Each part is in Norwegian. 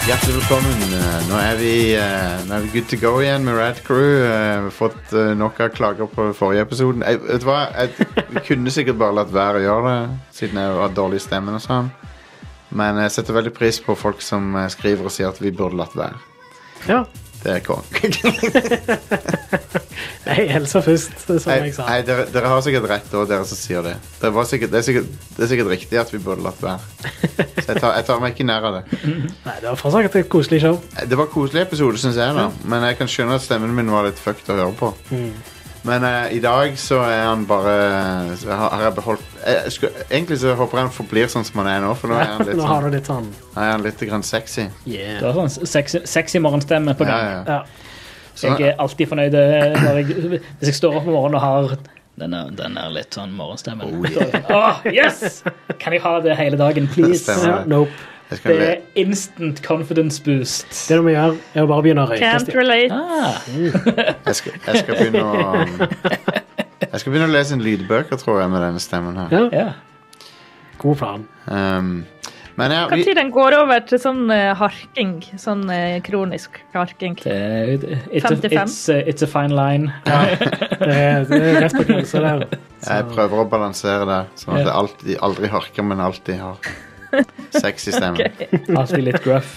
velkommen. Eh, Nå er vi, eh, nå er vi good to go igjen med Rad Crew. Eh, Vi har fått eh, nok av klager på forrige episoden. Jeg, vet du hva? Jeg, vi kunne sikkert bare latt være å gjøre det, siden jeg har dårlig stemme og sånn. Men jeg setter veldig pris på folk som eh, skriver og sier at vi burde latt være. Ja. Det er konge. Nei, Elsa først, som Nei, jeg sa. nei, dere, dere har sikkert rett, og dere som sier det. Det, var sikkert, det, er sikkert, det er sikkert riktig at vi burde latt være. Så jeg tar, jeg tar meg ikke nær av det. Eh, Nei, det var fortsatt et koselig show. Det var en koselig episode, syns jeg, da. men jeg kan skjønne at stemmen min var litt fucked å høre på. Men eh, i dag så er han bare så har, har jeg beholdt eh, jeg, skulle, Egentlig så håper jeg han forblir sånn som han er nå, for nå er han litt, Nå har sånn, du litt sånn nå er han litt grann sexy. yeah. Du har sånn sexy, sexy morgenstemme på Ja, gang. ja. Ja. Jeg er alltid fornøyd eh, når jeg, hvis jeg står opp om morgenen og har den er, den er litt sånn morgenstemme. Oh, yeah. Åh, yes! Kan jeg ha det hele dagen, please? Stemmer. Ja, nope. Jeg skal Det le. er instant confidence boost. Det du må gjøre, er å bare begynne å røyke. Can't Stian. relate. Ah, Jeg skal, jeg skal begynne å Jeg skal begynne å lese en lydbøker, tror jeg, med denne stemmen her. Ja, ja. god plan. Um, men ja, vi, Når den går over til sånn eh, harking, sånn eh, kronisk harking. Det er, it's, a, 55. it's, a, it's a fine line. Det er, det er rett på grensa der. Jeg prøver å balansere det, sånn at Ja. jeg alltid, aldri harker, men alltid har sex i stemmen. Alltid litt gruff.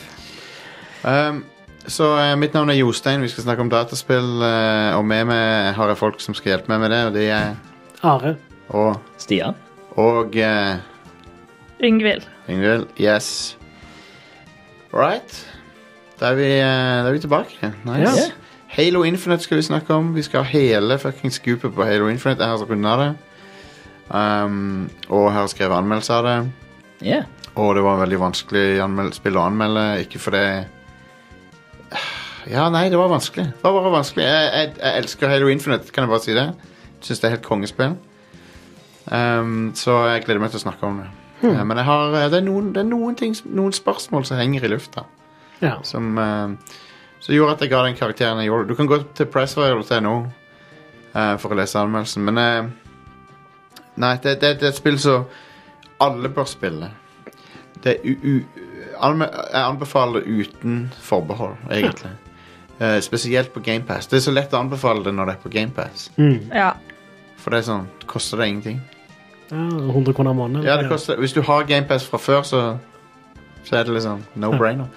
Um, så eh, mitt navn er Jostein, vi skal snakke om dataspill, eh, og med meg har jeg folk som skal hjelpe meg med det, og de er Are. Og, Stian? og eh, Yngvild. Ingvild. Yes. Right. Da er vi, eh, da er vi tilbake. Nice. Ja. Halo Infinite skal vi snakke om. Vi skal ha hele fucking scoopet på Halo Infinite. Jeg har runda det. Um, og har skrevet anmeldelse av det. Ja. Og det var en veldig vanskelig anmel- spill å anmelde. Ikke fordi Ja, nei, det var vanskelig. Det var bare vanskelig. Jeg, jeg, jeg elsker Halo Infinite, kan jeg bare si det. Syns det er helt kongespill. Um, så jeg gleder meg til å snakke om det. Eh, men jeg har, eh, det er, noen, det er noen, ting, som- noen spørsmål som henger i lufta, Ja. som, eh, som gjorde at jeg ga den karakteren jeg gjorde. Du kan gå til pressfire.no eh, for å lese anmeldelsen, men eh, Nei, det, det, det er et spill som alle bør spille. Det er u... u anme- jeg anbefaler det uten forbehold, egentlig. Eh, spesielt på GamePass. Det er så lett å anbefale det når det er på GamePass. Mm. Ja. For det er sånn, koster det ingenting. ja 100 kroner i måneden. Ja, det koster, hvis du har GamePass fra før, så, så er det liksom no-brainer.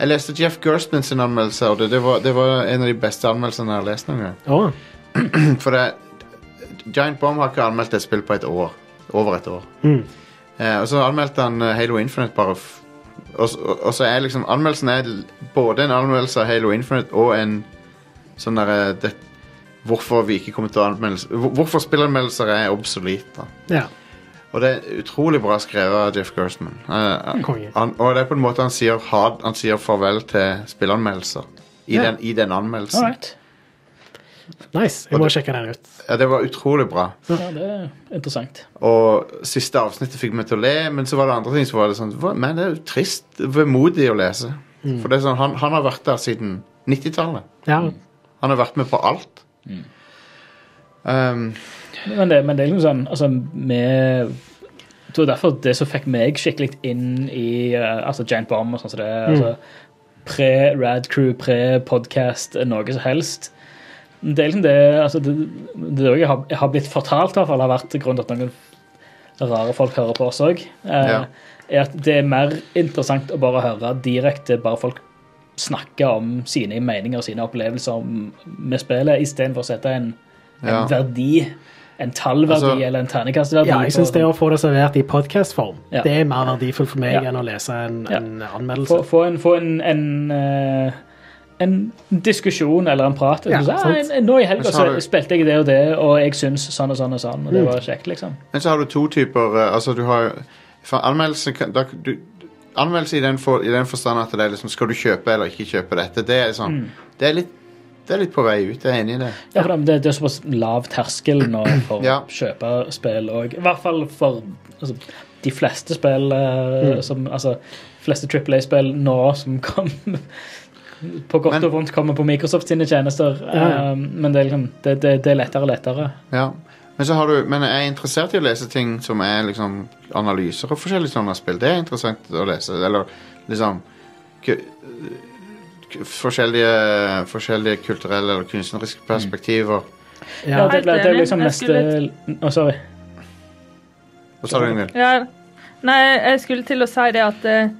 Jeg leste Jeff Gerstmann sin anmeldelse, og det, det, var, det var en av de beste anmeldelsene jeg har lest noen gang. Å, For det, Giant Bomb har ikke anmeldt et spill på et år. Over et år. Mm. Eh, og så anmeldte han eh, Halo Infinite bare f og, s- og, og så er liksom Anmeldelsen er l- både en anmeldelse av Halo Infinite og en sånn derre det- Hvorfor vi ikke kommer til å anmelde hvor- Hvorfor spillanmeldelser er obsolete. da. ja. Og det er utrolig bra skrevet av Jeff Gerstmann. Eh, Mm. Konge. han, og det er på en måte han sier, ha, han sier farvel til spillanmeldelser i, Ja. den, i den anmeldelsen. All right. Nice. Jeg må sjekke den ut. Ja, det var utrolig bra. Ja, det er interessant. Og siste avsnittet fikk meg til å le, men så var det andre ting som var det sånn «Hva- Men det er jo trist, vemodig å lese. Mm. For det er sånn, han, han har vært der siden 90-tallet. Ja. Han har vært med på alt. Mm. Um, Men det, men det er liksom sånn altså, med, Jeg tror derfor det som fikk meg skikkelig inn i eh, altså Giant Bomb og sånn som det Mm. er, altså, Pre-Rad Crew, pre-podkast, noe som helst. Det er liksom det altså, det, det er også jeg, har, jeg har blitt fortalt, i hvert fall, har vært grunnen til at noen rare folk hører på oss òg, Ja. er at det er mer interessant å bare høre direkte bare folk snakke om sine meninger og sine opplevelser om- med spillet, istedenfor å sette en Ja. en verdi, en tallverdi Altså- eller en ternekastverdi. ja, jeg syns det å få det servert i podkastform, Ja. det er mer verdifullt for meg Ja. enn å lese en, Ja. en få, anmeldelse. få en, få en, en, eh, en diskusjon eller en prat. Ja, Du sa, sant. «Ah, nå i Men helga så så har du- spilte jeg det og det, og jeg syns sånn og sånn og sånn, Mm. og det var kjekt, liksom. Men så har du to typer eh, Altså du har for anmeldelse, kan- da, du, anmeldelse i den, for, i den forstand at det er liksom Skal du kjøpe eller ikke kjøpe dette? Det er sånn Det er litt det er litt på vei ut, jeg er enig i det. Ja, for det, det er såpass lav terskel nå for Ja. kjøperspill og I hvert fall for altså, de fleste spill eh, Mm. som Altså, fleste Triple A-spill nå som kom på godt Men- og vondt kommer på Microsoft sine tjenester. ja. eh, men det er, liksom, det, det, det er lettere og lettere. Ja. Men, så har du, men jeg er interessert i å lese ting som er liksom analyser og forskjellige sånne spill. Det er interessant å lese. Eller liksom ku- ku- forskjellige, forskjellige kulturelle eller kunstneriske perspektiver. Ja, Ja, det, det, det er liksom Helt neste enig. Å, sorry. Hva sa du, Ingvild? Ja. Nei, jeg skulle til å si det at eh,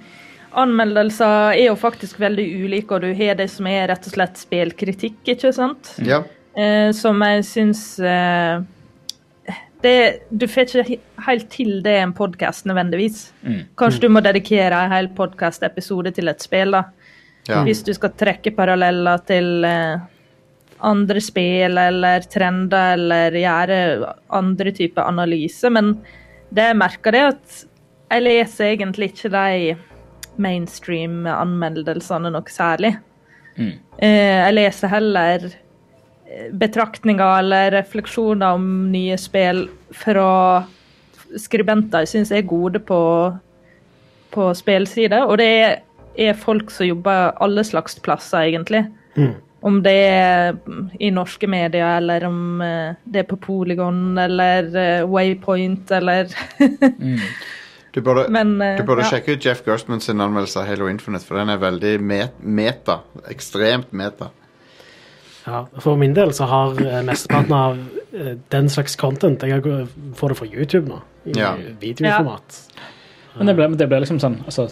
anmeldelser er jo faktisk veldig ulike, og du har det som er rett og slett spillkritikk, ikke sant? Mm. Ja. Eh, som jeg syns eh, det, Du får ikke he- helt til det i en podkast nødvendigvis. Mm. Kanskje du må dedikere en hel podkastepisode til et spill, da. ja. Hvis du skal trekke paralleller til eh, andre spill eller trender eller gjøre andre typer analyse. Men det jeg merker, det er at jeg leser egentlig ikke de mainstream-anmeldelsene noe særlig. Mm. Eh, jeg leser heller eh, betraktninger eller refleksjoner om nye spill fra skribenter jeg syns er gode på, på spillside. Og det er, er folk som jobber alle slags plasser, egentlig. Mm. Om det er i norske medier, eller om eh, det er på Polygon eller eh, Waypoint, eller Du burde, Men eh, du burde ja. sjekke ut Jeff Gerstmann sin anmeldelse av Halo Infinite, for den er veldig met meta. Ekstremt meta. ja. For min del så har eh, mesteparten av eh, den slags content Jeg har gå- får det fra YouTube nå, i Ja. videoformat. Men det ble, men det ble liksom sånn altså,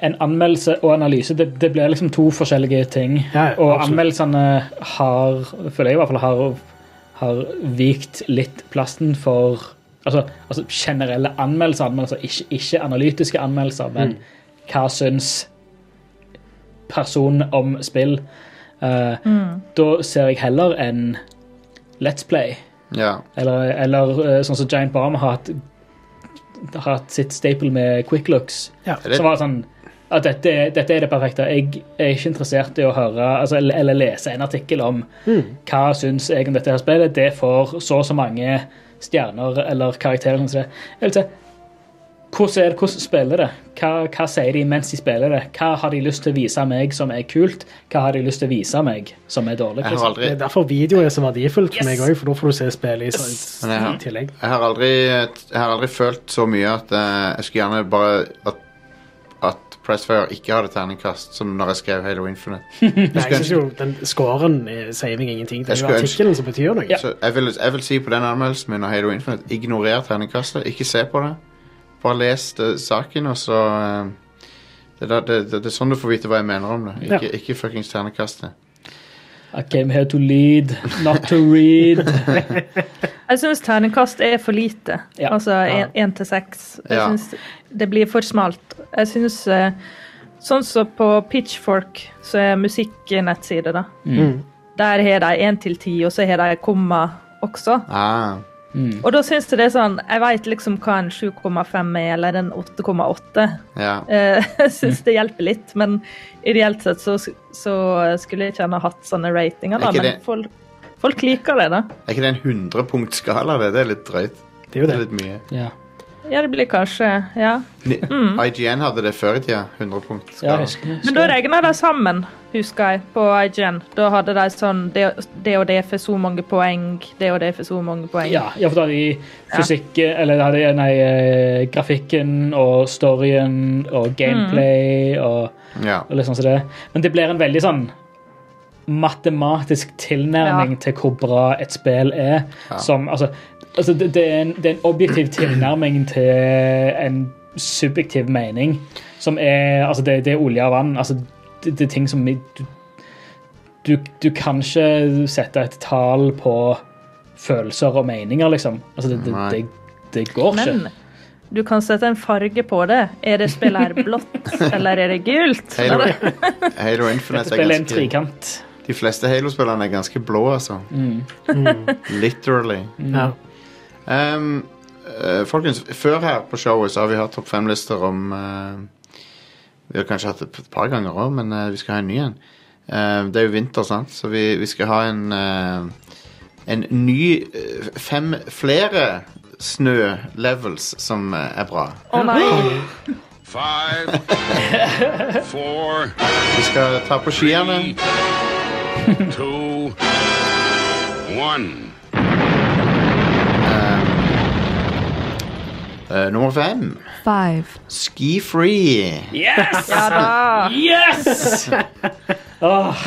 En anmeldelse og analyse, det, det ble liksom to forskjellige ting. Ja, ja, og absolutt. anmeldelsene har, føler jeg i hvert fall, har, har vikt litt plassen for Altså, altså generelle anmeldelser, anmeldelser ikke, ikke analytiske anmeldelser, Mm. men hva syns personen om spill? Eh, Da ser jeg heller en Let's Play. Ja. Eller, eller eh, sånn som Giant Barm har hatt, har hatt sitt staple med quick looks. Ja. Er det- Som var sånn at dette, er- dette er det perfekte. Jeg er ikke interessert i å høre altså, eller, eller lese en artikkel om hva syns jeg om dette her spillet. Det får så og så mange stjerner eller karakterer. Sånn som det. Jeg vil si, hvordan, er det, hvordan spiller det? Hva, hva sier de mens de spiller det? Hva har de lyst til å vise meg som er kult? Hva har de lyst til å vise meg som er dårlig? Jeg har liksom? aldri Det er derfor video er så verdifullt Yes. for meg òg, for da får du se spillet i, så- Men jeg har- i tillegg. Jeg har aldri, jeg har aldri følt så mye at eh, jeg skulle gjerne bare at, at Pressfire ikke hadde terningkast, som når jeg skrev Halo Infinite. Nei, skulle jeg synes jo den scoren eh, sier meg ingenting. Det Jeg er jo skulle artikkelen som betyr noe. Så jeg vil, jeg vil si på den anmeldelsen min av Halo Infinite ignorer terningkastet. Ikke se på det. Bare les det, saken, og så eh, det, er da- det, det, det er sånn du får vite hva jeg mener om det. Ja. Ikke, ikke fuckings terningkastet. I came here to lead, not to read. Jeg syns terningkast er for lite. Ja. Altså én til seks. Jeg Ja. synes det blir for smalt. Jeg syns Sånn som på Pitchfork, som er musikknettside, da. Mm. Der har de én til ti, og så har de komma også. Ah, Mm. Og da syns jeg det er sånn Jeg veit liksom hva en 7,5 er, eller en 8,8. ja. Eh, Jeg syns det hjelper litt, men ideelt sett så, så skulle jeg gjerne hatt sånne ratinger, Er da. ikke Men det- folk, folk liker det, da. Er ikke det en 100-punktskala? Det? det er litt drøyt. Det er jo Det det. er litt mye. Ja. Ja, det blir kanskje Ja. Ni- IGN hadde det før i tida. 100-punktskala. Mm. Ja, husker jeg. Men da regna de sammen, husker jeg, på IGN. Da hadde de sånn det, det og det for så mange poeng, det og det for så mange poeng. Ja, ja, for da hadde de fysikk Eller da hadde de nei, eh, grafikken og storyen og gameplay Mm. og, ja. og litt sånn som det. Men det blir en veldig sånn matematisk tilnærming Ja. til hvor bra et spill er. Som altså, altså det, det, er en, det er en objektiv tilnærming til en subjektiv mening som er Altså, det, det er olje og vann. Altså, det, det er ting som du, du, du kan ikke sette et tall på følelser og meninger, liksom. Altså, det, det, Nei. det, det går Men ikke. du kan sette en farge på det. Er det spillet her blått, eller er det gult? Halo, Halo Infinite Dette er spillet er en ganske trikant. Mm. De fleste Halo-spillerne er ganske blå, altså. Literally. Ja. Um, eh, folkens, før her på showet så har vi hatt topp fem-lister om eh, Vi har kanskje hatt det et par ganger òg, men eh, vi skal ha en ny en. Eh, det er jo vinter, sant, så vi, vi skal ha en eh, En ny eh, Fem flere snø-levels som eh, er bra. Å nei! Five, four, Vi skal ta på skiene. three, two, one. Eh, Eh, nummer fem. Five. Ski Free. Yes! Ja da. Yes! Åh,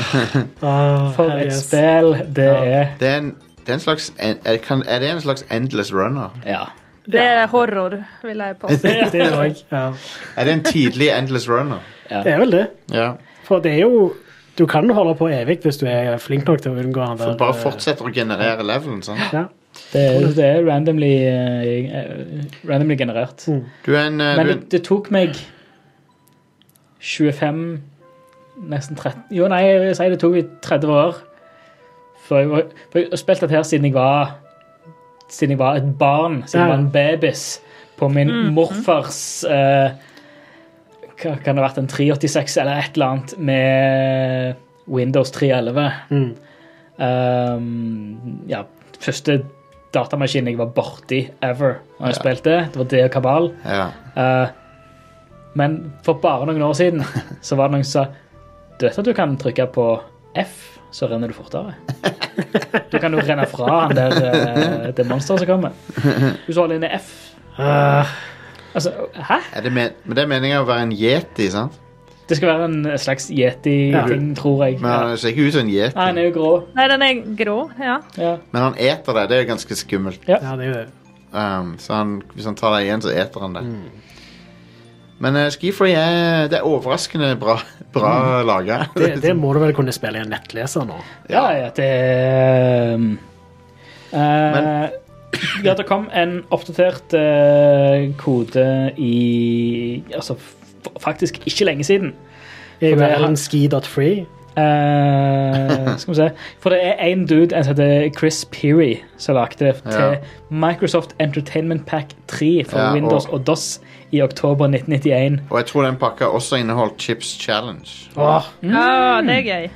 Ah, for hell et yes. spill det Ja. er. Det er en, det er en slags en, er, kan, er det en slags endless runner? Ja. Det er horror, vil jeg påstå. Det, det er òg. Ja. Er det en tidlig endless runner? Det er vel det. Ja. For det er jo Du kan holde på evig hvis du er flink nok til å unngå han der. For bare eh, fortsetter å generere levelen. Sånn. Ja. Det er, det er randomly, eh, eh, randomly generert. Du er en, eh, Men du, er det, en- det tok meg 25 Nesten 13 Jo, nei, jeg vil si det tok meg 30 år. For jeg, var, for jeg har spilt dette her siden jeg var Siden jeg var et barn. Siden Ja. jeg Mm. var en babys. På min morfars eh, Hva kan det ha vært? En 386 eller et eller annet med Windows 311. Mm. Um, ja, første datamaskin jeg var borti ever når jeg Ja. spilte. Det var det og Kabal. ja. Eh, men for bare noen år siden så var det noen som sa Du vet at du kan trykke på F, så renner du fortere. Du kan jo renne fra han der, eh, det monsteret som kommer. Hvis du holder inne F Ah, Altså, hæ? Er det, men, men det er meningen å være en yeti, sant? Det skal være en slags yeti-ting, tror jeg. Men han Ja. ser ikke ut som en yeti. Nei, han er jo grå. Nei, den er grå. Ja. Ja. Men han eter det. Det er jo ganske skummelt. ja, det er jo det. Um, så han, hvis han tar deg igjen, så eter han det. Men uh, Skifree er, det er overraskende bra, bra laga. det. Det må du vel kunne spille i en nettleser nå. Ja, ja, det er Ja, det kom en oppdatert eh, kode i Altså f- faktisk ikke lenge siden. Er For det er- vel en ski.free? Eh, skal vi se For det er én dude en som heter Chris Peary, som lagde det til Ja. Microsoft Entertainment Pack 3 for Ja, og- Windows og, DOS i oktober 1991. Og jeg tror den pakka også inneholdt Chips Challenge. Åh, Ja, det er gøy.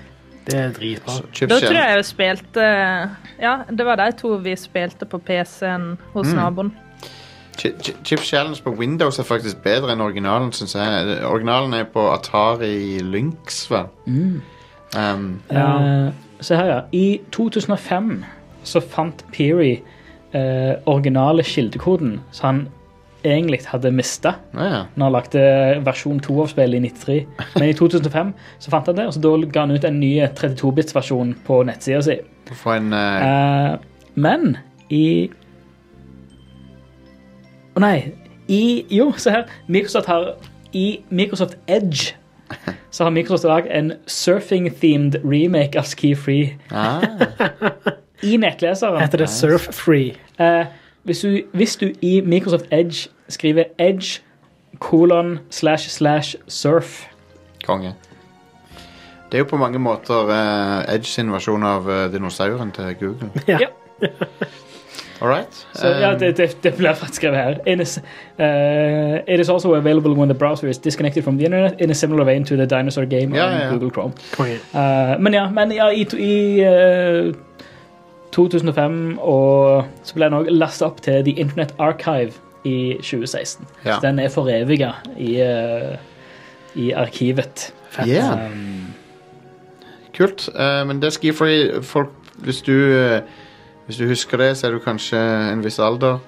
det er dritbra. Så Chips Da tror Challenge. jeg jeg spilte eh, Ja, det var de to vi spilte på PC-en hos naboen. Chi- chi- Chips Challenge på Windows er faktisk bedre enn originalen, syns jeg. Det- Originalen er på Atari Lynx, vel. Um, Ja. Eh, Se her, ja. I 2005 så fant Peary eh, originale kildekoden som han egentlig hadde mista ja, ja. når han lagde eh, versjon 2 av spillet i 93. Men i 2005 så fant han det, og så da ga han ut en ny 32-bits-versjon på nettsida si. For en uh, Eh, men i Å nei. I Jo, se her. Microsoft har I Microsoft Edge så har Microsoft i dag en surfing-themed remake av Ski Free ah, i nettleseren. Heter det Surf-free? Eh, hvis, du, hvis du i Microsoft Edge skriver edge kolon slash slash surf konge. Det er jo på mange måter eh, Edge sin versjon av eh, dinosauren til Google. Ja. All right? Så ja, Um, det, det, det blir faktisk skrevet her. In a, s- eh, it is also available when the browser is disconnected from the internet in a similar vein to the dinosaur game Ja, on ja, ja. Google Chrome. Konge. Eh, men ja, men ja, i, to- i eh, 2005 og så ble den også lastet opp til The Internet Archive i 2016. Ja. Så den er foreviga i, eh, i arkivet. yeah. Um, Kult. eh, men det er skifree. Folk, hvis du eh, Hvis du husker det, så er du kanskje en viss alder.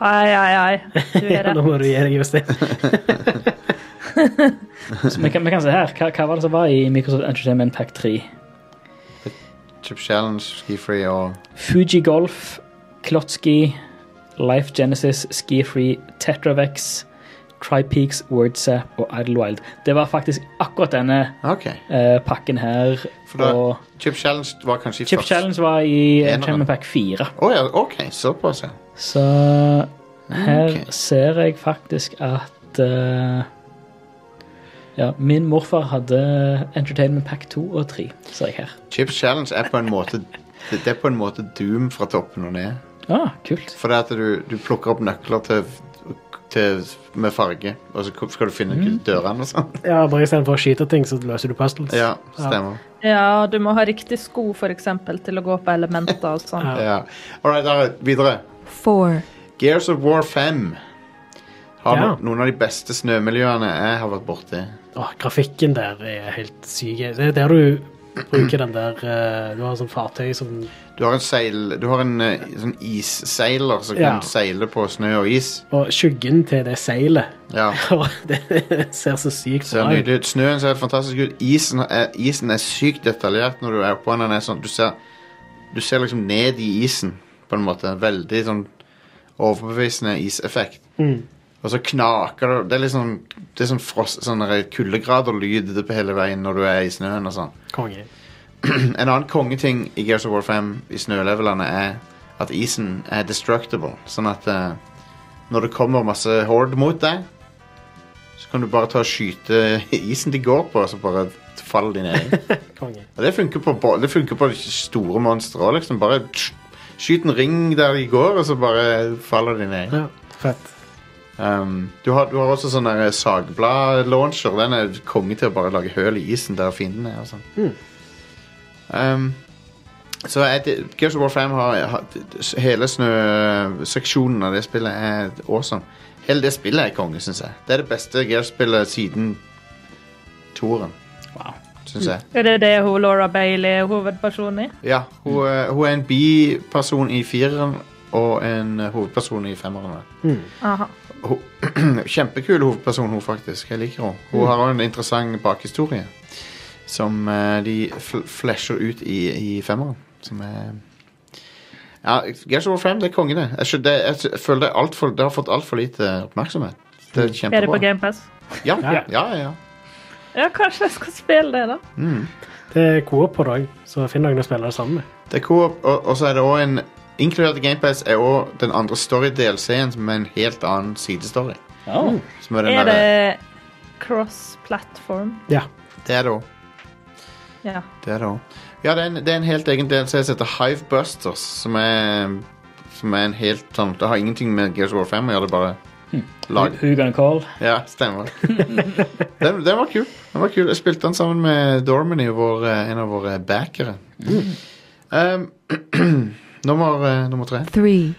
Ai, ai, ai. Du er Nå rett. må du gi deg just det. så vi kan, vi kan se her. Hva, hva var det som var i Microsoft Entertainment Pack 3? Chip Challenge, skifree og Fuji Golf, Klotski, Life Genesis, Ski Free, Tetravex, Tripeaks, Wordsap og Idlewild. Det var faktisk akkurat denne OK. eh, pakken her. For da- og Chip Challenge var kanskje Chip Challenge var i Eneren. Entertainment Pack 4. Å ja, OK. Såpass, ja. Så her Mm, Ok. ser jeg faktisk at eh, ja, Min morfar hadde Entertainment Pack 2 og 3, ser jeg her. Chip Challenge er på en måte det det er på en måte Doom fra toppen og ned. Ah, kult. For det at du, du plukker opp nøkler til, til, med farge, og så skal du finne Mm. ut dørene og sånn. Ja, bare istedenfor å skyte ting, så løser du puzzles. Ja, stemmer. Ja, du må ha riktig sko, for eksempel, til å gå på elementer og sånn. Ja. Ja. All right, Are, videre. Four. Gears of War 5 har no Ja. noen av de beste snømiljøene jeg har vært borti. Åh, grafikken der er helt syk. Det er der du bruker den der eh, Du har sånn fartøy som Du har en, seil, du har en eh, sånn isseiler som Ja. kan seile på snø og is. Og skyggen til det seilet. Ja. Og det ser så sykt Ser bra ut. nydelig ut. Snøen ser helt fantastisk ut. Isen er, eh, isen er sykt detaljert når du er oppå den. Den Er sånn, du, ser, du ser liksom ned i isen, på en måte. Veldig sånn overbevisende iseffekt. Mm. Og så knaker det Det er litt sånn, det er sånn, frost, sånn der kuldegraderlyd på hele veien når du er i snøen og sånn. Konge. En annen kongeting i Gears of War 5 i snølevelene er at isen er destructible. Sånn at eh, når det kommer masse horde mot deg, så kan du bare ta og skyte isen de går på, og så bare faller de ned. Konge. Og det funker på, bo- det funker på store monstre òg, liksom. Bare sk- skyt en ring der de går, og så bare faller de ned. Ja, fett. Um, du, har, du har også sånn der sagblad-launcher. Den er konge til å bare lage høl i isen der fienden er. og sånn. Um, så er det, Gears of War 5 har, har hele snøseksjonen av det spillet er awesome. Hele det spillet er konge, syns jeg. Det er det beste Gears-spillet siden toeren, Wow. syns jeg. Er det det hun Laura Bailey er hovedperson i? Ja, hun, er- hun er en biperson i fireren og en hovedperson i femmeren. vel. Aha. Ho- Kjempekul hovedperson, hun faktisk. Jeg liker henne. Mm. Hun har også en interessant bakhistorie som eh, de fl flesher ut i, i femmeren. Som er Ja, Gears of War 5, det er kongen, det. Jeg, skjø- det, jeg s- føler det, er alt for, det har fått altfor lite oppmerksomhet. Det er Mm. Er det på kjempebra. GamePass? Ja, ja, Ja. ja, ja. Ja, kanskje jeg skal spille det, da. Det er co-op på det òg, så finn noen å spille det sammen med. Det er coop, og, og så er det òg en Inkludert i GamePass er òg den andre story-DLC-en som er en helt annen sidestory. Ja. Som er den Er derre- det cross-platform? Ja. det er det òg. Ja. Det er det også. Ja, det er en, det er en helt egen DLC som heter Hive Busters, som er, som er en helt sånn Det har ingenting med Gears of War 5 å gjøre, det er bare lag. Who gonna call? Ja, stemmer. den, den var kul. Den var kul. Jeg spilte den sammen med Dormany, vår, eh, en av våre backere. Um, nummer, eh, nummer tre. three,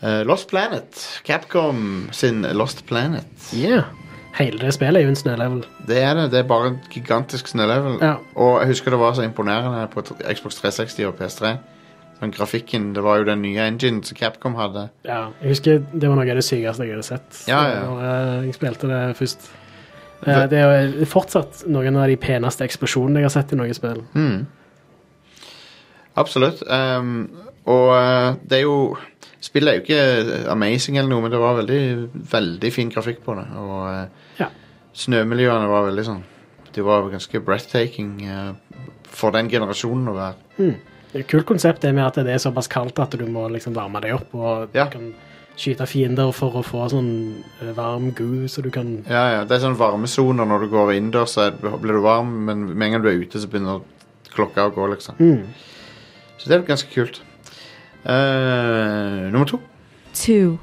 Eh, Lost Planet. Capcom sin Lost Planet. Yeah. Hele det spillet er jo en snølevel. Det er det. Det er bare en gigantisk snølevel. Ja. Og jeg husker det var så imponerende på t- Xbox 360 og PS3. Sånn grafikken, Det var jo den nye enginen som Capcom hadde. ja. Jeg husker det var noe av det sykeste jeg hadde sett Ja, ja. når eh, jeg spilte det først. Eh, Det er jo fortsatt noen av de peneste eksplosjonene jeg har sett i noe spill. Mm. Absolutt. ehm, og eh, det er jo Spillet er jo ikke amazing eller noe, men det var veldig, veldig fin grafikk på det. Og eh, Ja. snømiljøene var veldig sånn De var ganske breathtaking eh, for den generasjonen å være. Det er et kult konsept det med at det er såpass kaldt at du må liksom varme deg opp og Ja. du kan skyte fiender for å få sånn eh, varm goo, så du kan Ja, ja, Det er sånn varmesoner når du går innendørs, så er- blir du varm, men med en gang du er ute, så begynner klokka å gå, liksom. Mm. Så det er jo ganske kult. Eh, nummer to. two,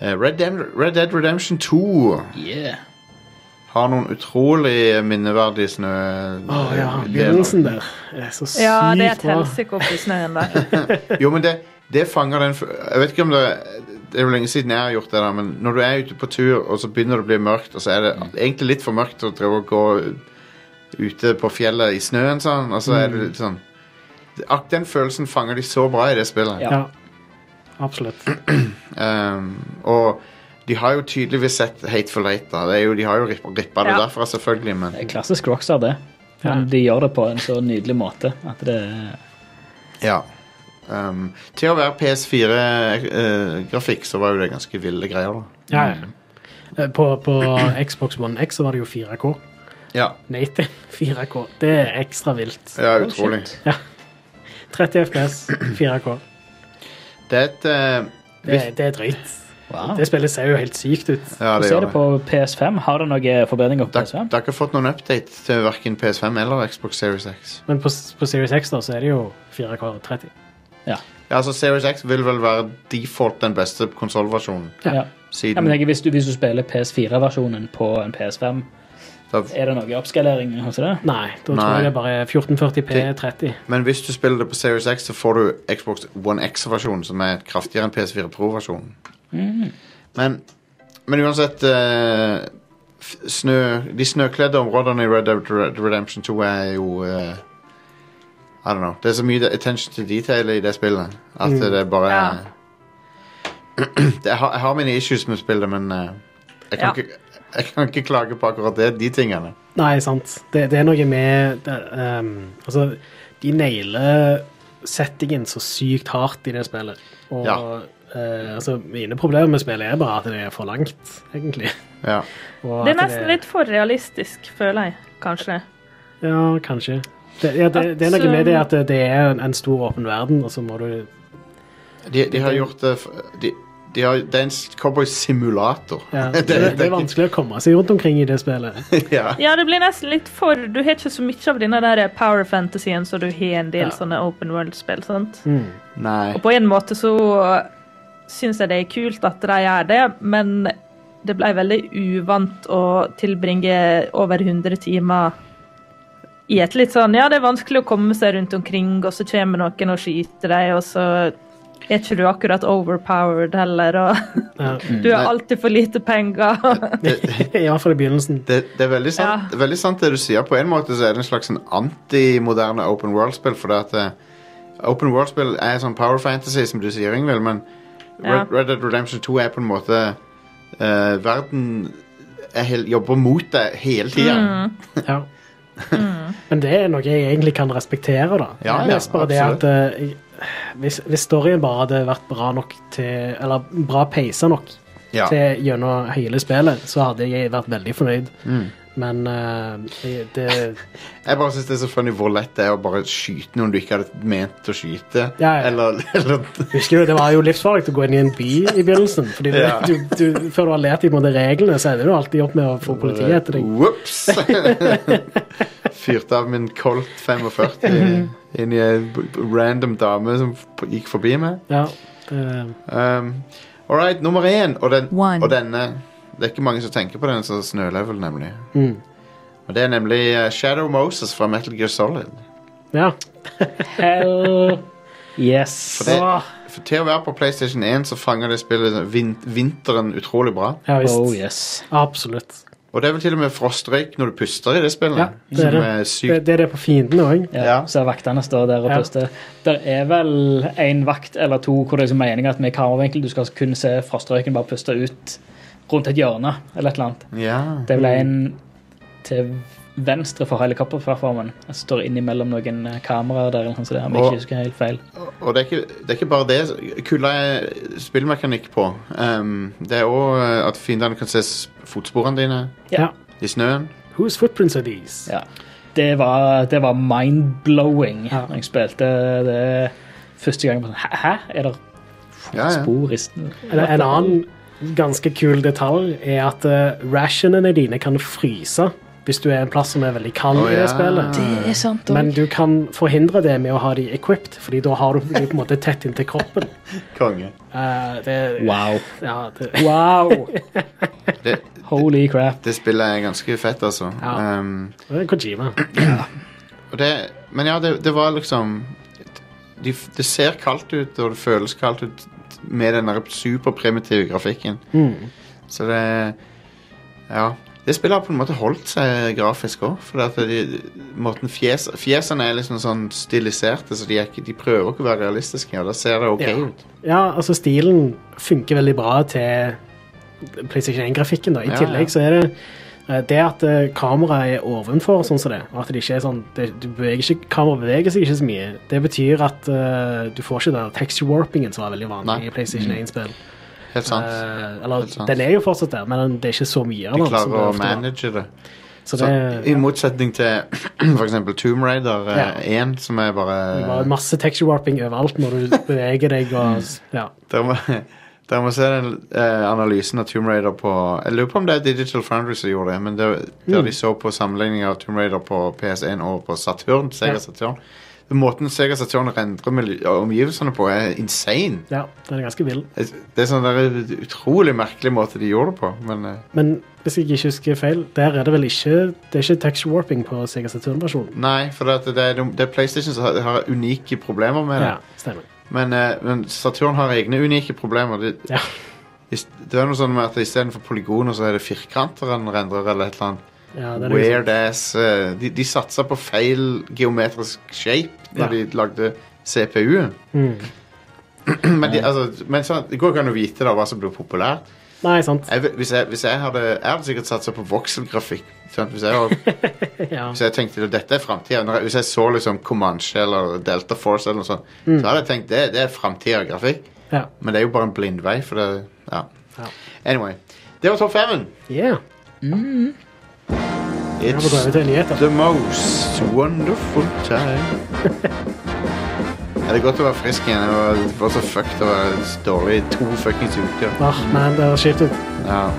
Eh, Red, Dem Red Dead Redemption 2 Yeah. har noen utrolig minneverdige snø... Å ja, begynnelsen der er så sykt ja, det er et bra. helsike oppi snøen der. Jo, men det, det fanger den f- Jeg vet ikke om det Det er jo lenge siden jeg har gjort det, da, men når du er ute på tur, og så begynner det å bli mørkt, og så er det egentlig litt for mørkt å drive og gå ute på fjellet i snøen, sånn, og så er det litt sånn Ak- Den følelsen fanger de så bra i det spillet. Ja. Ja. Absolutt. Ehm, og de har jo tydeligvis sett Hateful Eight, da. Det er jo, de har jo rippa det Ja. derfra, selvfølgelig, men Det er klassisk Rockstar, det. Men de gjør det på en så nydelig måte at det er Ja. Ehm, til å være PS4-grafikk, eh, så var jo det ganske ville greier, da. Ja, ja. Eh, På, på Xbox One X så var det jo 4K. Ja, Native 4K. Det er ekstra vilt. ja utrolig. Oh, Shit. 30 FPS, 4K. Det er et eh, Det, hvis- det er drøyt. Wow. Det spillet ser jo helt sykt ut. Ja, det Se gjør det det. på PS5. Har det noen eh, forbedringer på Det PS5? det har ikke fått noen update til verken PS5 eller Xbox Series X. Men på, på Series X da, så er det jo 4K og 30. Ja, altså Series X vil vel være default den beste konsollversjonen. Ja. Ja, Siden men tenk, hvis, du, hvis du spiller PS4-versjonen på en PS5, da- er det noe oppskalering? hos det? Nei, da tror Nei. jeg det er bare 1440P Det- 30. Men hvis du spiller det på Series X, så får du Xbox One X-versjonen, som er kraftigere enn Mm. PS4 Pro-versjonen. Men, men uansett eh, f- snø, de snøkledde områdene i Red Dead Red- Redemption 2 er jo eh, I don't know. Det er så mye attention to detail i det spillet at det bare Ja. det, jeg, har, jeg har mine issues med spillet, men eh, jeg, kan Ja. ikke, jeg kan ikke klage på akkurat det, de tingene. Nei, sant. Det, det er noe med det, ehm, Altså, de nailer settingen så sykt hardt i det spillet. Og Ja. eh, altså, mine problemer med spillet er bare at det er for langt, egentlig. Ja. Og Det er at nesten litt for realistisk, føler jeg, kanskje. Ja, kanskje. Det, ja, det, det er noe med det at det- det er en, en stor åpen verden, og så må du De, de har gjort det f- de, de har, Det er en s- cowboy-simulator. ja, det, det er vanskelig å komme seg rundt omkring i det spillet. ja. Ja, det blir nesten litt for Du har ikke så mye av denne der power fantasyen som du har i en del Ja. sånne open world-spill. sant? Nei. Og på en måte så syns jeg det er kult at de gjør det, men det ble veldig uvant å tilbringe over 100 timer i et litt sånn Ja, det er vanskelig å komme seg rundt omkring, og så kommer noen og skyter deg, og så er ikke du akkurat overpowered heller, og Ja. du har alltid for lite penger. I hvert fall i begynnelsen. Det, det er veldig sant, det er veldig sant det du sier. På en måte så er det en slags en anti-moderne open world-spill. For det at eh, open world-spill er sånn power fantasy, som du sier, Ingvild, men Ja. Red, Red Dead Redemption 2 er på en måte eh, Verden er hel, jobber mot deg hele tida. Ja. Men det er noe jeg egentlig kan respektere, da. Ja, Det er mest ja, bare det absolutt. at eh, jeg- hvis, hvis storyen bare hadde vært bra nok til Eller bra peisa nok Ja. til gjennom hele spillet, så hadde jeg vært veldig fornøyd. Mm. Men eh, jeg- det Jeg bare syns det er så funny hvor lett det er å bare skyte noen du ikke hadde ment å skyte. Ja, ja. Eller, eller Husker du, Det var jo livsfarlig å gå inn i en by i begynnelsen. Fordi du, Ja. du, du, Før du har lært deg på en måte reglene, så ender du alltid opp med å få politiet Mm. etter deg. Whoops! Fyrte Eh, av min Colt 45 inn i ei b- b- random dame som f- gikk forbi meg. Ja, det, Um, All right, nummer én. Og, den, One. og denne Det er ikke mange som tenker på den som snølevel, nemlig. Mm. Og Det er nemlig eh, Shadow Moses fra Metal Gear Solid. ja. Hell yes. For det, for til å være på PlayStation 1 så fanger det spillet vin vinteren utrolig bra. ja visst. Oh yes. Absolutt. Og det er vel til og med frostrøyk når du puster i det spillet. Ja, det er som det. er Det, sykt. det er det på fiendene òg. Ja, Ja. Så vaktene står der og Ja. puster. Der er vel en vakt eller to hvor det er meninga at med kameravinkel du skal kun se frostrøyken bare puste ut rundt et hjørne eller et eller annet. Ja. Det er vel en til venstre for helikopterplattformen. Jeg står innimellom noen eh, kameraer der, eller noe sånt, om jeg Og- ikke husker helt feil. Og det er, ikke, det er ikke bare det Kulla er spillmekanikk på. Um, det er òg at fiendene kan se s- fotsporene dine Ja. i snøen. Whose footprints are these? Ja. Det var, det var mind-blowing Ja. når jeg spilte det første gang. Sånn, Hæ? Hæ? Er det Ja, ja. spor i snø? En, en annen ganske kul detalj er at eh, rationene dine kan fryse hvis du er en plass som er veldig kald Å, i ja. det spillet. Det er sant Men du kan forhindre det med å ha de equipped, fordi da har du de på en måte tett inntil kroppen. Konge. Eh, det, Wow. ja, det, Wow! Det, Holy crap. det spillet er ganske fett, altså. Ja. Um, det er Kojima. og det, men ja, det, det var liksom de, f- Det ser kaldt ut, og det føles kaldt ut med den der superprimitive grafikken. Mm. Så det Ja. Det spillet har på en måte holdt seg grafisk òg. For at de, måten fjes, fjesene er liksom sånn stiliserte, så de, er ikke, de prøver ikke å være realistiske. Og da ser det OK Ja. ut. Ja, altså stilen funker veldig bra til PlayStation 1-grafikken. da. I Ja, ja. tillegg så er det eh, det at eh, kameraet er ovenfor, sånn som det, og at det ikke er sånn det, du beveger ikke, Kameraet beveger seg ikke så mye. Det betyr at eh, du får ikke den texture warpingen som er veldig vanlig Nei. i PlayStation 1-spill. Helt sant. eller, Helt sant. den er jo fortsatt der, men det er ikke så mye av de den. som klarer å det ofte var. manage det. Så Så, det I motsetning til f.eks. Tomb Raider eh, Ja. 1, som er bare det var masse texture warping overalt når du beveger deg og ja. Dere må, dere må se den eh, analysen av Tomb Raider på Jeg lurer på om det er Digital Foundry som gjorde det, men det, der Mm. de så på sammenligninger av Tomb Raider på PS1 og på Saturn, Sega Ja. Saturn. Måten Sega Saturn rendrer miljø- omgivelsene på, er insane. ja, den er ganske vill. Det er sånn der utrolig merkelig måte de gjorde det på, men eh, Men hvis jeg ikke husker feil, der er det vel ikke Det er ikke texture warping på Sega Saturn-versjonen. Nei, for det, at det, er, det er PlayStation som har, har unike problemer med det. Ja, stemmer. Men, eh, men Saturn har egne unike problemer. Det, Ja. Is- Det er noe sånn med at istedenfor polygoner, så er det firkanter han rendrer, eller et eller annet. Ja, det er liksom- Weird ass eh, De, de satsa på feil geometrisk shape når Ja. de lagde CPU-en. Mm. Men, de, altså, men sånn, det går ikke an å vite da hva som blir populært. Nei, sant. Jeg, vil- hvis, jeg, hvis jeg hadde Jeg hadde sikkert satsa på vokselgrafikk. Sant? Hvis, jeg, var- Ja. hvis jeg tenkte at dette er framtida Hvis jeg så liksom Comanche eller Delta Force eller noe sånt, Mm. så hadde jeg tenkt det, det er framtida grafikk. ja. Men det er jo bare en blindvei, for det Ja. Ja. Anyway. Det var topp fem-en. Yeah. Jeg får It's prøve til nyheter. the most wonderful time. Ja, det er godt å være frisk igjen. Det var, det var så fucked å være dårlig i to fuckings uker. Ah, man, det er kjipt ut. Ja.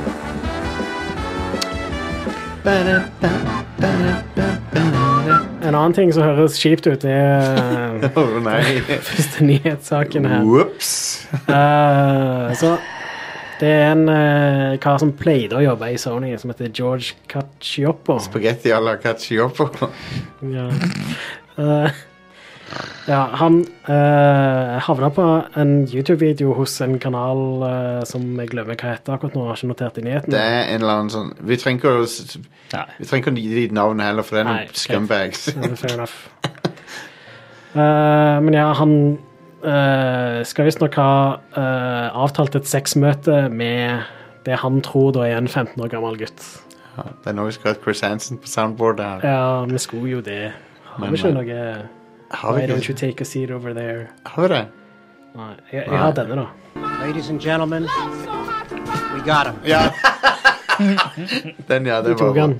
En annen ting som høres kjipt ut, er eh, Å nei. første nyhetssaken her. Whoops. Eh, så det er en uh, kar som pleide å jobbe i Sony, som heter George Cacioppo. Spagetti à la cacioppo. Ja. Eh, ja, han uh, havna på en YouTube-video hos en kanal eh, som jeg glemmer hva heter akkurat nå. Jeg har ikke notert i nyhetene. Det er en eller annen sånn Vi trenger ikke å s- Nei. Vi trenger ikke å gi dem navnet heller, for det er Nei, Mm. noen ok. scumbags. Ja, men Fair enough. Eh, men ja, han eh, skal visstnok ha eh, avtalt et sexmøte med det han tror da er en 15 år gammel gutt. Ja, det er nå vi skal ha Chris Hansen på soundboardet her. Ja, vi skulle jo det. Har vi Men, ikke nei. noe Har Why vi, don't you ikke, take a seat over there? har vi det? Nei, jeg, jeg har Nei. denne, da. Ladies and gentlemen, we got him. Ja. Den, ja. Det Jeg tok var han.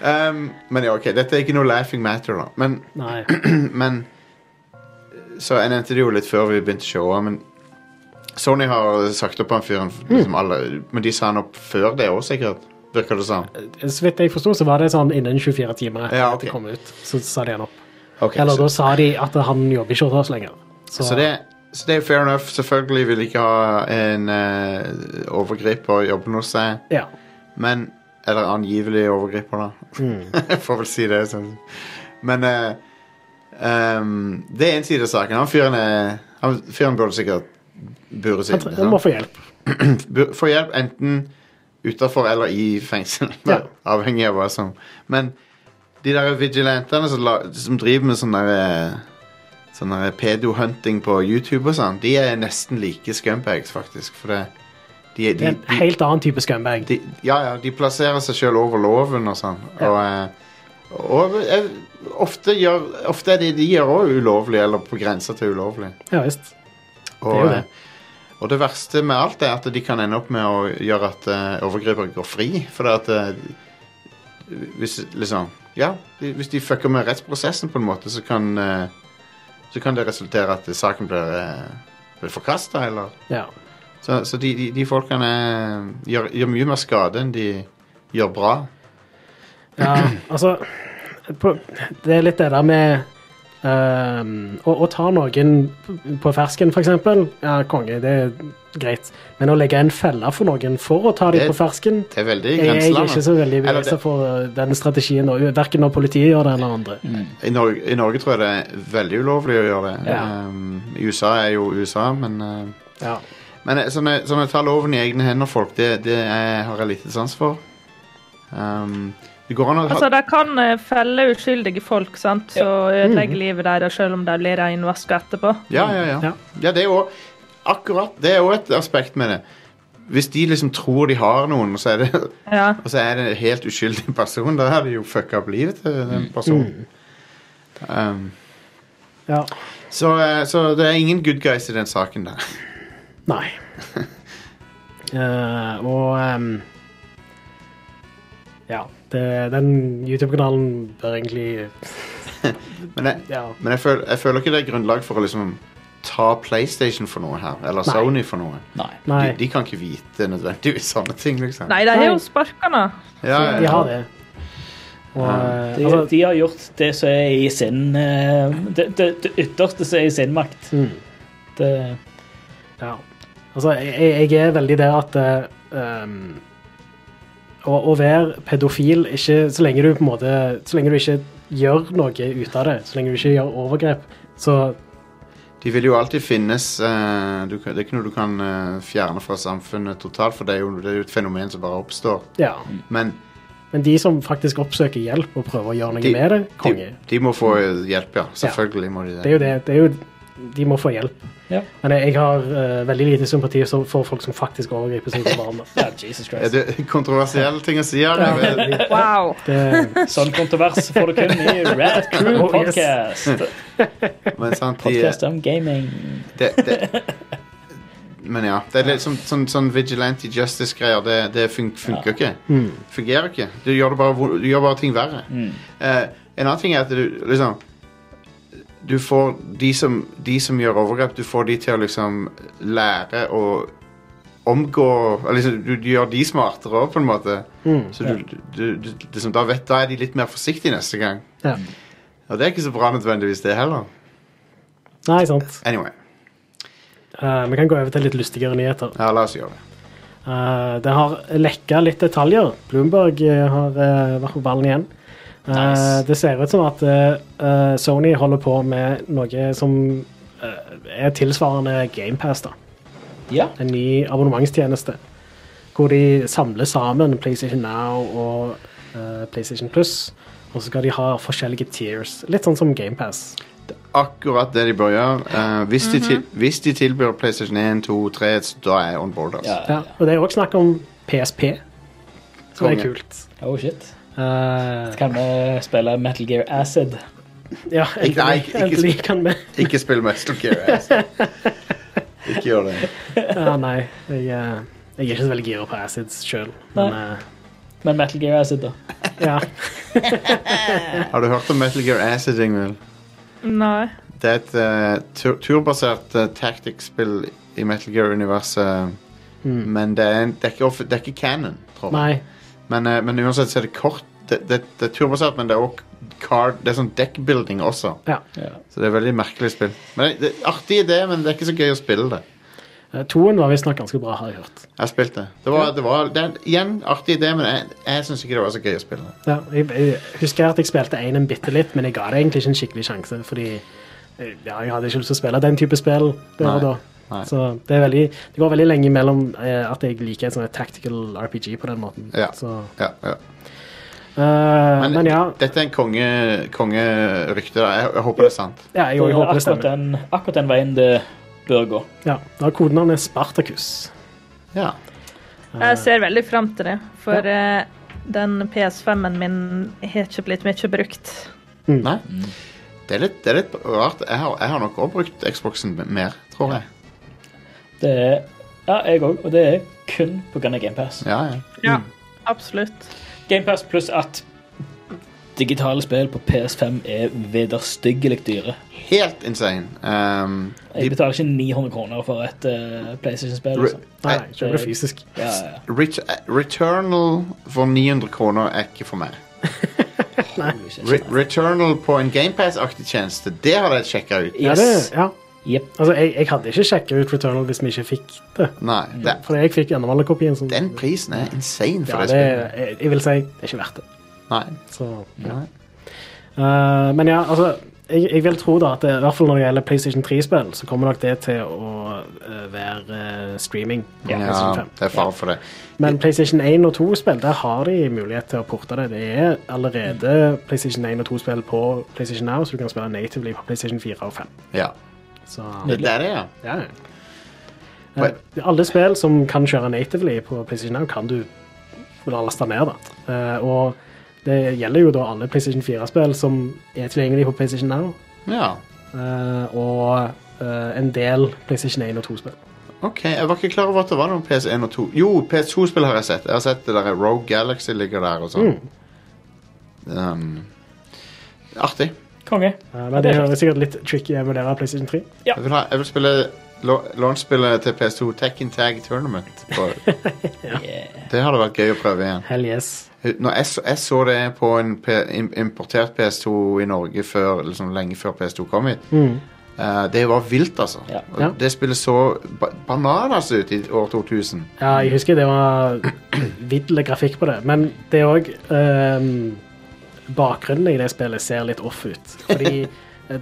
um, Men ja, ok, dette er ikke noe laughing matter, da. Men, Nei. men Så jeg nevnte det jo litt før vi begynte showet, men Sony har sagt opp han fyren, Mm. liksom alle, men de sa han opp før det òg, sikkert? Virker det sånn? Så vidt jeg forsto, så var det sånn innen 24 timer etter Ja, at ok. det kom ut. Så sa de han opp. Ok, Eller så, da sa de at han jobber ikke hos oss lenger. Så, så, det, så det er fair enough. Selvfølgelig vil de ikke ha en eh, overgriper jobben hos seg. Ja. Men Eller angivelig overgriper, da. Mm. Jeg får vel si det. Sånn. Men eh, ehm, det er en side av saken. Han fyren er han fyren burde sikkert bures Han, inn. tre- han må sant? få hjelp. Bu- Få hjelp enten utafor eller i fengsel. Ja. Avhengig av hva som Men de der vigilantene som, la, som driver med sånn der eh, Sånn der pedo-hunting på YouTube og sånn, de er nesten like scumbags, faktisk. For det, de, de, Det er en de, helt annen type scumbag. de, ja, ja, de plasserer seg selv over loven og sånn. Og, eh, og eh, ofte, gjør, ofte er det de gjør òg ulovlig, eller på grensa til ulovlig. Ja visst. Og, Det er jo det. eh, og det verste med alt er at de kan ende opp med å gjøre at eh, overgripere går fri. For det at eh, hvis, liksom, ja, de- hvis de fucker med rettsprosessen på en måte, så kan, eh, så kan det resultere at saken blir, uh, blir forkasta, eller Ja. så, så de, de, de folkene eh, gjør, gjør mye mer skade enn de gjør bra. ja altså på, Det er litt det der med ehm, å, å ta noen på fersken, f.eks. Ja, konge, det er greit. Men å legge en felle for noen for å ta Det- dem på fersken Det er veldig altså. jeg, jeg er ikke grenselandet. så veldig Eller begeistra for den strategien, verken når politiet gjør det eller andre. I, Norge, I Norge tror jeg det er veldig ulovlig å gjøre det. Ja. Ehm, I USA er jo USA, men eh, Ja. Men eh, sånne, sånne ta loven i egne hender, folk, det, det er, har jeg lite sans for. Ehm, det går an å ha Altså, De kan eh, felle uskyldige folk sant? så ødelegge livet deres selv om de blir renvaska etterpå. Ja, ja, ja. Ja. ja det er jo akkurat Det er jo et aspekt med det. Hvis de liksom tror de har noen, og så er det Ja. Og så er det en helt uskyldig person. Da har de jo fucka opp livet til den personen. Um, ja. så, eh, så det er ingen good guys i den saken der. Nei. Eh, og ehm, Ja. Det, den YouTube-kanalen bør egentlig Men jeg, Ja. men jeg, føl, jeg føler ikke det er grunnlag for å liksom ta PlayStation for noe her. Eller Nei. Sony for noe. Nei. De, Nei. de kan ikke vite nødvendigvis sånne ting, liksom. Nei, de har Nei. jo sparka nå. Ja, ja, De ja. har det. Og, eh, De, altså, de har gjort det som er i sin eh, Det, det, det ytterste som er i sin makt. Mm. Det, ja. altså jeg, jeg er veldig der at eh, ehm, å, å være pedofil ikke, Så lenge du på en måte Så lenge du ikke gjør noe ut av det, så lenge du ikke gjør overgrep, så De vil jo alltid finnes eh, du, kan- Det er ikke noe du kan eh, fjerne fra samfunnet totalt, for det er, jo, det er jo et fenomen som bare oppstår. Ja. Men Men de som faktisk oppsøker hjelp og prøver å gjøre noe De- med det, konge. de, de må få hjelp, ja. Selvfølgelig må de Det er jo det. det er jo, de må få hjelp. Ja. Men jeg har eh, veldig lite sympati for folk som faktisk overgriper seg på barn. Ja, Jesus Er Christ. det kontroversielle ting å si her? Jeg vet- Wow. Det, Sånn kontrovers får du kun i Rad Crew Oh, yes. Podcast. Men sant, de, Podcast om gaming. det, det, Men ja, det er litt sånn, sånn, sånn vigilante justice-greier. Det, det fun funker ikke. Fungerer ikke. Du gjør, det bare, vo- du gjør bare ting verre. Eh, en annen ting er at du liksom Du får de som, de som gjør overgrep, du får de til å liksom lære å omgå eller liksom, du, du gjør de smartere òg, på en måte. Så du, du, du, liksom, da, vet, da er de litt mer forsiktige neste gang. ja. Og det er ikke så bra nødvendigvis, det heller. Nei, sant. Anyway, Eh, vi kan gå over til litt lystigere nyheter. ja, la oss gjøre det. Eh, det har lekka litt detaljer. Bloomberg eh, har eh, vært på ballen igjen. Eh, Nice. Det ser ut som at eh, eh, Sony holder på med noe som eh, er tilsvarende GamePass. da. Ja. En ny abonnementstjeneste. Hvor de samler sammen PlayStation Now og eh, PlayStation Plus. Og så skal de ha forskjellige tiers. Litt sånn som GamePass. Akkurat det de bør gjøre. Eh, hvis, de til, hvis de tilbyr PlayStation 1, 2, 3, så da er jeg on board. Altså. ja. Ja. Og det er òg snakk om PSP, som er Konge. kult. Oh shit. Eh, Kan vi spille Metal Gear Acid? Ja, Ikke- nei, ikke- ikke- endelig kan vi Ikke spill Metal Gear. Altså. ikke gjør det. ja, Nei, jeg, eh, jeg er ikke så veldig gira på acids sjøl. Men eh, Men Metal Gear Acid, da. ja. Har du hørt om Metal Gear Acid, Ingvild? Nei. Det er et eh, tur turbasert uh, tactics-spill i Metal Gear-universet. Men det er, en, det, er ikke offi- det er ikke canon, tror jeg. Nei. Men, eh, men uansett så er det kort. Det, det, det er turbasert, men det er også card, det er sånn deckbuilding også. Ja. Ja. Så det er veldig merkelig spill. Men det, det, artig idé, men det er ikke så gøy å spille det. Eh, Toen var visstnok ganske bra, har jeg hørt. Jeg spilte det. Det var, det var det er, igjen artig idé, men jeg, jeg syns ikke det var så gøy å spille det. Ja, jeg, jeg husker at jeg spilte én en bitte litt, men jeg ga det egentlig ikke en skikkelig sjanse. Fordi eh, ja, jeg hadde ikke lyst til å spille den type spill der Nei, og da. nei. Så det, er veldig, det går veldig lenge mellom eh, at jeg liker et sånt tactical RPG på den måten. Ja. Så, Ja, ja. eh, Men, men, ja, dette er en konge, kongerykte. da. Jeg, jeg håper det er sant. ja, jeg, Det er håper det akkurat stemmer. den, akkurat den veien det bør gå. Ja, da er Kodenavnet er Spartacus. Ja. Jeg ser veldig frem til det, for eh, den PS5-en min har ikke blitt mye brukt. Mm. Nei? Det er litt, det er litt rart. Jeg har, jeg har nok også brukt Xboxen mer, tror jeg. Det er Ja, jeg òg. Og det er kun pga. GamePass. Ja, ja. Ja, Mm. absolutt. GamePass pluss at digitale spill på PS5 er vederstyggelig dyre. Helt insane. Um, Jeg de, betaler ikke 900 kroner for et eh, PlayStation-spill. Re- Liksom. Nei, Nei, kjøper det fysisk. Ja, ja. Ret- Returnal for 900 kroner er ikke for meg. Holy shit. Re Returnal på en GamePass-aktig tjeneste, det hadde jeg sjekka ut. Ja, det, Yes. ja. Jep. Altså, jeg, jeg hadde ikke sjekka ut Returnal hvis vi ikke fikk det. Nei, det, For jeg fikk gjennomhandlerkopien. Som, den prisen er insane ja, for det det, spillet. jeg, jeg vil si det er ikke verdt det. Nei. Så, ja. Nei. Eh, men ja, altså jeg, jeg vil tro da at det, i hvert fall når det gjelder PlayStation 3-spill, så kommer nok det til å eh, være eh, streaming. på Ja, PlayStation 5. det er fare for det. Men PlayStation 1 og 2-spill, der har de mulighet til å porte det. Det er allerede PlayStation 1 og 2-spill på PlayStation Now, så du kan spille natively på PlayStation 4 og 5. Ja. Så, Det er det, ja. ja. ja. På- Eh, Alle spill som kan kjøre natively på PlayStation Now, kan du laste ned. da. Eh, og det gjelder jo da alle PlayStation 4-spill som er tilgjengelig på PlayStation Now, ja. eh, og eh, en del PlayStation 1 og 2-spill. Ok, jeg var ikke klar over at det var noen PS1 og 2. Jo, PS2-spill har jeg sett. Jeg har sett det der Rogue Galaxy ligger der og sånn. Um, artig. Konge. Eh, men det er sikkert litt tricky å emulere PlayStation 3. Ja. Jeg vil, ha, jeg vil spille lo- launch-spillet til PS2 Tekken Tag Tournament. På. Yeah. Det hadde vært gøy å prøve igjen. Hell yes. Når jeg, så- jeg så det på en P im- importert PS2 i Norge før, liksom lenge før PS2 kom hit. Eh, det var vilt, altså. Mm. Ja. Og Ja. Det spillet så ba bananas ut i år 2000. Ja, jeg husker det var viddel grafikk på det, men det er òg ehm, Bakgrunnen i det spillet ser litt off ut. Fordi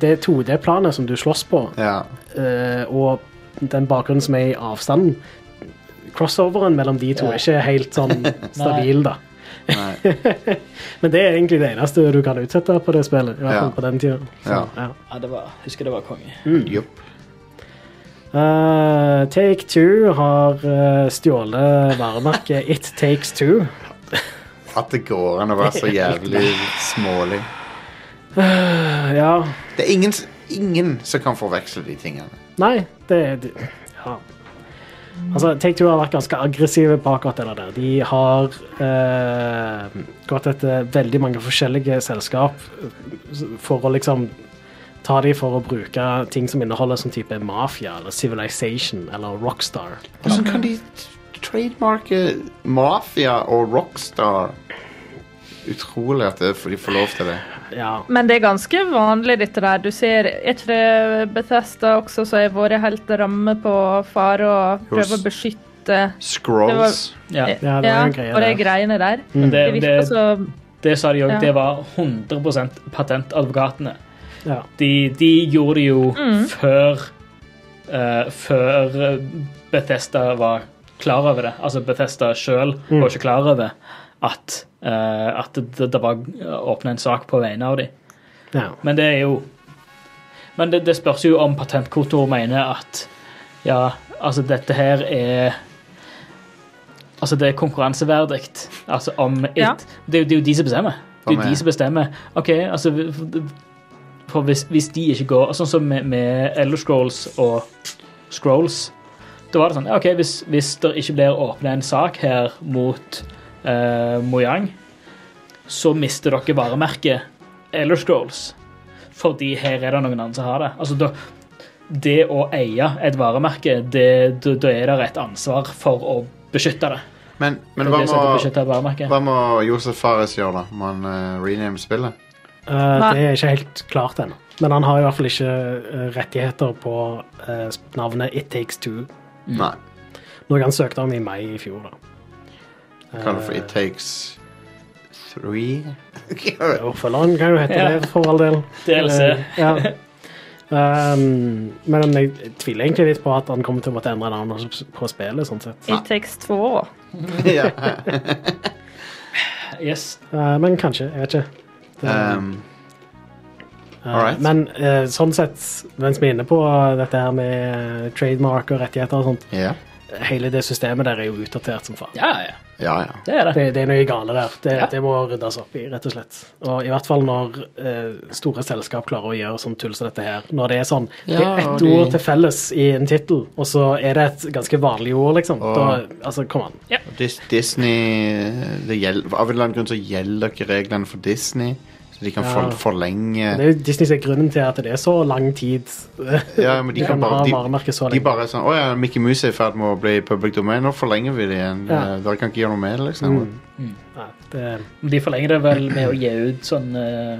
det 2D-planet som du slåss på, Ja. eh, og den bakgrunnen som er i avstanden Crossoveren mellom de to er Ja. ikke helt sånn stabil, da. Nei. Men det er egentlig det eneste du kan utsette på det spillet. I hvert Ja. fall på den tiden. Så, Ja. ja. Ja, det var, husker det var konge. Jupp. Eh, Take Two har eh, stjålet varemerket It Takes Two. At det går an å være så jævlig smålig. Ja, Det er ingen, s- ingen som kan forveksle de tingene. Nei, det det- Ja. Altså, Take Two har vært ganske aggressive på akkurat det der. De har eh, gått etter veldig mange forskjellige selskap for å liksom ta de for å bruke ting som inneholder sånn type mafia eller civilization eller rockstar. Hvordan kan de t- trademarke mafia og rockstar? Utrolig at det- de får lov til det. Ja. Men det er ganske vanlig, dette der. Du ser Er ikke det Bethesda også som har vært helt ramme på fare og prøve å Hos- beskytte Scrolls. Ja. Ja, det er en greie og de der. greiene der. Mm. Men det, Eh, Det det, virker som det sa de òg, Ja. det var 100 patentadvokatene. ja. De, de gjorde det jo før eh, Før Bethesda var klar over det. Altså Bethesda sjøl Mm. var ikke klar over at, eh, at det, det var åpna en sak på vegne av dem. ja. Men det er jo Men det, det spørs jo om patentkontoret mener at ja, altså dette her er Altså det er konkurranseverdig. Altså om it, Ja. det, er jo- det er jo de som bestemmer. Det er Hva jo med- de som bestemmer. OK, altså vi- For hvis, hvis de ikke går Sånn som med, med Elder Scrolls og Scrolls Da var det sånn ja, OK, hvis, hvis det ikke blir åpna en sak her mot eh, Mojang, så mister dere varemerket Elder Scrolls. Fordi her er det noen andre som har det. Altså, da, det å eie et varemerke, det, da, da er det et ansvar for å beskytte det. Men, men Det er hva det som heter å må, beskytte et varemerke. hva må Josef Fares gjøre, da? Må han eh, rename spillet? Eh, Nei. det er ikke helt klart ennå. Men han har i hvert fall ikke eh, rettigheter på eh, navnet It Takes Two, Mm. Nei. noe han søkte om i mai i fjor. da. Kaller Eh. det for It Takes Three? Ja, Oppfølgeren kan jo hete Ja. det, for all del. DLC. Eh, ja. um, men jeg tviler egentlig litt på at han kommer til å måtte endre navnet på spillet. sånn sett. It Takes Two. ja. Yes. Eh, men kanskje. Jeg vet ikke. um, Eh, alright. Men eh, sånn sett, mens vi er inne på eh, dette her med eh, trademark og rettigheter og sånt, ja. hele det systemet der er jo utdatert som faen. Ja, ja. ja, ja. Det er det. Det, det er noe gale der. Det, Ja. det må ryddes opp i, rett og slett. Og i hvert fall når eh, store selskap klarer å gjøre sånn tull som dette her. Når det er sånn Det Ja, er ett og de- ord til felles i en tittel, og så er det et ganske vanlig ord, liksom. Og- Da, altså, kom an. Dis Disney det gjel- Av en eller annen grunn så gjelder ikke reglene for Disney. Så de kan Ja. for forlenge Det er jo Disney som er grunnen til at det er så lang tid. Ja, men de kan kan bare ha De, varemerket så de lenge. bare er sånn Å ja, Mickey Mouse er i ferd med å bli public domain. Nå forlenger vi det igjen. Ja. Mm. Eh, Dere kan ikke gjøre noe med det, liksom. Nei, det, De forlenger det vel med å gi ut sånn eh,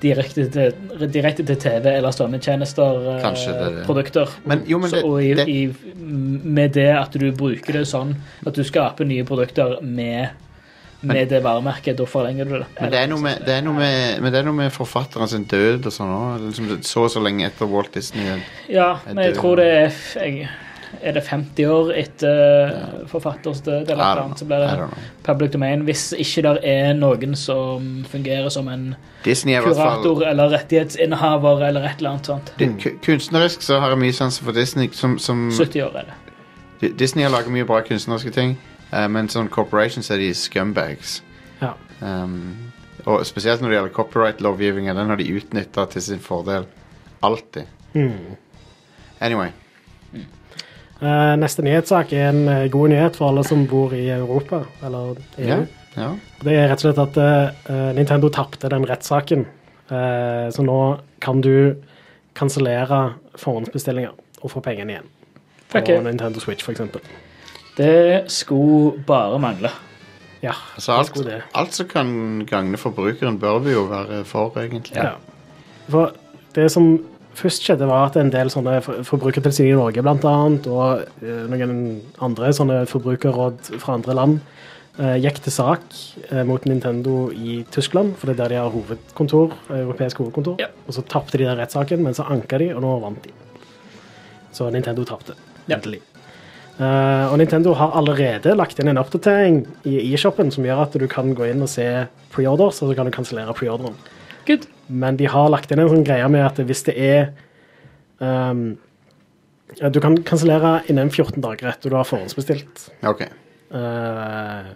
direkte, til, direkte til TV eller strømmetjenester eh, Kanskje det er det. produkter. Men jo, men Så, det, og i, det, i, med det at du bruker det sånn at du skaper nye produkter med, med det varemerket, da forlenger du det. men det er noe med, det er noe med, men det er noe med forfatteren sin død og sånn òg. Liksom, så og så lenge etter Walt Disney. Ja, Jeg men jeg dør. tror det er f- jeg, Er det 50 år etter forfatters død, eller I noe don't annet, så know, blir I don't det know. public domain. Hvis ikke det er noen som fungerer som en Disney er i hvert fall kurator eller rettighetsinnehaver eller et eller annet sånt. Di- ku- Kunstnerisk så har jeg mye sans for Disney. Som, som, 70 år er det. Di- Disney har laget mye bra kunstneriske ting, eh, men sånn corporations er de scumbags. ja. Um, og spesielt når det gjelder copyright-lovgivninga. Den har de utnytta til sin fordel. Alltid. Mm. Anyway. Eh, neste nyhetssak er en eh, god nyhet for alle som bor i Europa, eller EU. Ja. ja. Det er rett og slett at eh, Nintendo tapte den rettssaken. Eh, så nå kan du kansellere forhåndsbestillinger og få pengene igjen. På Ok. Nintendo Switch, for eksempel. Det skulle bare mangle. Ja, Altså, det alt, skulle det. alt som kan gagne forbrukeren, bør vi jo være for, egentlig. Ja. For det som først skjedde, var at en del sånne for- forbrukertilsyn i Norge, blant annet, og eh, noen andre sånne forbrukerråd fra andre land, eh, gikk til sak eh, mot Nintendo i Tyskland, for det er der de har hovedkontor, eh, europeisk hovedkontor. Ja. Og så tapte de den rettssaken, men så anka de, og nå vant de. Så Nintendo tapte. Ja. Endelig. Eh, og Nintendo har allerede lagt inn en oppdatering i e-shoppen som gjør at du kan gå inn og se preorders, og så kan du kansellere preorderen. Good. Men de har lagt inn en sånn greie med at hvis det er ehm, Du kan kansellere innen 14 dager etter du har forhåndsbestilt. OK. Eh,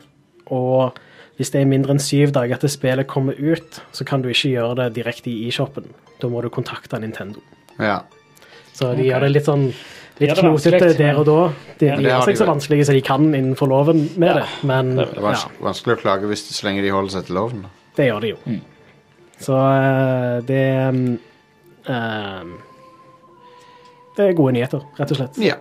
og hvis det er mindre enn syv dager til spillet kommer ut, så kan du ikke gjøre det direkte i e-shoppen. Da må du kontakte Nintendo. Ja. Så de gjør det litt sånn De litt gjør det knotete vanskelig, der og da. De, Ja, de det har gjør seg de så vel. vanskelige som de kan innenfor loven med det, men Det er ja, vans vanskelig å klage hvis så lenge de holder seg til loven. det gjør de jo. Så eh, det mm, eh, Det er gode nyheter, rett og slett. Ja.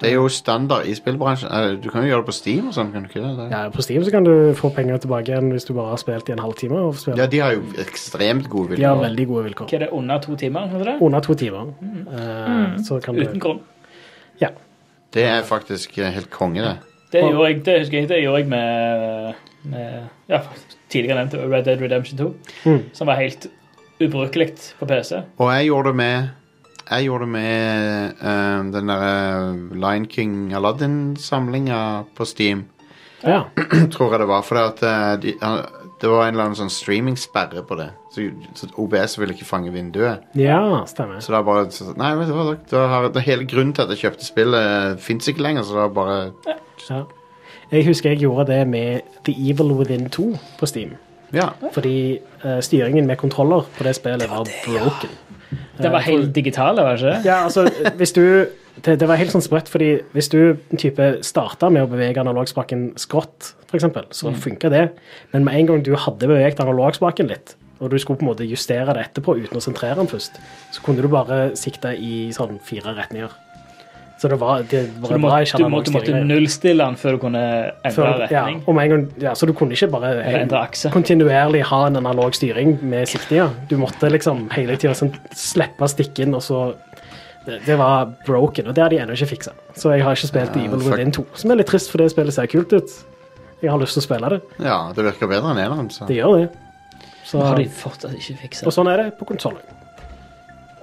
Det er jo standard i spillbransjen. Eh, Du kan jo gjøre det på Steam og sånn, kan du ikke det? det? Ja, på Steam så kan du få penger tilbake igjen hvis du bare har spilt i en halvtime. Og Ja, spiller. de har jo ekstremt gode De har vilkår. veldig gode vilkår. Hva er det, under to timer? er det det? Under to timer. Eh, Så kan Uten du grunn. Ja. Det er faktisk eh, helt konge, det. Det gjorde jeg, det husker jeg, det gjorde jeg med, med ja, tidligere nevnte Red Dead Redemption 2, Mm. som var helt ubrukelig på PC. Og jeg gjorde det med Jeg gjorde det med eh, den derre Lion King Aladdin-samlinga på Steam, ja. tror jeg det var. For det, at, eh, de, han- det var en eller annen sånn streamingsperre på det. Så, så OBS ville ikke fange vinduet. Ja, stemmer. Så da bare så, Nei, vet du hva, da- da har, det hele grunnen til at jeg kjøpte spillet, fins ikke lenger, så da bare Ja. Jeg husker jeg gjorde det med The Evil Within 2 på Steam. Ja. Fordi eh, styringen med kontroller på det spillet var broken. Det var helt digitale, var det ikke? Ja, altså, hvis du det, det var helt sånn sprøtt, fordi hvis du type starta med å bevege analogspaken skrått, for eksempel, Mm. så funka det. Men med en gang du hadde beveget analogspaken litt, og du skulle på en måte justere det etterpå uten å sentrere den først, så kunne du bare sikte i sånn fire retninger. Så det var, det var Så du bra måtte, ikke du måtte, analog styring måtte der. nullstille den før du kunne endre Før- retning. Ja, om en gang, ja, så du kunne ikke bare Eller endre helt akse. kontinuerlig ha en analog styring med siktinga. Du måtte liksom hele tida sånn, slippe stikken, og så det, det var broken, og det har de ennå ikke fiksa. Så jeg har ikke spilt Ja, Evil fuck. Within 2, som er litt trist, for det spillet ser kult ut. Jeg har lyst til å spille det. ja, det virker bedre enn eneren. Så. Det gjør det. Så, Nå Har de fortsatt ikke fiksa og sånn er det på konsollen.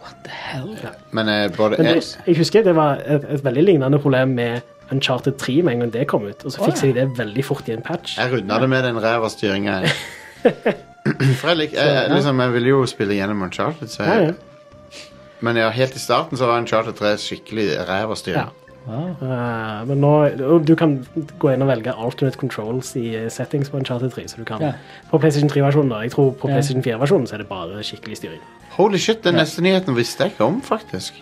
What the hell? Men eh, både Men jeg, jeg, jeg husker det var et, et veldig lignende problem med Uncharted 3 med en gang det kom ut, og så Å, fikser ja. de det veldig fort i en patch. jeg runda det med den ræva styringa. For jeg, lik, jeg, jeg, liksom, jeg ville jo spille gjennom Uncharted, så Ja, ja. jeg, men ja, helt i starten så var Uncharted 3 skikkelig ræva styring. Wow. Eh, men nå, og du kan gå inn og velge alternate controls i eh, settings på en Charter 3. Så du kan Ja. På PlayStation 3-versjonen, da. Jeg tror på Ja. PlayStation 4-versjonen så er det bare skikkelig styring. Holy shit, den neste nyheten visste jeg ikke om, faktisk.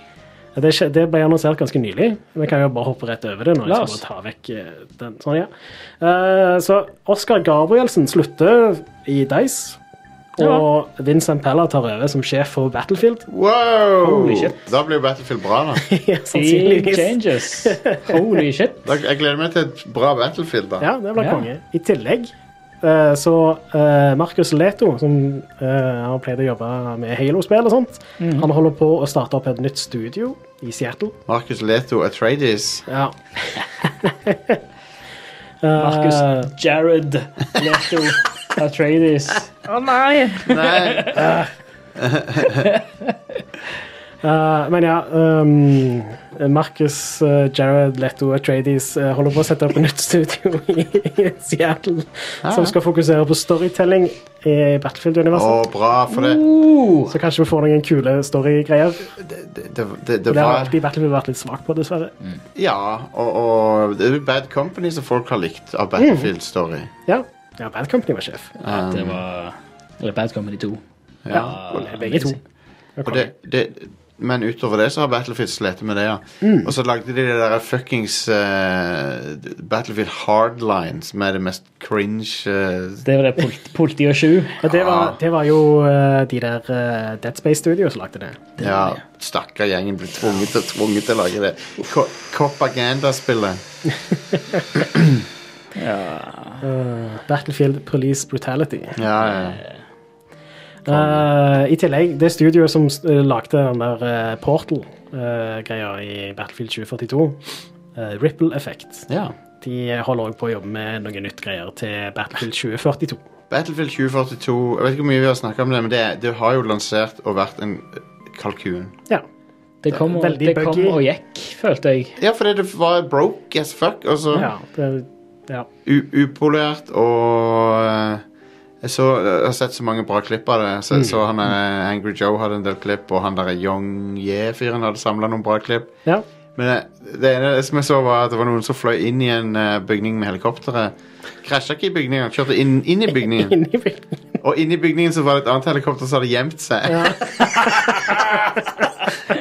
Ja, Det, skje- det ble annonsert ganske nylig. Vi kan jo bare hoppe rett over det nå. La Jeg oss. skal bare ta vekk eh, den. Sånn, ja. Eh, så Oskar Gabrielsen slutter i Dice. Og Vincent Pella tar over som sjef for Battlefield. Wow! Holy shit. Da blir jo Battlefield bra, da. Ja, Big Sannsynligvis. changes. Holy shit. da. Jeg gleder meg til et bra Battlefield, da. Ja, det ble Ja. konge. I tillegg eh, så eh, Marcus Leto, som eh, har pleid å jobbe med Halo-spill og sånt, han holder på å starte opp et nytt studio i Seattle. Marcus Leto Atreides. Ja. Markus Ah. Jared Leto Atreides. Å nei! Nei, Eh, men ja um, Marcus, eh, Jared, Leto og Trades holder på å sette opp et nytt studio i, i Seattle som skal fokusere på storytelling i Å, Battlefield-universet. bra, for det Uh, Så kanskje vi får noen kule storygreier. Det, det, det, det Det har var Mm. alltid Battlefield vært litt svak på, dessverre. Ja, og, og det er jo Bad Company som folk har likt av Battlefield Story. Ja. ja, Bad Company var sjef. at Um, det var Eller Bad Company 2. Ja, Ah, begge to. amazing. Og det, det, men utover det så har Battlefield slitt med det, ja. Mm. Og så lagde de det der fuckings eh, Battlefield Hardline, som er det mest cringe eh, Det var det Pol- Politi og 7. Og det var, det var jo eh, de der eh, Dead Space Studio som lagde det. Ja, stakkar gjengen blir tvunget til, tvunget til å lage det. Ko- Copaganda-spillet. Eh, Battlefield Police Brutality. Ja, ja. Eh, I tillegg, det studioet som eh, lagde den der eh, Portal-greia i Battlefield 2042, eh, Ripple Effect, ja. De holder òg på å jobbe med noe nytt greier til Battlefield 2042. Battlefield 2042 Jeg vet ikke hvor mye vi har snakka om det, men det, det har jo lansert og vært en kalkun. Ja. Det kom, og, Veldig det kom buggy. og gikk, følte jeg. Ja, fordi det var broke as fuck. Og så ja, det, ja. u- upolert og eh, jeg, så, jeg har sett så mange bra klipp av det. Så, så han eh, Angry Joe hadde en del klipp, og han der Young Ye-fyren hadde samla noen bra klipp. ja. Men eh, det ene som jeg så, var at det var noen som fløy inn i en eh, bygning med helikopteret. Krasja ikke i bygningen, kjørte inn, inn i bygningen. Inni bygningen. Og inni bygningen så var det et annet helikopter som hadde gjemt seg.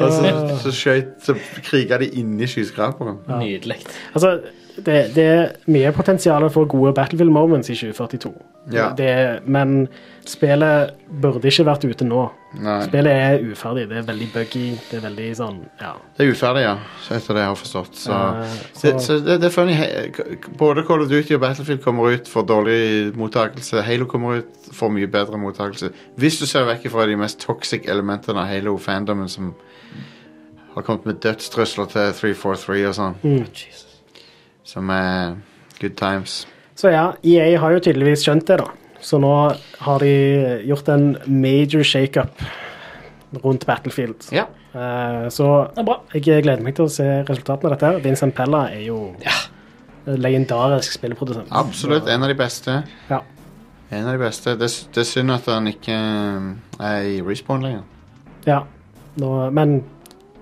og så, så skjøt Så kriga de inni skyskraperen. Nydelig. Altså, det, det er mye potensial for gode Battlefield moments i 2042. Ja. Det, men spillet burde ikke vært ute nå. Nei. Spillet er uferdig. Det er veldig buggy. Det er veldig sånn, ja. Det er uferdig, ja, etter det jeg har forstått. Så, Eh, så, så- så det, det er funny. He- k- Både Call of Duty og Battlefield kommer ut for dårlig mottakelse. Halo kommer ut for mye bedre mottakelse. Hvis du ser vekk fra de mest toxic elementene av Halo-fandomen, som har kommet med dødstrusler til 343 og sånn, mm. Jesus. som er good times. Så ja, EA har jo tydeligvis skjønt det, da. Så nå har de gjort en major shakeup rundt Battlefield. Ja. Eh, så Det er bra. jeg gleder meg til å se resultatene av dette. her. Vincent Pella er jo legendarisk spillprodusent. Absolutt. En av de beste. Ja. En av de beste. Det, er- det er synd at han ikke um, er i respawn lenger. Ja, nå, men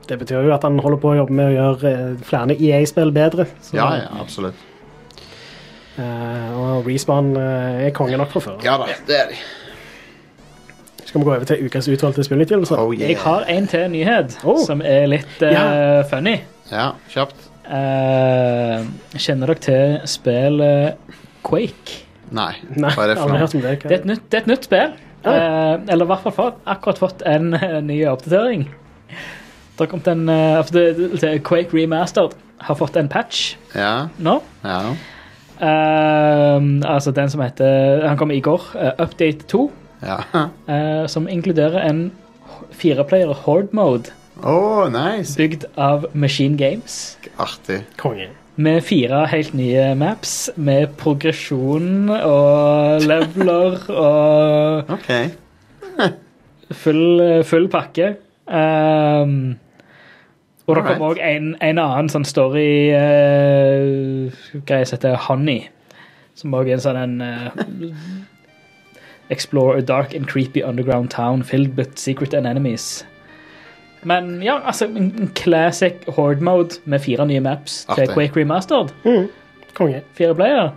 det betyr jo at han holder på å jobbe med å gjøre eh, flere EA-spill bedre. Så, Ja, ja, absolutt. eh, og Respawn eh, er konge nok fra før. Ja da, det er de. Skal vi gå over til ukas utvalgte spillutgivelser? Oh, yeah. Jeg har en til nyhet Oh. som er litt eh, Ja. funny. Ja, kjapt. Eh, kjenner dere til spillet Quake? Nei. Nei, Hva er det for aldri noe? hørt om det. Det er et nytt, det er et nytt spill. Ja. Eh, eller i hvert fall fått, akkurat fått en eh, ny oppdatering. Det har kommet en, eh, for det, det, Quake Remastered har fått en patch Ja, nå. ja, Eh, altså den som heter Han kom i går. eh, Update 2. ja. eh, som inkluderer en fireplayer horde mode Åh, nice. bygd av Machine Games. Artig. Konge. Med fire helt nye maps, med progresjon og leveler og Ok. full, eh, full pakke. Ehm, og det Alright. kommer òg en, en annen sånn story-greie som heter Honey. Som òg er en sånn en eh, Explore a dark and creepy underground town filled with secret and enemies. Men ja, altså en en classic horde mode med fire nye maps til Artig. Quake Remastered. Mm, Konge. Fire player.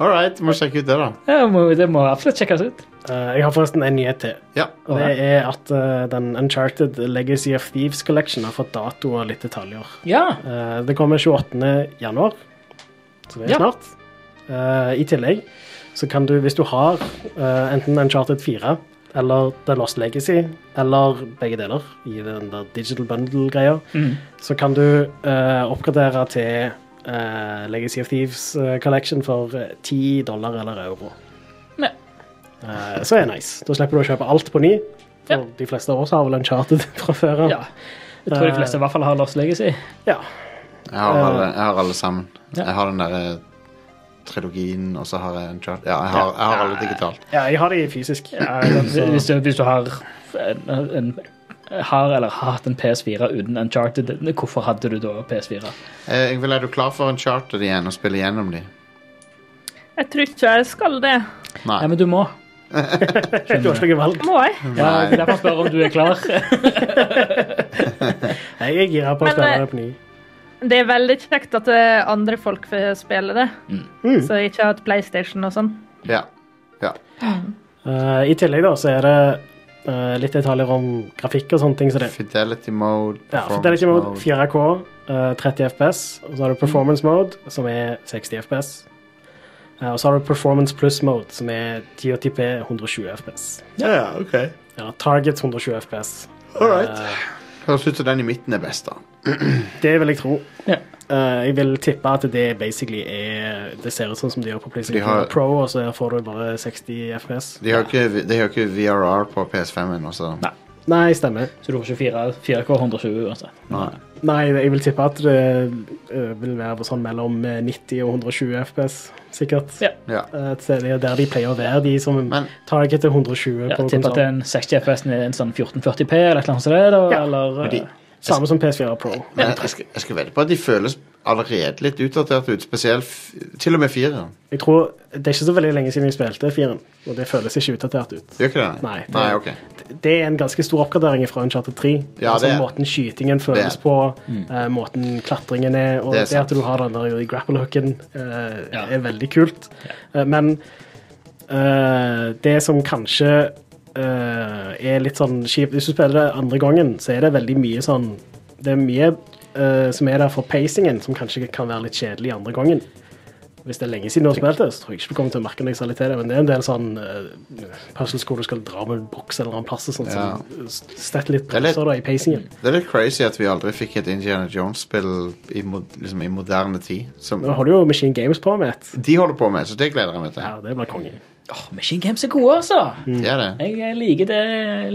All right, må sjekke ut det, da. Ja, det må- det må absolutt sjekkes ut. Eh, jeg har forresten en nyhet til. Ja. Og det er at eh, den Uncharted Legacy of Thieves Collection har fått dato og litt detaljer. Ja. Eh, det kommer 28. januar, så det er Ja. snart. Eh, I tillegg så kan du, hvis du har eh, enten Uncharted 4 eller The Lost Legacy, eller begge deler i den der digital bundle-greia, Mm. så kan du eh, oppgradere til eh, Legacy of Thieves eh, Collection for eh, 10 dollar eller euro. Ja. Eh, så er det nice. Da slipper du å kjøpe alt på ny. For Ja. de fleste av oss har vel Uncharted fra før av. ja. Jeg tror de fleste i hvert fall har Lost Legacy. Ja. Jeg har alle, jeg har alle sammen. Ja. Jeg har den derre trilogien, og så har jeg en chart. Ja, jeg har, jeg har alle digitalt. ja, jeg har de fysisk. Eh, Hvis- Hvis du, hvis du har, en, en, har eller har hatt en PS4 uten Uncharted, hvorfor hadde du da PS4? Eh, Ingvild, er du klar for en charter igjen og spille gjennom de? Jeg tror ikke jeg skal det. Nei. Nei, men du må. Du har ikke noe valg. Må jeg? Ja, det er derfor jeg spør om du er klar. Nei, jeg er gira på å Men, spille eh, det på ny. Det er veldig kjekt at eh, andre folk får spille det. Så jeg ikke har hatt PlayStation og sånn. Ja. ja. Eh, I tillegg da, så er det eh, litt detaljer om grafikk og sånne ting. Så det. Fidelity mode, Ja, for det er performance ikke mode 4K, eh, 30 FPS, og så har du performance mode, som er 60 FPS. Eh, og så har du performance plus mode, som er 1080p 120 FPS. Ja, ok. Eller target 120 FPS. All right. Høres ut som den i midten er best, da. Eh, Det vil jeg tro. Ja. Eh, jeg vil tippe at det basically er Det ser ut sånn som de gjør på PlayStation De har- Pro, og så får du bare 60 FPS. De har ikke, de har ikke VRR på PS5 ennå, så Nei. Nei, stemmer. Så du får ikke 4, 4K 120 uansett. Nei. Nei, jeg vil tippe at det eh, vil være på sånn mellom eh, 90 og 120 FPS, sikkert. Ja. Ja. Eh, Et sted der de pleier å være, de som Men- target er 120 Ja, på Tipp at konsolen. den 60 FPS-en er en sånn 1440P eller et eller annet sånt. Da, Ja. eller, eh, Men de- Samme som PS4 Pro. Men jeg, jeg, skal, jeg skal vedde på at de føles allerede litt utdatert ut, spesielt f- til og med fireren. Jeg tror, Det er ikke så veldig lenge siden jeg spilte firen, og det føles ikke utdatert ut. Gjør ikke det? Nei, det- Nei ok. Det er en ganske stor oppgradering fra Uncharted 3. Ja, altså det er- Måten skytingen det føles er- på, eh, måten klatringen er, og Det er det, sant. at du har den der grapple-hooken, eh, Ja. er veldig kult. Eh, men eh, det som kanskje eh, er litt sånn kjipt Hvis du spiller det andre gangen, så er det veldig mye sånn Det er mye eh, som er der for pacingen, som kanskje kan være litt kjedelig andre gangen. Hvis det er lenge siden du har spilt det, så tror jeg ikke du kommer til å merke noe særlig til det, men det er en del sånn uh, puzzles hvor du skal dra med en boks eller en plass og sånt, Ja. som s- setter litt Det er litt- bremser da i pacingen. Det er litt crazy at vi aldri fikk et Indiana Jones-spill i, mod, liksom, i moderne tid. Som Nå har du jo Machine Games på med et. de holder på med, så det gleder jeg meg til. Ja, det blir konge. Åh, Machine Games er gode, altså! Det er det. Jeg eh, liker det,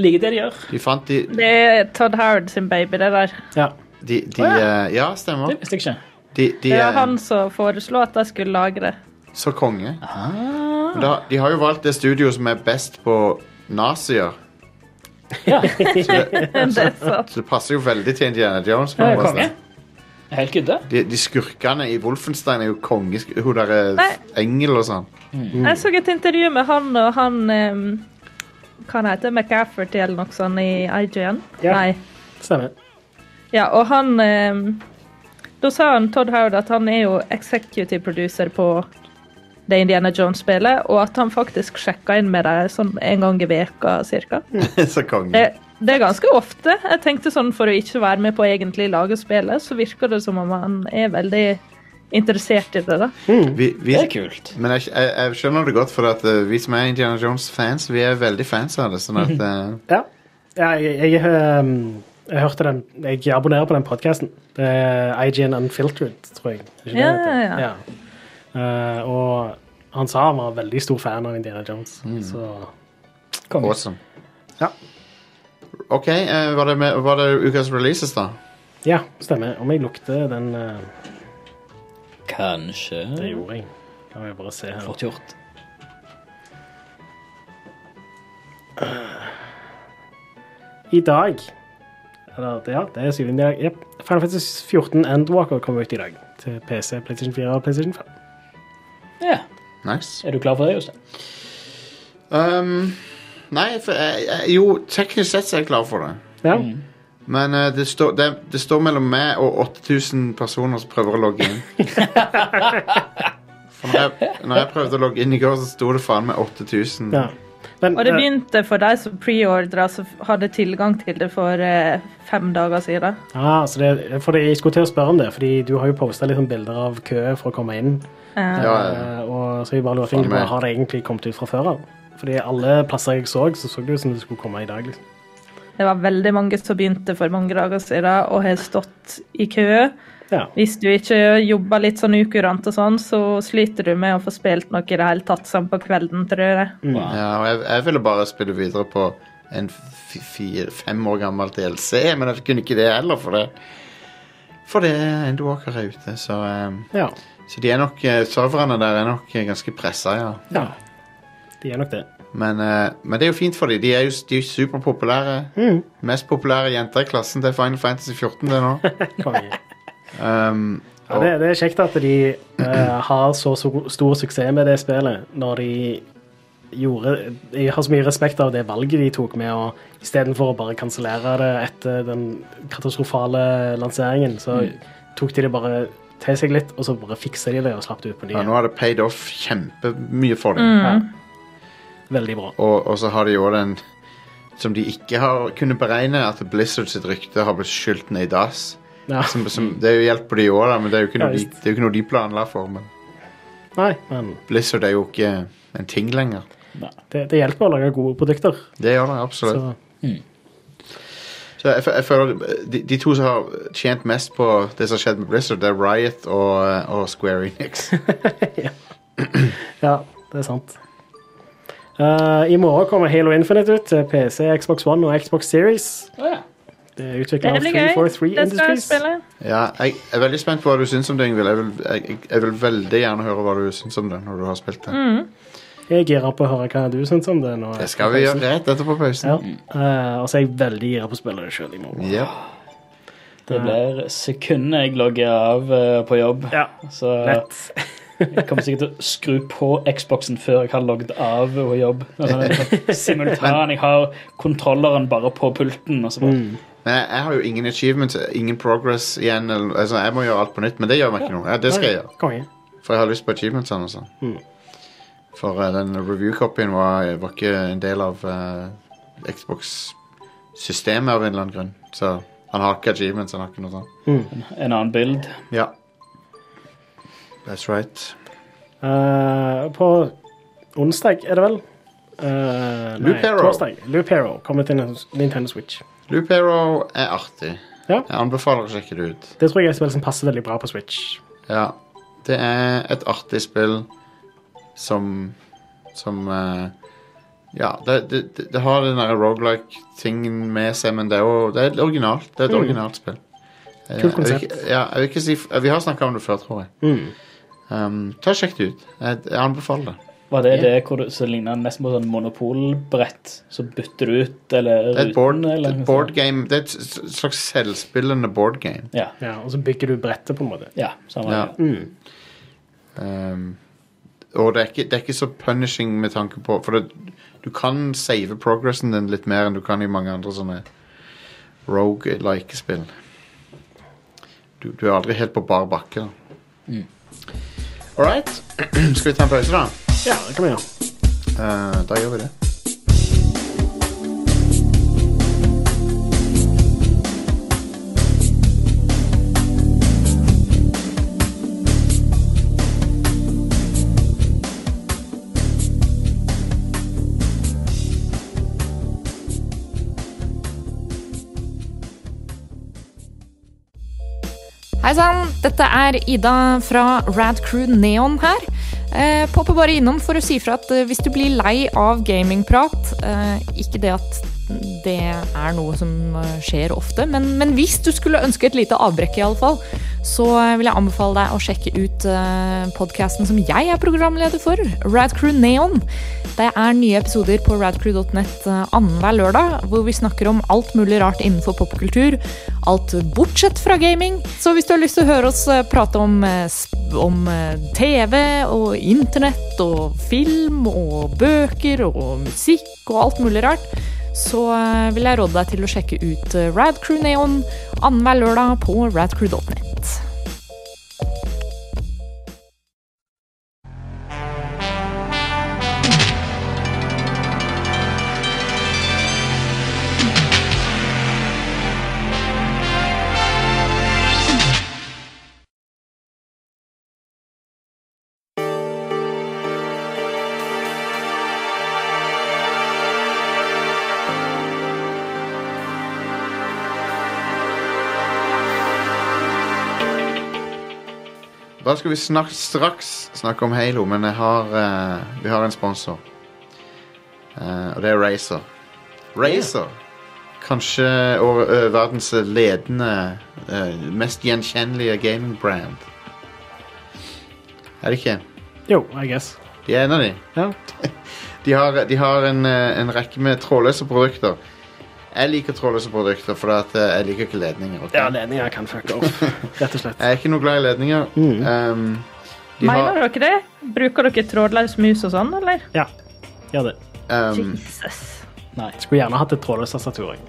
liker det de gjør. De fant de, Det er Todd Howard sin baby, det der. Ja. de, de eh, Ja, stemmer. Det visste jeg ikke. De, de Det eh, var han som foreslo at jeg skulle lage det. Så konge. Ah. Men Da, de har jo valgt det studio som er best på nazier. det er sant. Så det passer jo veldig til Indiana Jones. på Ja, en måte. konge. Helt gudde. De, de skurkene i Wolfenstein er jo konge... Hun der er Nei. engel og sånn. Jeg så et intervju med han og han um, Hva han heter McCafferty eller noe sånt i IGN? Ja. Nei. Stemmer. Ja, og han ehm, Da sa han Todd Howard at han er jo executive producer på det Indiana Jones-spillet, og at han faktisk sjekka inn med dem sånn en gang i veka, cirka. så konge. Eh, Det, det er ganske ofte. Jeg tenkte sånn For å ikke være med på å egentlig lage spillet, så virker det som om han er veldig interessert i det. da. Vi, vi, Det er kult. men jeg, jeg, jeg skjønner det godt, for at eh, vi som er Indiana Jones-fans, vi er veldig fans av det. Sånn at eh, Ja. ja jeg, jeg, ehm, jeg hørte den Jeg abonnerer på den podkasten. Det er IGN Unfiltered, tror jeg. Er ikke det Ja, det heter? ja, ja. Eh, og han sa han var veldig stor fan av Indiana Jones, Mm. så Konge. Awesome. Ja. OK, eh, var, det med, var det ukas releases, da? Ja, stemmer. Om jeg lukter den eh, Kanskje. Det gjorde jeg. Kan vi bare se her. Fort gjort. I dag Eller, det- ja, det er syvende dag. Yep. Final Fantasy 14 Endwalker kom ut i dag. Til PC, PlayStation 4 og PlayStation 5. Ja. Nice. Er du klar for det, Jostein? Um, nei, for jeg, jeg, jo, teknisk sett så er jeg klar for det. Ja. Mm. Men eh, det, står, det, det står mellom meg og 8000 personer som prøver å logge inn. For når jeg, når jeg prøvde å logge inn i går, så sto det faen meg 8000. ja. Men, Og det eh, begynte for de som preordra, som hadde tilgang til det for eh, fem dager siden. ah, så det, for det, jeg skulle til å spørre om det, Fordi du har jo posta bilder av kø for å komme inn. Eh, Ja, ja. Eh, og så jeg bare lurer på om Faen du bare meg. har det egentlig kommet ut fra før av. Fordi alle plasser jeg så, så så det ut som det skulle komme i dag. liksom. Det var veldig mange som begynte for mange dager siden og har stått i kø. Ja. Hvis du ikke jobber litt sånn ukurant og sånn, så sliter du med å få spilt noe i det hele tatt sånn på kvelden, tror jeg. Wow. Ja, og jeg, jeg ville bare spille videre på en fi- fire, fem år gammel DLC, men jeg kunne ikke det heller, for det For det er Endwalker er ute, så um, ja. Så de er nok, eh, serverne der er nok eh, ganske pressa, ja. Ja. De er nok det. Men, eh, men det er jo fint for dem. De er jo de er jo superpopulære. Mest populære jenter i klassen til Final Fantasy 14 det nå. Konge. Um, Ja, det, det er kjekt at de eh, har så, så stor suksess med det spillet når de gjorde Jeg har så mye respekt av det valget de tok med å istedenfor å bare kansellere det etter den katastrofale lanseringen, så Mm. tok de det bare til seg litt, og så bare fiksa de det og slapp det ut på Ja, nye. nå har det paid off kjempemye for dem. Ja. Veldig bra. Og, og så har de jo den som de ikke har kunnet beregne, at Blizzard sitt rykte har blitt skylt ned i dass. Ja. Som, som, det er jo hjelp på de òg, men det er jo ikke noe, Ja, de, visst. det er jo ikke noe de planla for. Men Nei, men Blizzard er jo ikke en ting lenger. det, det hjelper å lage gode produkter. Det gjør det absolutt. Så Så jeg, fø- jeg føler de, de to som har tjent mest på det som har skjedd med Blizzard, det er Riot og, og Square Enix. ja, det er sant. Eh, I morgen kommer Halo Infinite ut til PC, Xbox One og Xbox Series. Å ja. Det er utvikla Det av blir gøy. 343 Det skal jeg Industries. spille. Ja, jeg er veldig spent på hva du syns om det, Ingvild. Jeg, vil- jeg, jeg- jeg vil veldig gjerne høre hva du syns om det når du har spilt det. Jeg er gira på å høre hva du syns om det. nå. Det skal vi gjøre Mm. rett etterpå Ja. pausen. Eh, og så er jeg veldig gira på å spille det sjøl i morgen. Ja. Det blir sekundet jeg logger av eh, på jobb. Ja, Så Lett. jeg kommer sikkert til å skru på Xboxen før jeg har logget av på jobb. Altså, Simultan. Jeg har kontrolleren bare på pulten. Og så bare, Mm. Men jeg, jeg har jo ingen achievements, ingen progress igjen. Eller, altså, jeg må gjøre alt på nytt, men det gjør meg ikke noe. Ja, det skal jeg gjøre, Konge. For jeg har lyst på achievementsene og sånn. Mm. For eh, den review-copyen var, var ikke en del av eh, Xbox-systemet av en eller annen grunn. Så han har ikke achievements, han har ikke noe sånt. En annen bild. Ja. That's right. Eh, på onsdag, er det vel? Uh, Loop Hero. Torsdag. Loop Hero kommer til Nintendo Switch. Loop Hero er artig. Ja. Jeg anbefaler å sjekke det ut. Det tror jeg er et spill som passer veldig bra på Switch. Ja. Det er et artig spill som Som eh, Ja, det, det, det- det har den der rogelike-tingen med seg, men det er jo det er et originalt. Det er et Mm. originalt spill. Eh, Kult Jeg konsept. vil, ikke- ja, jeg vil ikke si f- Vi har snakka om det før, tror jeg. Mm. Um, ta og Sjekk det ut. Jeg, jeg anbefaler det. Var det Ja. det hvor det så lignet nesten på sånn monopolbrett? Så bytter du ut, eller Det er et board, ruten, eller det er et noe sånt? board game Det er et s- s- slags selvspillende board game. Ja. Ja, og så bygger du brettet, på en måte. ja samme Ja. det. Mm. Um, og det er, ikke, det er ikke så punishing med tanke på For det, du kan save progressen din litt mer enn du kan i mange andre sånne rogue-like spill. Du, du er aldri helt på bar bakke. da. All right. Skal vi ta en pause, da? ja, det kan vi gjøre. Eh, da gjør vi det. Hei sann, dette er Ida fra Rad Crew Neon her. Eh, Popper bare innom for å si fra at eh, hvis du blir lei av gamingprat eh, Ikke det at det er noe som eh, skjer ofte, men, men hvis du skulle ønske et lite avbrekk, i alle fall, så eh, vil jeg anbefale deg å sjekke ut eh, podkasten som jeg er programleder for, Rad Crew Neon. Det er nye episoder på radcrew.net eh, annenhver lørdag, hvor vi snakker om alt mulig rart innenfor popkultur. Alt bortsett fra gaming. Så hvis du har lyst til å høre oss eh, prate om, eh, sp- om eh, TV og internett og film og bøker og musikk og alt mulig rart, så eh, vil jeg råde deg til å sjekke ut eh, Radcrew Neon annenhver lørdag på radcrew.net. Da skal vi snak straks snakke om Halo, men jeg har, eh, vi har en sponsor. Eh, og det er Razer. Razer! Kanskje over, ø, verdens ledende, eh, mest gjenkjennelige gaming-brand. Er det ikke? Jo, I guess. De er en av de. Ja. De har, de har en, eh, en rekke med trådløse produkter. Jeg liker trådløse produkter, for at, eh, jeg liker ikke ledninger. ok? Ja, ledninger kan fucke opp, rett og slett. Jeg er ikke noe glad i ledninger. Mm. Um, de har- Mener dere det? Bruker dere trådløs mus og sånn, eller? Ja, gjør det. um, Jesus. Nei. Skulle gjerne hatt et trådløst tastatur. jeg.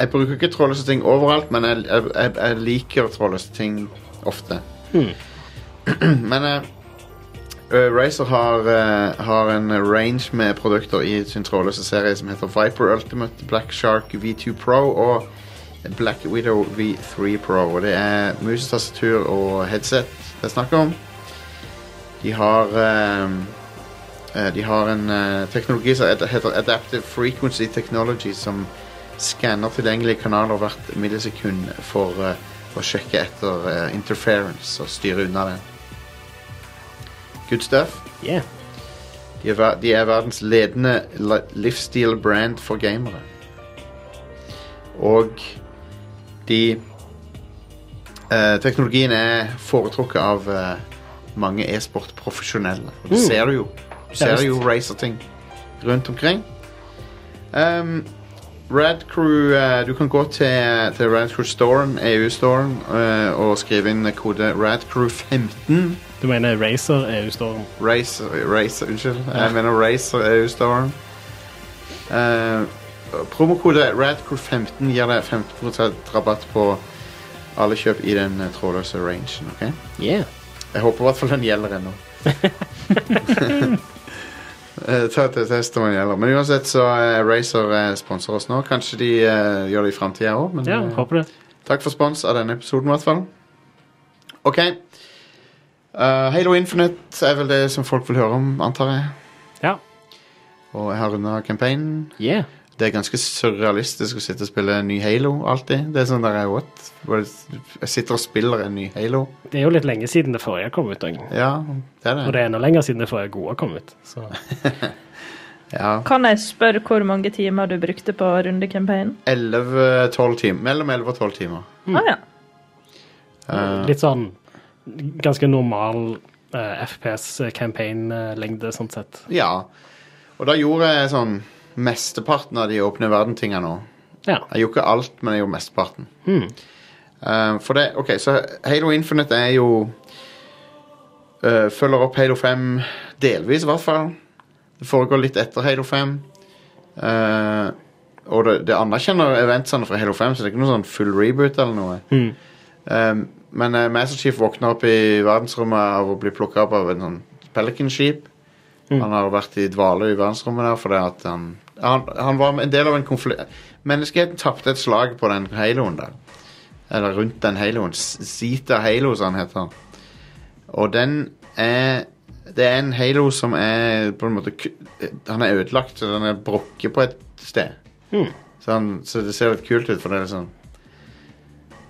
Jeg bruker ikke trådløse ting overalt, men jeg, jeg, jeg, jeg liker trådløse ting ofte. men eh, eh, Razer har, eh, har en range med produkter i sin trådløse serie som heter Viper Ultimate, Black Shark V2 Pro og Black Widow V3 Pro. Og det er musetastatur og headset det er snakk om. De har eh, Eh, De har en eh, teknologi som ad- heter Adaptive Frequency Technology, som skanner tilgjengelige kanaler hvert millisekund for eh, å sjekke etter eh, interference og styre unna det. Good stuff. Yeah. De er, ver- de er verdens ledende li- livsstil-brand for gamere. Og de eh, Teknologien er foretrukket av eh, mange e-sportprofesjonelle. Og det ser du jo. Du ser visst. jo racerting rundt omkring. Um, Rad Crew, eh, Du kan gå til, til Rad Crew Storen, EU-storen, eh, og skrive inn kode RADCREW15. Du mener Racer EU-står Race, race Unnskyld. Jeg mener Race og EU-Storm. Uh, promokode RADCREW15 gir deg 15 rabatt på alle kjøp i den eh, trådløse rangen. ok? Yeah. Jeg håper i hvert fall den gjelder ennå. Eh, Ta et test om den gjelder. Men uansett så uh, Racer eh, sponser oss nå. Kanskje de eh, gjør det i framtida òg, men Ja, eh, håper det. Takk for spons av denne episoden, i hvert fall. OK. Eh, Halo Infinite er vel det som folk vil høre om, antar jeg. Ja. Og jeg har runda campaignen. Yeah. Det er ganske surrealistisk å sitte og spille en ny Halo alltid. Det er sånn der, what? Bare s- Jeg sitter og spiller en ny Halo. Det er jo litt lenge siden det forrige kom ut, og Ja, det er og det. det er enda lenger siden det forrige gode kom ut. Så. Ja. Kan jeg spørre hvor mange timer du brukte på rundekampanjen? 11-12 timer. Mellom 11 og 12 timer. Ah, ja. Eh, Litt sånn ganske normal eh, FPS-campaign-lengde, sånn sett. ja. Og da gjorde jeg sånn mesteparten av de åpne verden-tinga nå. Ja. Jeg gjorde ikke alt, men jeg gjorde mesteparten. Mm. Eh, for det, ok, så Halo Infinite er jo eh, Følger opp Halo 5 delvis, i hvert fall. Det foregår litt etter Halo 5. Eh, og det, det anerkjenner eventsene fra Halo 5, så det er ikke noe sånn full reboot eller noe. Mm. Eh, men uh, Master Chief våkner opp i verdensrommet av å bli plukka opp av en sånn Pelican-skip. Mm. Han har vært i dvale i verdensrommet der fordi at han, han Han var en del av en konflikt Menneskeheten tapte et slag på den haloen der. Eller rundt den haloen. Z- Zeta Halo, som han heter. Og den er Det er en halo som er på en måte ku- Han er ødelagt, så den er brukket på et sted. Mm. Så, han, så det ser litt kult ut, for det er sånn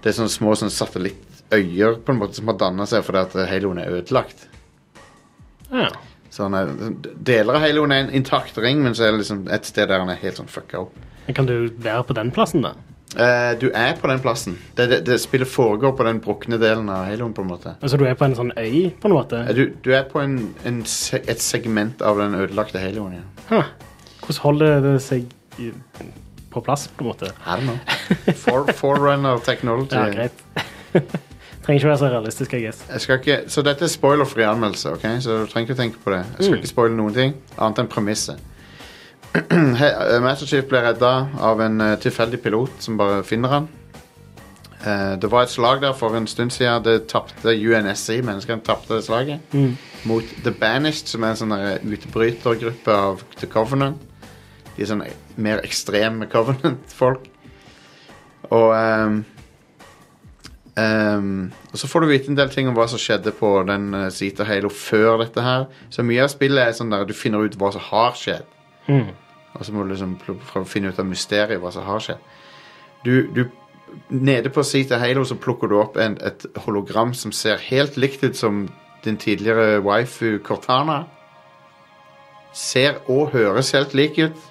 Det er sånne små sånn satellittøyer på en måte som har danna seg fordi at haloen er ødelagt. Ja. Så han er, deler av haloen er en intakt ring, men så er det liksom et sted der han er helt sånn fucka opp. Men Kan du være på den plassen, da? Eh, du er på den plassen. Det, det, det Spillet foregår på den brukne delen av haloen. på en måte Altså, du er på en sånn øy, på en måte? Eh, Du, du er på en, en, se- et segment av den ødelagte haloen. Ja. Huh. Hvordan holder det seg i- på plass, på en måte? I don't know. For, forerunner technology. Ja, greit. Trenger ikke være så realistisk, jeg guess. Jeg skal ikke, så dette er spoilerfri anmeldelse, ok? så du trenger ikke å tenke på det. Jeg skal ikke spoile noen ting, annet enn premisset. He- eh, Master Chief ble redda av en eh, tilfeldig pilot som bare finner han. Eh, det var et slag der for en stund siden. Det tapte UNSC, menneskene tapte det slaget. Mm. Mot The Banished, som er en sånn der utbrytergruppe av The Covenant. De er sånn mer ekstreme Covenant-folk. Og ehm, Ehm, og så får du vite en del ting om hva som skjedde på den eh, Zeta Halo før dette her. Så mye av spillet er sånn der du finner ut hva som har skjedd. Mm. Og så må du liksom pl- prøve å finne ut av mysteriet, hva som har skjedd. Du, du, nede på Zeta Halo så plukker du opp en, et hologram som ser helt likt ut som din tidligere waifu Cortana. Ser og høres helt lik ut.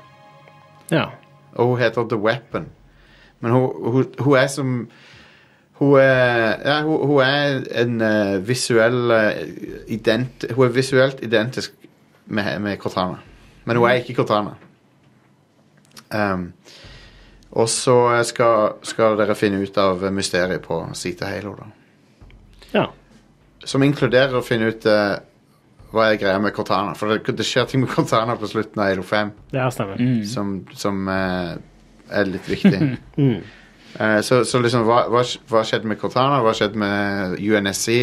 Ja. Og hun heter The Weapon. Men hun, hun, hun er som Hun er, ja, hun, hun er en eh, visuell eh, ident, Hun er visuelt identisk med, med Cortana. Men hun er ikke Cortana. Ehm, og så skal, skal dere finne ut av mysteriet på Sita Halo, da. ja. Som inkluderer å finne ut eh, hva er greia med Cortana. For det, det skjer ting med Cortana på slutten av Halo 5 Det her stemmer. som, som eh, er litt viktig. Mm. Eh, så, så liksom, hva, hva, sk- hva skjedde med Cortana? Hva skjedde med UNSC?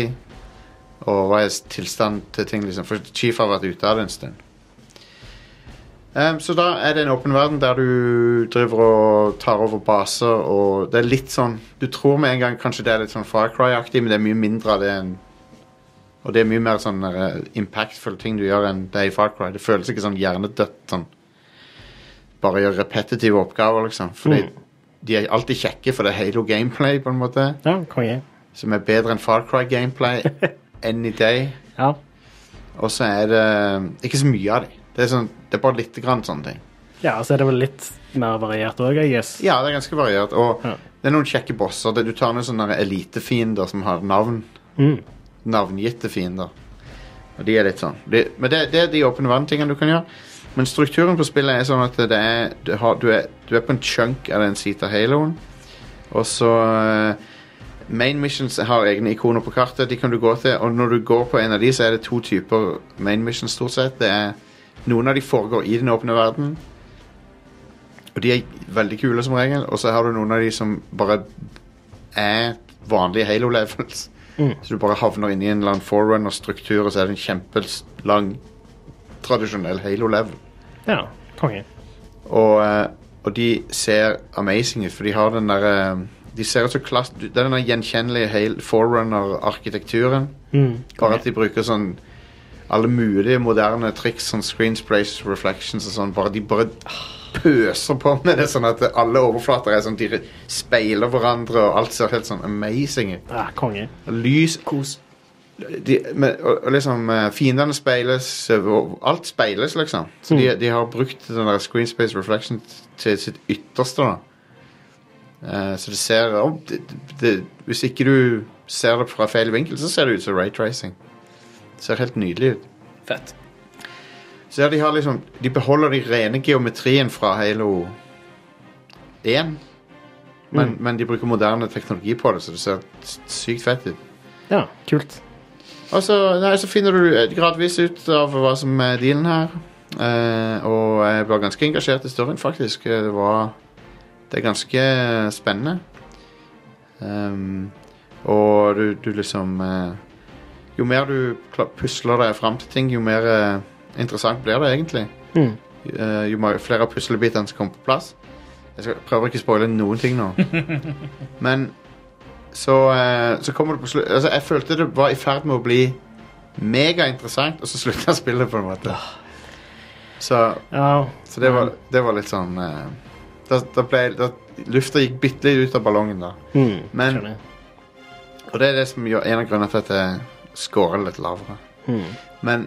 Og hva er s- tilstand til ting? Liksom? For Chief har vært ute av det en stund. Ehm, så da er det en åpen verden der du driver og tar over baser, og det er litt sånn Du tror med en gang kanskje det er litt sånn Far Cry-aktig, men det er mye mindre av det enn Og det er mye mer sånn eh, impactfulle ting du gjør enn det er i Far Cry. Det føles ikke sånn hjernedødt sånn bare gjør repetitive oppgaver, liksom. Fordi Mm. de er alltid kjekke, for det er Halo gameplay, på en måte. Ja, konge. Som er bedre enn Far Cry gameplay any day. Ja. Og så er det um, eh, ikke så mye av dem. Det er, sånn, det er bare litt grann sånne ting. Ja, så er det vel litt mer variert òg, I guess. Ja, det er ganske variert. Og Ja. det er noen kjekke bosser. Det- Du tar noen sånne elitefiender som har navn. Mm. Navngitte fiender. Og de er litt sånn. De, men det, det er de åpne vann-tingene du kan gjøre. Men strukturen på spillet er sånn at det er, du, har, du, er, du er på en chunk av den sita haloen. Og så eh, Main missions har egne ikoner på kartet. De kan du gå til, og når du går på en av de, så er det to typer main missions stort sett. Det er, noen av de foregår i den åpne verden. Og de er veldig kule som regel. Og så har du noen av de som bare er vanlige Halo levels. Så du bare havner inni en eller annen forerunner-struktur, og så er det en kjempelang, tradisjonell Halo-level. Ja, konge. Og, eh, og de ser amazing ut, for de har den der eh, De ser ut som klass... Det er den der gjenkjennelige Halo- forerunner-arkitekturen. Mm. Bare at de bruker sånn alle mulige moderne triks, sånn screens, places, reflections og sånn. Bare de bare pøser på med det, sånn at alle overflater er sånn, de speiler hverandre, og alt ser helt sånn amazing ut. Ja, Ah, konge. Lys Kos. De, men- og, og liksom eh, Fiendene speiles, eh, og alt speiles, liksom. Så de, de har brukt den der screen space reflection til sitt ytterste, da. Eh, så det ser om- det, det, Hvis ikke du ser det fra feil vinkel, så ser det ut som raytracing. Det ser helt nydelig ut. Fett. Så ja, de har liksom De beholder de rene geometrien fra Halo 1. Men, men de bruker moderne teknologi på det, så det ser s- sykt fett ut. Ja, kult. Og så, nei, så finner du eh, gradvis ut av hva som er dealen her. Eh, og jeg var ganske engasjert i storyen, faktisk. Eh, Det var Det er ganske eh, spennende. Ehm, og du, du liksom eh, Jo mer du kla- pusler deg fram til ting, jo mer eh, interessant blir det egentlig. Mm. Eh, jo mer, flere av puslebitene som kommer på plass. Jeg skal prøver ikke å spoile noen ting nå. Men så, eh, så kommer det på slutt altså, Jeg følte det var i ferd med å bli megainteressant, og så slutta spillet, på en måte. Så, Ja, så det, var, det var litt sånn eh, da, da ble da, Lufta gikk bitte litt ut av ballongen da. mm. Men- skjønner. Og det er det som gjør en av grunnene til at jeg scorer litt lavere. Mm. Men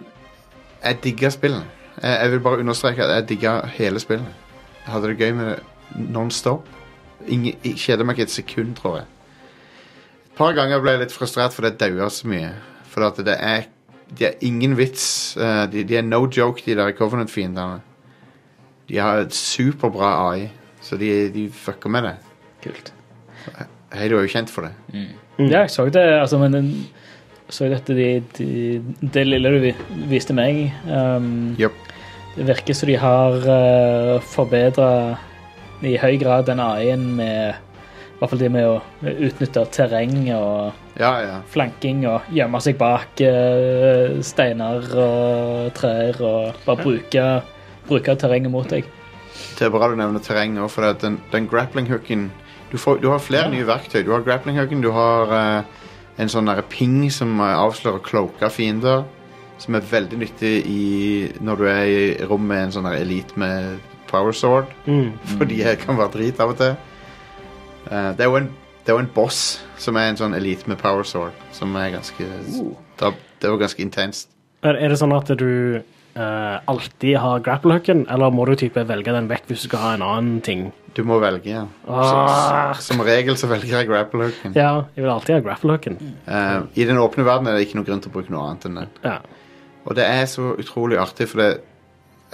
jeg digger spillene. Jeg, jeg vil bare understreke at jeg digger hele spillet. Jeg hadde det gøy med det non-stop. Ingen- Jeg kjeder meg ikke et sekund, tror jeg. Et par ganger ble jeg litt frustrert fordi jeg daua så mye. For at det er De er ingen vits. eh, De, de er no joke, de der Covenant-fiendene. De har et superbra AI, så de, de fucker med det. Kult. Halo er jo kjent for det. Mm. Ja, jeg så det, altså, men den- så jeg dette de, de, det lille du vi- viste meg um, Yep. Det virker som de har uh, forbedra i høy grad den AI-en med I hvert fall det med å utnytte terreng og Ja, ja. flanking og gjemme seg bak eh, steiner og trær og bare bruke, bruke terrenget mot deg. Det er bra du nevner terreng nå, for det at den, den grappling-hooken du, får- du har flere nye verktøy. Du har grappling-hooken, du har eh, en sånn derre ping som eh, avslører cloaka fiender, som er veldig nyttig i, når du er i rom med en sånn der elite med power sword, Mm. fordi jeg kan være drit av og til. Eh, det, er jo en, det er jo en boss som er en sånn elite med power sword, som er ganske Uh. da, Det var ganske intenst. Er, er det sånn at du eh, alltid har grapplehooken, eller må du type velge den vekk hvis du skal ha en annen ting? Du må velge, ja. Ah. Som, som regel så velger jeg grapple-hooken. Ja, jeg vil alltid ha grapplehooken. Eh, I den åpne verden er det ikke noen grunn til å bruke noe annet enn den. Ja. Og det er så utrolig artig, for det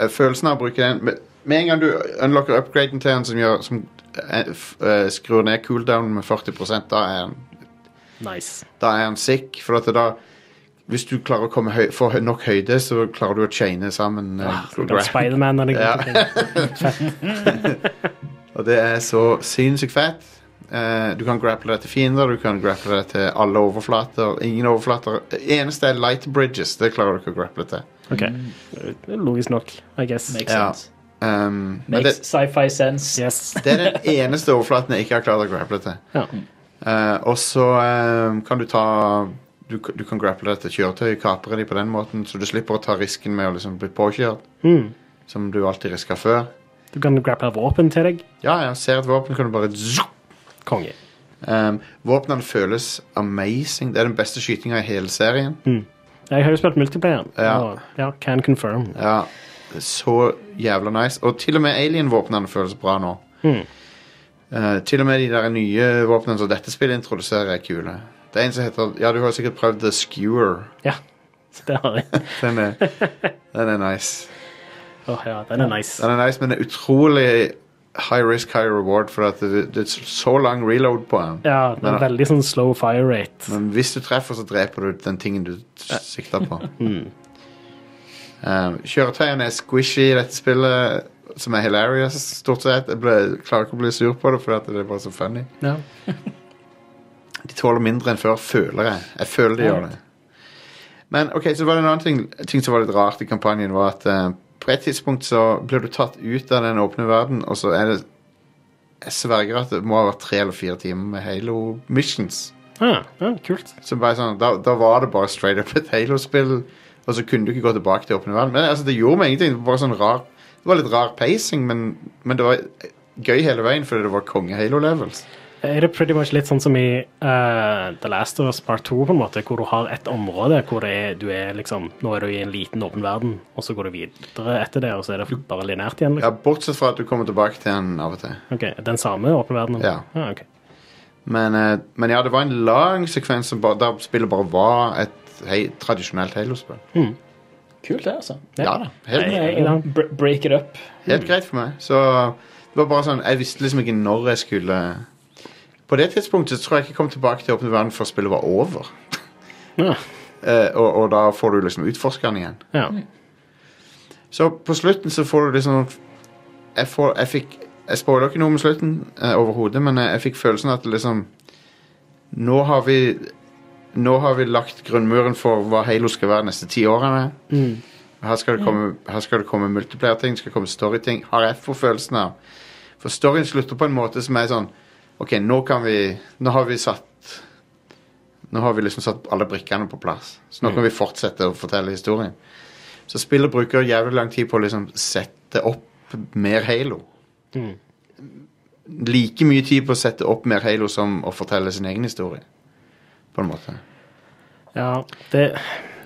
eh, følelsen av å bruke den med, med en gang du unlocker upgraden til den, som, gjør, som eh, f, eh, skrur ned cooldown med 40 da er den, Nice. da er den sick. For at det da Hvis du klarer å komme høy, få hø- nok høyde, så klarer du å chaine sammen. eh, Du kan Spiderman og de Ja. gode ting. Og det er så sinnssykt fett. Eh, du kan grapple det til fiender, du kan grapple det til alle overflater. Ingen overflater. Det Eneste er light bridges. Det klarer du ikke å grapple til. Ok. Det er Logisk nok, I guess. Makes Ja. sense. Um, men Makes det, sci-fi sense. Yes. det er den eneste overflaten jeg ikke har klart å grapple til. Ja. Eh, og så eh, kan du ta du, du kan grapple dette kjøretøyet, kapre de på den måten, så du slipper å ta risken med å liksom bli påkjørt, Mm. som du alltid riska før. Du kan grapple våpen til deg. Ja, ja, ser et våpen, kan du bare zoom. Konge. Um, Våpnene føles amazing. Det er den beste skytinga i hele serien. Jeg har jo spilt multiplayer. Ja. Og, ja, can confirm. Ja, så jævla nice. Og til og med alien-våpnene føles bra nå. Mhm. Eh, til og med de der nye våpnene som dette spillet introduserer, er kule. Det er en som heter Ja, du har sikkert prøvd The Skewer. Ja, det har jeg. Den er, den er nice. Åh, ja, den er nice. Den er nice, men det er utrolig high risk, high reward, for at det, det er så lang reload på den. Ja, den er veldig sånn slow fire rate. Men hvis du treffer, så dreper du den tingen du s- sikter på. Mm. um, kjøretøyene er squishy i dette spillet, som er hilarious, stort sett. Jeg ble, klarer ikke å bli sur på det, fordi at det er bare så funny. Ja. De tåler mindre enn før, føler jeg. Jeg føler de gjør det. Men ok, så var det en annen ting, ting som var litt rart i kampanjen, var at eh, på et tidspunkt så blir du tatt ut av den åpne verden, og så er det Jeg sverger at det må ha vært tre eller fire timer med Halo missions. Ah, ja, kult. Så bare sånn, da, da var det bare straight up et Halo-spill, og så kunne du ikke gå tilbake til åpne verden. Men altså, det gjorde meg ingenting. Det var bare sånn rar Det var litt rar pacing, men, men det var gøy hele veien fordi det var konge-Halo-levels. Er det pretty much litt sånn som i eh, The Last of Us Part 2, på en måte, hvor du har et område hvor det er, du er liksom Nå er du i en liten, åpen verden, og så går du videre etter det, og så er det bare linært igjen? Ja, Liksom. bortsett fra at du kommer tilbake til den av og til. Ok, Den samme åpne verdenen? Ja. Ah, ok. Men, eh, men ja, det var en lang sekvens som bare, der spillet bare var et hei, tradisjonelt Halo-spill. Kult, det, altså. Ja da. Helt, Nei. Eh, br- Break it up. helt greit for meg. Så det var bare sånn Jeg visste liksom ikke når jeg skulle På det tidspunktet så tror jeg ikke jeg kom tilbake til Åpne verden før spillet var over. Ja. Eh, og, og da får du liksom utforskeren igjen. ja. Så på slutten så får du liksom Jeg, får, jeg fikk Jeg spoiler ikke noe om slutten eh, overhodet, men jeg, jeg fikk følelsen at liksom Nå har vi Nå har vi lagt grunnmuren for hva Halo skal være de neste ti årene. Her skal det komme, her skal det komme multiplayer-ting, det skal komme story-ting. Har jeg for følelsen av. For storyen slutter på en måte som er sånn OK, nå kan vi Nå har vi satt Nå har vi liksom satt alle brikkene på plass. Så nå kan vi fortsette å fortelle historien. Så spillet bruker jævlig lang tid på å liksom sette opp mer Halo. Like mye tid på å sette opp mer Halo som å fortelle sin egen historie. På en måte. ja det,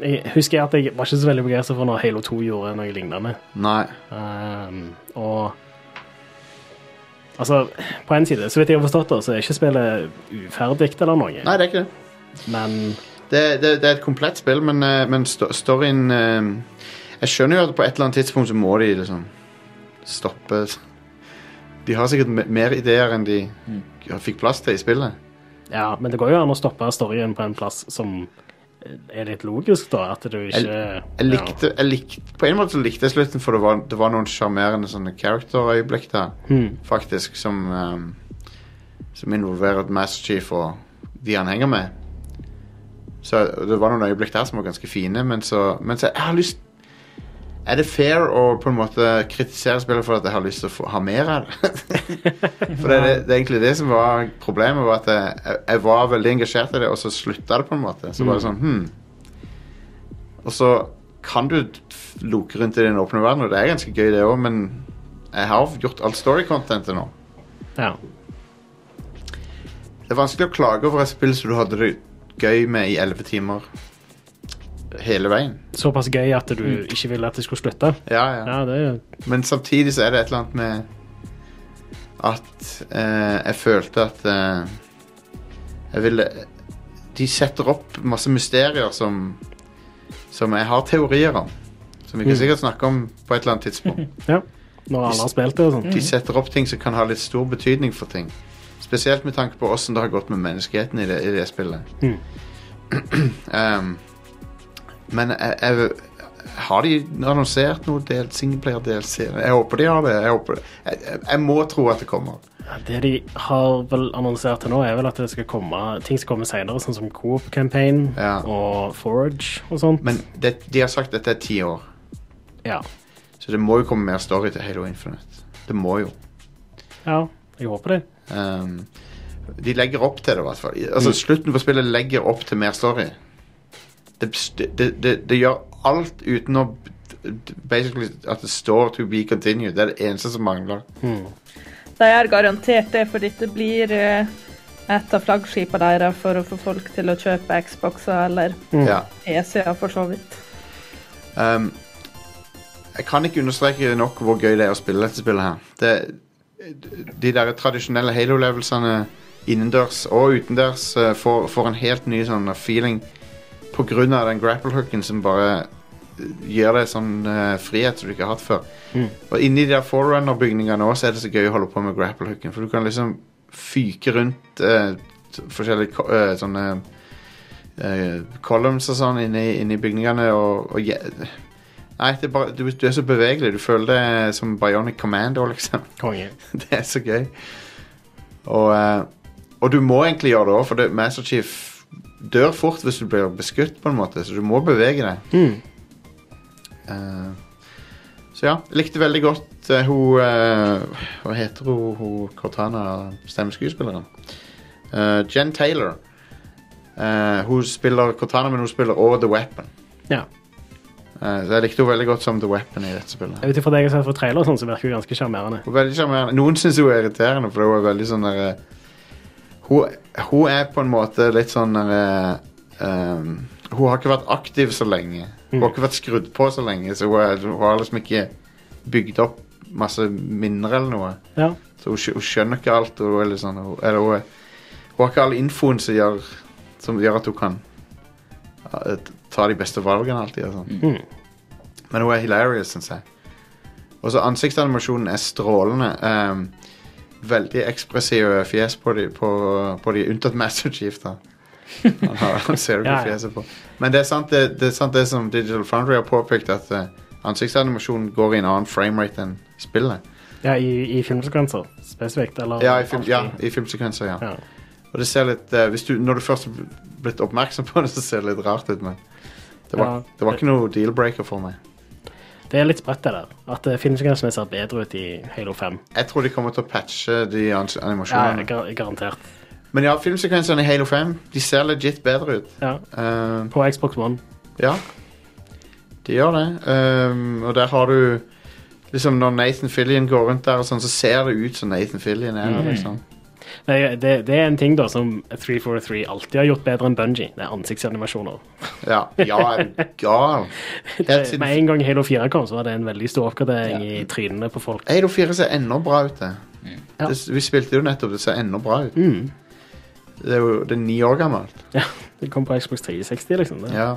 jeg husker jeg at jeg var ikke så veldig begeistra for når Halo 2 gjorde noe lignende. Nei. Um, og Altså, på en side, så vidt jeg har forstått det, så er ikke spillet uferdig eller noe, Nei, det er ikke det. men Det, det, det er et komplett spill, men, eh, men sto- storyen eh, Jeg skjønner jo at på et eller annet tidspunkt så må de liksom stoppe De har sikkert me- mer ideer enn de fikk plass til i spillet. Ja, men det går jo an å stoppe storyen på en plass som er litt logisk, da. At du ikke Jeg likte, jeg likte, på en måte så likte jeg slutten, for det var, det var noen sjarmerende sånne character-øyeblikk der, faktisk, som, ehm, som involverer Master Chief og de han henger med. Så det var noen øyeblikk der som var ganske fine, men så, men så jeg har lyst Er det fair å på en måte kritisere spillet for at jeg har lyst til å få, ha mer av det? for det, er det, det er egentlig det som var problemet, var at jeg, jeg, jeg var veldig engasjert i det, og så slutta det på en måte. Så var det sånn hmm, og så kan du f- loke rundt i den åpne verden, og det er ganske gøy, det òg, men jeg har gjort alt story-contentet nå. Ja. Det er vanskelig å klage over et spill som du hadde det gøy med i elleve timer hele veien. Såpass gøy at du ikke ville at det skulle slutte. Ja, Mm. ja. Ja, det er Men samtidig så er det et eller annet med at eh, jeg følte at eh, jeg ville De setter opp masse mysterier som, som jeg har teorier om. Som vi kan sikkert snakke om på et eller annet tidspunkt. Ja. Når alle har spilt det og sånn. De setter opp ting som kan ha litt stor betydning for ting. Spesielt med tanke på åssen det har gått med menneskeheten i det, i det spillet. Mm. um, men jeg, jeg, har de annonsert noe del, singleplayer-DLC? Jeg håper de har det. Jeg, håper, jeg, jeg, jeg må tro at det kommer. Ja, Det de har vel annonsert til nå, er vel at det skal komme ting som kommer senere, sånn som Coop Campaign Ja. og Forge og sånt. Men det, de har sagt at dette er ti år, ja. så det må jo komme mer story til Halo Infinite. Det må jo. ja. Jeg håper det. Um, de legger opp til det, i hvert fall. Altså, Slutten på spillet legger opp til mer story. Det, det, det, det gjør alt uten å Basically at det står 'to be continued'. Det er det eneste som mangler. De er garantert det, for dette blir eh, et av flaggskipene deres for å få folk til å kjøpe Mm. Xboxer eller Ja. PC-er, for så vidt. Um, Jeg kan ikke understreke nok hvor gøy det er å spille dette spillet her. Det, de der tradisjonelle Halo-levelsene innendørs og utendørs eh, får, får en helt ny sånn feeling på grunn av den grapple-hooken som bare eh, gir deg sånn eh, frihet som du ikke har hatt før. Og inni de der forerunner-bygningene også er det så gøy å holde på med grapple-hooken, for du kan liksom fyke rundt eh, t- forskjellige ko- eh, sånne eh, columns og sånn inni, inni bygningene og, og je- Nei, det er bare, du, du er så bevegelig. Du føler deg som Bionic Commando, liksom. Konge. Det er så gøy. Og, eh, og du må egentlig gjøre det òg, for det, Master Chief dør fort hvis du blir beskutt, på en måte, så du må bevege deg. Hmm. Eh, så ja, jeg likte veldig godt eh, hun eh, Hva heter hun, hun Cortana, stemmeskuespilleren? Eh, Jen Taylor. Eh, hun spiller Cortana, men hun spiller også The Weapon. Ja. Eh, så jeg likte henne veldig godt som The Weapon i dette spillet. Ut ifra det jeg har sett fra trailer, og sånn, så virker hun ganske sjarmerende. Hun er veldig sjarmerende. Noen syns hun er irriterende, for hun er veldig sånn der eh, Hun, hun er på en måte litt sånn der eh, ehm, Hun har ikke vært aktiv så lenge. Hun har ikke vært skrudd på så lenge, så hun, er, hun har liksom ikke bygd opp masse minner eller noe. Ja. Så hun, skj- hun skjønner ikke alt. Og hun, er litt sånn, hun, eller hun, er, hun har ikke all infoen som gjør, som gjør at hun kan eh, ta de beste valgene alltid. Og Mm. sånn. Men hun er hilarious, syns jeg. Og så ansiktsanimasjonen er strålende. ehm, veldig ekspressive fjes på de, på, på de unntatt Master Chief, da. Han, har, han ser du på Ja, ja. fjeset på. Men det er sant det, det, er sant det som Digital Foundry har påpekt, at eh, ansiktsanimasjonen går i en annen framerate enn spillet. Ja, i, i filmsekvenser spesifikt, eller Ja, i, film, alltid. ja, i filmsekvenser, ja. Ja. Og det ser litt eh, hvis du, Når du først har blitt oppmerksom på det, så ser det litt rart ut, men det var, Ja. det var ikke noe deal-breaker for meg. Det er litt spredt, det der. At eh, filmsekvensene ser bedre ut i Halo 5. Jeg tror de kommer til å patche de ans- Ja, animasjonene. gar garantert. Men ja, filmsekvensene i Halo 5 De ser legit bedre ut. Ja. Eh, På Xbox One. Ja. De gjør det. Ehm, og der har du Liksom Når Nathan Fillion går rundt der, og sånn, så ser det ut som Nathan Fillion er. Mm. Liksom. Det, det, det er en ting da som 343 alltid har gjort bedre enn Bungie. Det er ansiktsanimasjoner. Ja, ja, er du gal? Helt Det- Med siden en gang Halo 4 kom, så var det en veldig stor oppgradering i trynene på folk. Halo 4 ser ennå bra ut, det. Ja. det. Vi spilte jo nettopp, det ser ennå bra ut. Det er jo det er ni år gammelt. Ja, det kom på Xbox 360, liksom. Det. Ja.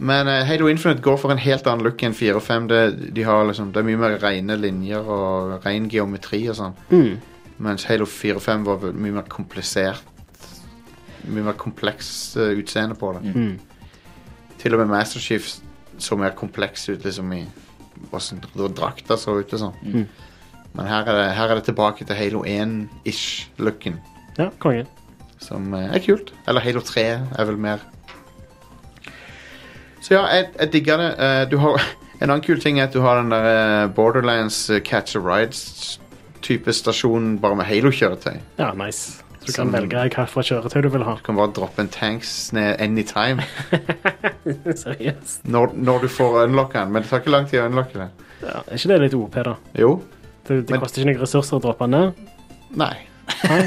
Men eh, Halo Infinite går for en helt annen look enn 4 og 5. Det, de har liksom, det er mye mer rene linjer og ren geometri og sånn. Mm. Mens Halo 4 og 5 var vel mye mer komplisert Mye mer kompleks eh, utseende på det. Mm. Til og med Master Chief så mer kompleks ut liksom i hvordan dra- drakta så ut og sånn. Mm. Men her er, det, her er det tilbake til Halo 1-ish-looken, ja konge. som eh, er kult. Eller Halo 3 er vel mer Så ja, jeg, jeg digger det. Eh, Du har En annen kul ting er at du har den der eh, Borderlands eh, Catch a Rides-type stasjon bare med Halo-kjøretøy. Ja, nice. Så du Som- kan velge hvilket kjøretøy du vil ha. Du kan bare droppe en tanks ned anytime Seriøst. når, når du får unlocka den. Men det tar ikke lang tid å unlocke den. Ja, er ikke det litt OP, da? Jo. Det, det Men- koster ikke noen ressurser å droppe den ned. Nei.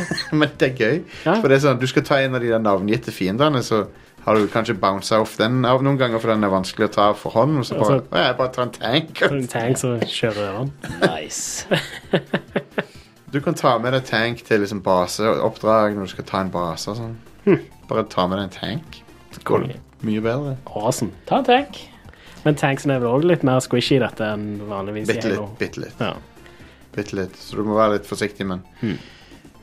Men det er gøy. Ja. For det er sånn, Du skal ta en av de der navngitte fiendene, så har du kanskje bounsa off den av noen ganger, for den er vanskelig å ta for hånd. Og så bare, Altså- «Å, jeg bare tar en tank. Så en tank som kjører over den. Nice. Du kan ta med deg tank til liksom baseoppdrag når du skal ta en base og sånn. Bare ta med deg en tank. Det går mye bedre. Awesome. Ta en tank. Men tanksen er vel òg litt mer squishy i dette enn vanligvis i Bitte Halo. litt. Bitte litt. Ja. bitte litt, så du må være litt forsiktig, men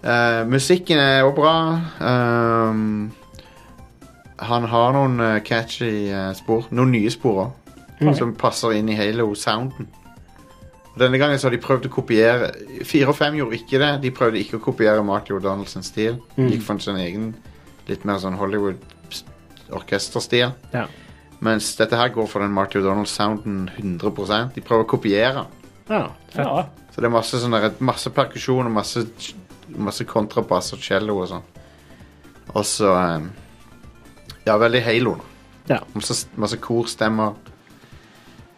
Eh, Musikken er jo bra. Ehm, han har noen eh, catchy eh, spor. Noen nye spor òg, som passer inn i Halo-sounden. Denne gangen så har de prøvd å kopiere Fire og fem gjorde ikke det. De prøvde ikke å kopiere Marty Donaldsons stil. De Gikk for sin egen litt mer sånn Hollywood-orkesterstil. Ja. Mens dette her går for den Marty O'Donald-sounden 100 De prøver å kopiere den. ja. Fett. Ja. Så det er masse, sånn der, masse perkusjon og masse, masse kontrabass og cello og sånn. Og så eh, Ja, veldig halo. da. Ja. Masse, masse korstemmer.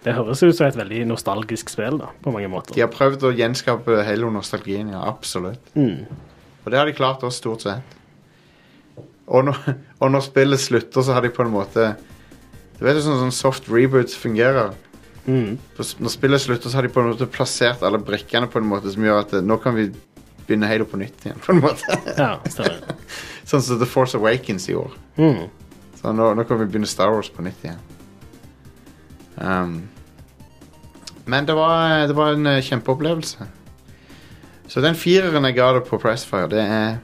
Det høres ut som et veldig nostalgisk spill da, på mange måter. De har prøvd å gjenskape halo-nostalgien, ja, absolutt. Mm. Og det har de klart også, stort sett. Og når, og når spillet slutter, så har de på en måte Du vet jo sånn, sånn soft reboots fungerer. Mm. På s- Når spillet slutter, så har de på en måte plassert alle brikkene på en måte som gjør at eh, nå kan vi begynne Halo på nytt igjen, på en måte. Ja, stemmer. sånn som The Force Awakens i år. Mm. Så nå, nå kan vi begynne Star Wars på nytt igjen. Um, men det var, det var en eh, kjempeopplevelse. Så den fireren jeg ga det på Pressfire, det er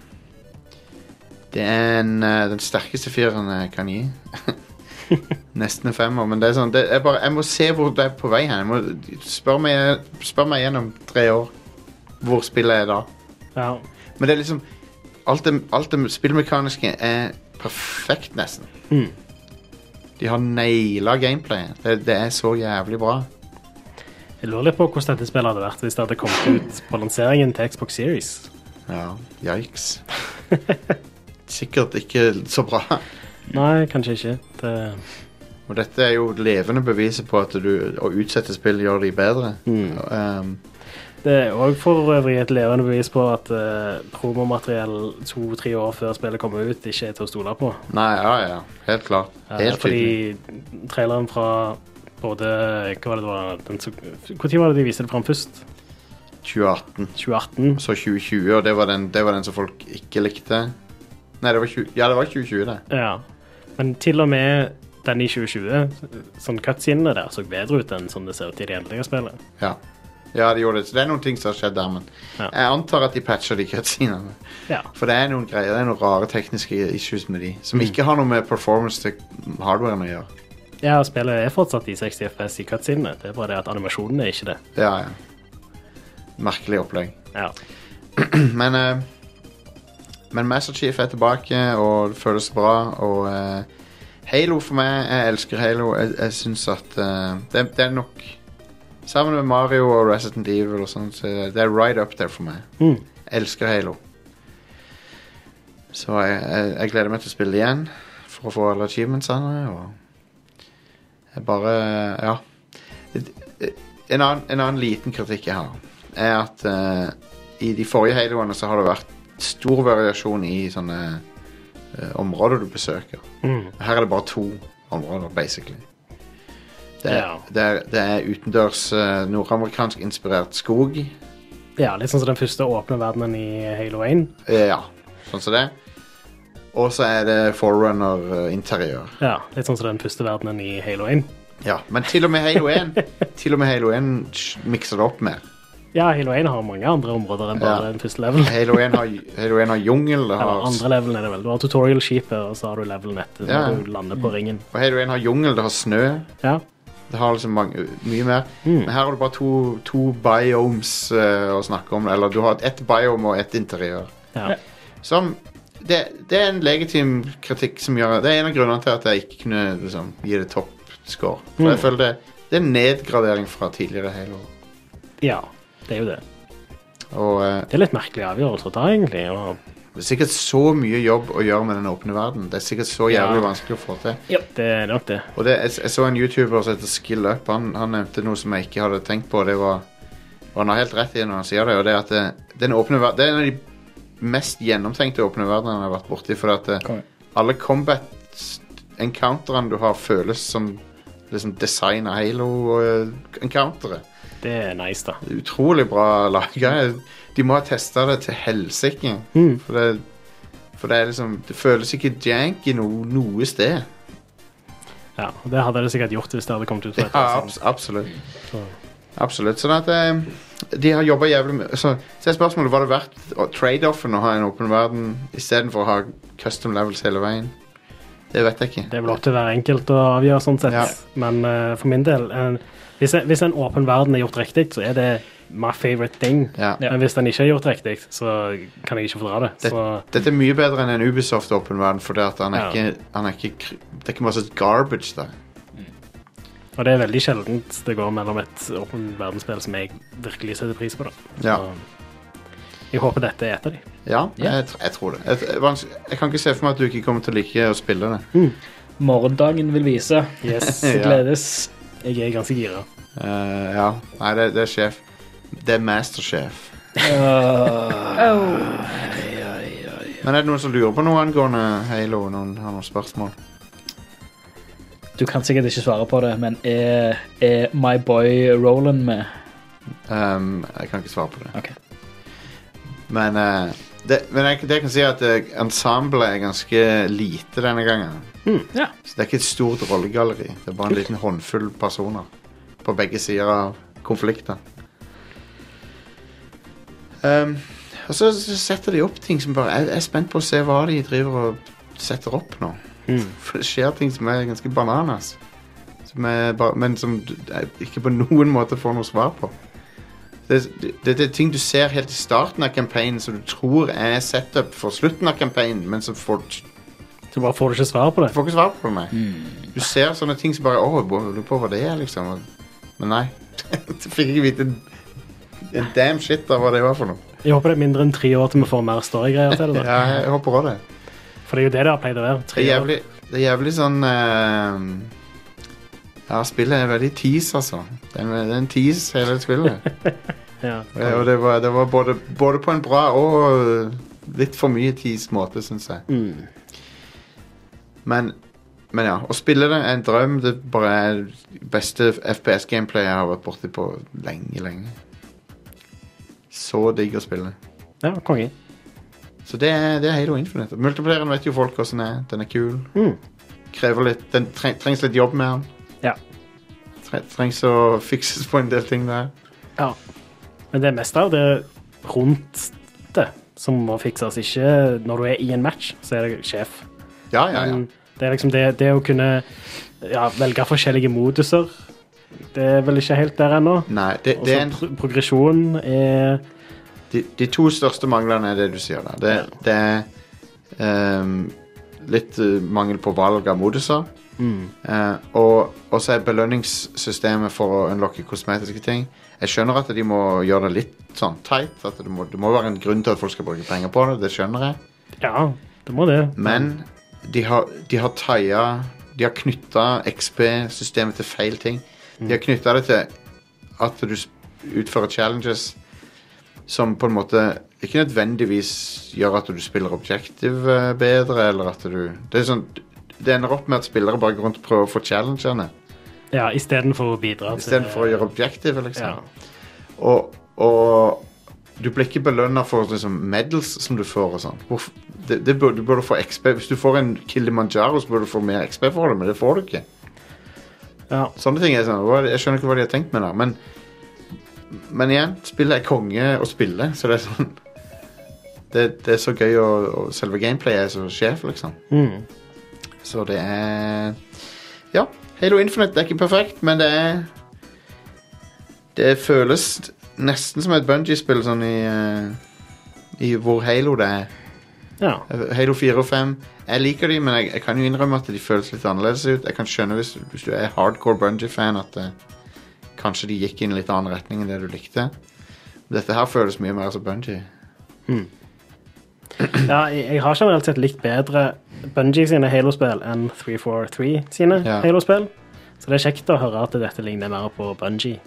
Det er en, eh, den sterkeste fireren jeg kan gi. Nesten en femmer, men det er sånn det er bare, Jeg må se hvor det er på vei hen. Jeg må, spør, meg, spør meg igjen om tre år hvor spillet er da. Ja. Men det er liksom Alt det, alt det spillmekaniske er perfekt, nesten. Mm. De har naila gameplayet. Det, det er så jævlig bra. Jeg lurer litt på hvordan dette spillet hadde vært hvis det hadde kommet ut på lanseringen til Xbox Series. Ja, Yikes. Sikkert ikke så bra. Nei, kanskje ikke. Det... Og dette er jo levende beviset på at du, å utsette spill gjør de bedre. Um, mm. Det er òg for øvrig et levende bevis på at eh, promomateriell to-tre år før spillet kommer ut, ikke er til å stole på. nei, ja, ja. Helt klart. Eh, Helt tydelig. fordi traileren fra både Hva var det det var den som- Hvor tid var det de viste det fram først? 2018. 2018? Så 2020, og det var, den, det var den som folk ikke likte. Nei, det var 20, ja, det var 2020, det. Ja. Men til og med den i 2020, sånn cutscenene der, så bedre ut enn sånn det ser ut i det endelige spillet. Ja. ja, det gjorde det. Så det er noen ting som har skjedd der, men Ja. jeg antar at de patcher de cutscenene. Ja. For det er noen greier, det er noen rare tekniske issues med de, som ikke har noe med performance til hardwaren å gjøre. ja, spillet er fortsatt i 60 FPS i cutscenene. Det er bare det at animasjonen er ikke det. Ja, ja. Merkelig opplegg. Ja. Men, eh, men Master Chief er tilbake, og det føles bra, og eh, Halo for meg, jeg elsker Halo. Jeg, jeg syns at eh, det, det er nok Sammen med Mario og Resident Evil og sånn, så det er right up there for meg. Mm. elsker Halo. Så jeg, jeg, jeg gleder meg til å spille det igjen for å få alle achievementsene. Og jeg bare Ja. En annen, en annen liten kritikk jeg har, er at eh, i de forrige Haloene så har det vært stor variasjon i sånne eh, områder du besøker. Mm. Her er det bare to områder, basically. Det er, Ja. det er, det er utendørs eh, nordamerikansk inspirert skog. ja, litt sånn som den første åpne verdenen i Halo 1. Eh, Ja, sånn som det. Og så er det eh, Forerunner-interiør. Ja, litt sånn som den første verdenen i Halo 1. Ja, Men til og med Halo 1 Til og med Halo 1 sh- mikser det opp mer. Ja, Halo 1 har mange andre områder enn bare Ja. den første levelen. Halo 1 har, Halo 1 har jungel, det har, Eller andre levelen er det vel. Du har tutorial-skipet, og så har du levelen etter når Ja. du lander på ringen. og Halo 1 har jungel, det har snø. Ja. Det har liksom mange, mye mer. Men her har du bare to, to biomes eh, å snakke om. Eller du har ett biome og ett interiør. Ja. Som det, det er en legitim kritikk som gjør Det er en av grunnene til at jeg ikke kunne liksom, gi det topp score. For jeg føler det, det er en nedgradering fra tidligere Halo. ja, det er jo det. Og eh, Det er litt merkelig avgjørelse å ta, egentlig. Og det er sikkert så mye jobb å gjøre med den åpne verden. Det er sikkert så jævlig Ja. vanskelig å få til. det er nok det. Og det, jeg, jeg så en YouTuber som heter SkillUp. Han, han nevnte noe som jeg ikke hadde tenkt på. Det var, og han har helt rett i det når han sier det. Og det er at det, den åpne verden, det er en av de mest gjennomtenkte åpne verdenene jeg har vært borti. For at det, Konge. alle combat-encounterne du har, føles som liksom designa Halo-encounteret. Det er nice, da. eh, Utrolig bra laga. De må ha testa det til helsike. For, det- for det er liksom Det føles ikke jank i no, noe sted. Ja, og Det hadde det sikkert gjort hvis det hadde kommet ut. for et Ja, år siden. abs absolutt. Absolutt. Sånn at eh, de har jobba jævlig med Så, så er spørsmålet var det verdt å- trade-offen å ha en åpen verden istedenfor å ha custom levels hele veien. Det vet jeg ikke. Det er vel opp til hver enkelt å avgjøre, sånn sett. Ja. Men eh, for min del eh, hvis, en, hvis en åpen verden er gjort riktig, så er det my favorite thing. Ja. Ja. Men hvis den ikke er gjort riktig, så kan jeg ikke fordra det. Det- Så Dette er mye bedre enn en Ubisoft åpen verden, for det at han er Ja. ikke, han er ikke kr- Det er ikke masse garbage der. Og det er veldig sjeldent det går mellom et åpen verdensspill som jeg virkelig setter pris på. da. Ja. Så Jeg håper dette er et av de. Ja, Ja. Jeg, tr- jeg tror det. Jeg, jeg, vans- jeg kan ikke se for meg at du ikke kommer til å like å spille det. Morgendagen vil vise. Yes, Så Ja. gledes. jeg er ganske gira. Eh, ja. Nei, det, det er sjef. Det er masterchef. Øh, Ah. Oh. Men er det noen som lurer på noe angående Halo? Noen har noen spørsmål? Du kan sikkert ikke svare på det, men er, er My Boy Roland med? Ehm, jeg kan ikke svare på det. Ok. Men, eh, det, men jeg, det jeg kan si er at eh, ensemblet er ganske lite denne gangen. ja. Så det er ikke et stort rollegalleri. Det er bare en liten håndfull personer på begge sider av konflikten. Ehm, og så så setter de opp ting som bare Jeg jeg er spent på å se hva de driver og setter opp nå. For det skjer ting som er ganske bananas. Som er bare, men som du- jeg ikke på noen måte får noe svar på. Det, det, det er ting du ser helt i starten av campaignen som du tror er setup for slutten av campaignen, men som får, Så bare får du ikke svar på det. får ikke svar på det. Nei. Du ser sånne ting som bare Åh, jeg lurer på hva det er, liksom. Og- Men nei. Du fikk ikke vite en- en damn shit av hva det var for noe. Jeg håper det er mindre enn tre år til vi får mer storygreier til det. da. Ja, jeg håper også det. For det er jo det det har pleid å være. Det Tre er år. jævlig, det er jævlig sånn eh, Ja, spillet er veldig tease, altså. Det er en- det er en tease, hele spillet. Ja. Ja, og det var, det var både, både på en bra og øh, litt for mye tease måte, syns jeg. Mm. Men, men ja, å spille det er en drøm. Det bare er det beste FPS-gameplay jeg har vært borti på lenge, lenge. Så digg å spille. ja, konge. Så det er, det er Halo Infinite. Multiplayeren vet jo folk hvordan den er. Den er kul. Mm. Krever litt, den treng, trengs litt jobb med den. Ja. Tre, trengs å fikses på en del ting der. Ja. Men det meste av det rundt det som må fikses, ikke når du er i en match, så er det sjef. Ja, ja, ja. Men det er liksom det, det å kunne ja, velge forskjellige moduser, det er vel ikke helt der ennå. Nei, det, Og det så er en pro progresjonen er de, de to største manglene er det du sier der. Det, det er ehm, litt eh, mangel på valg av moduser. mm. Eh, og og så er belønningssystemet for å unlocke kosmetiske ting Jeg skjønner at de må gjøre det litt sånn tight. At det må, det må være en grunn til at folk skal bruke penger på det. Det skjønner jeg. Ja, det må det. Men de har, de har taia De har knytta XP-systemet til feil ting. De har knytta det til at du s- utfører challenges som på en måte ikke nødvendigvis gjør at du spiller objective eh, bedre, eller at du Det, er sånn, det ender opp med at spillere bare går rundt og prøver å få challengene Ja, Istedenfor å bidra istedenfor å gjøre objective, liksom. Ja. Og, og du blir ikke belønna for liksom, medals som du får og sånn. Hvorf- Det, det burde, du burde få XP. Hvis du får en Kilimanjaro, så burde du få mer XP for det, men det får du ikke. Ja. Sånne ting er sånn, hva er det- Jeg skjønner ikke hva de har tenkt med det, men Men igjen, spillet er konge å spille, så det er sånn Det, det er så gøy, og, og selve gameplayet er så sjef, liksom. Mm. Så det er Ja, Halo Infinite det er ikke perfekt, men det er Det føles nesten som et Bungie-spill sånn i eh, I hvor Halo det er. ja. Halo 4 og 5. Jeg liker de, men jeg, jeg kan jo innrømme at de føles litt annerledes ut. Jeg kan skjønne hvis, hvis du er hardcore Bungie-fan at eh, kanskje de gikk i en litt annen retning enn det du likte. Dette her føles mye mer som Bungie. ja, jeg jeg har generelt sett likt bedre Bungie sine Halo-spill enn 343 sine Ja. Halo-spill. Så det er kjekt å høre at dette ligner mer på Bungie.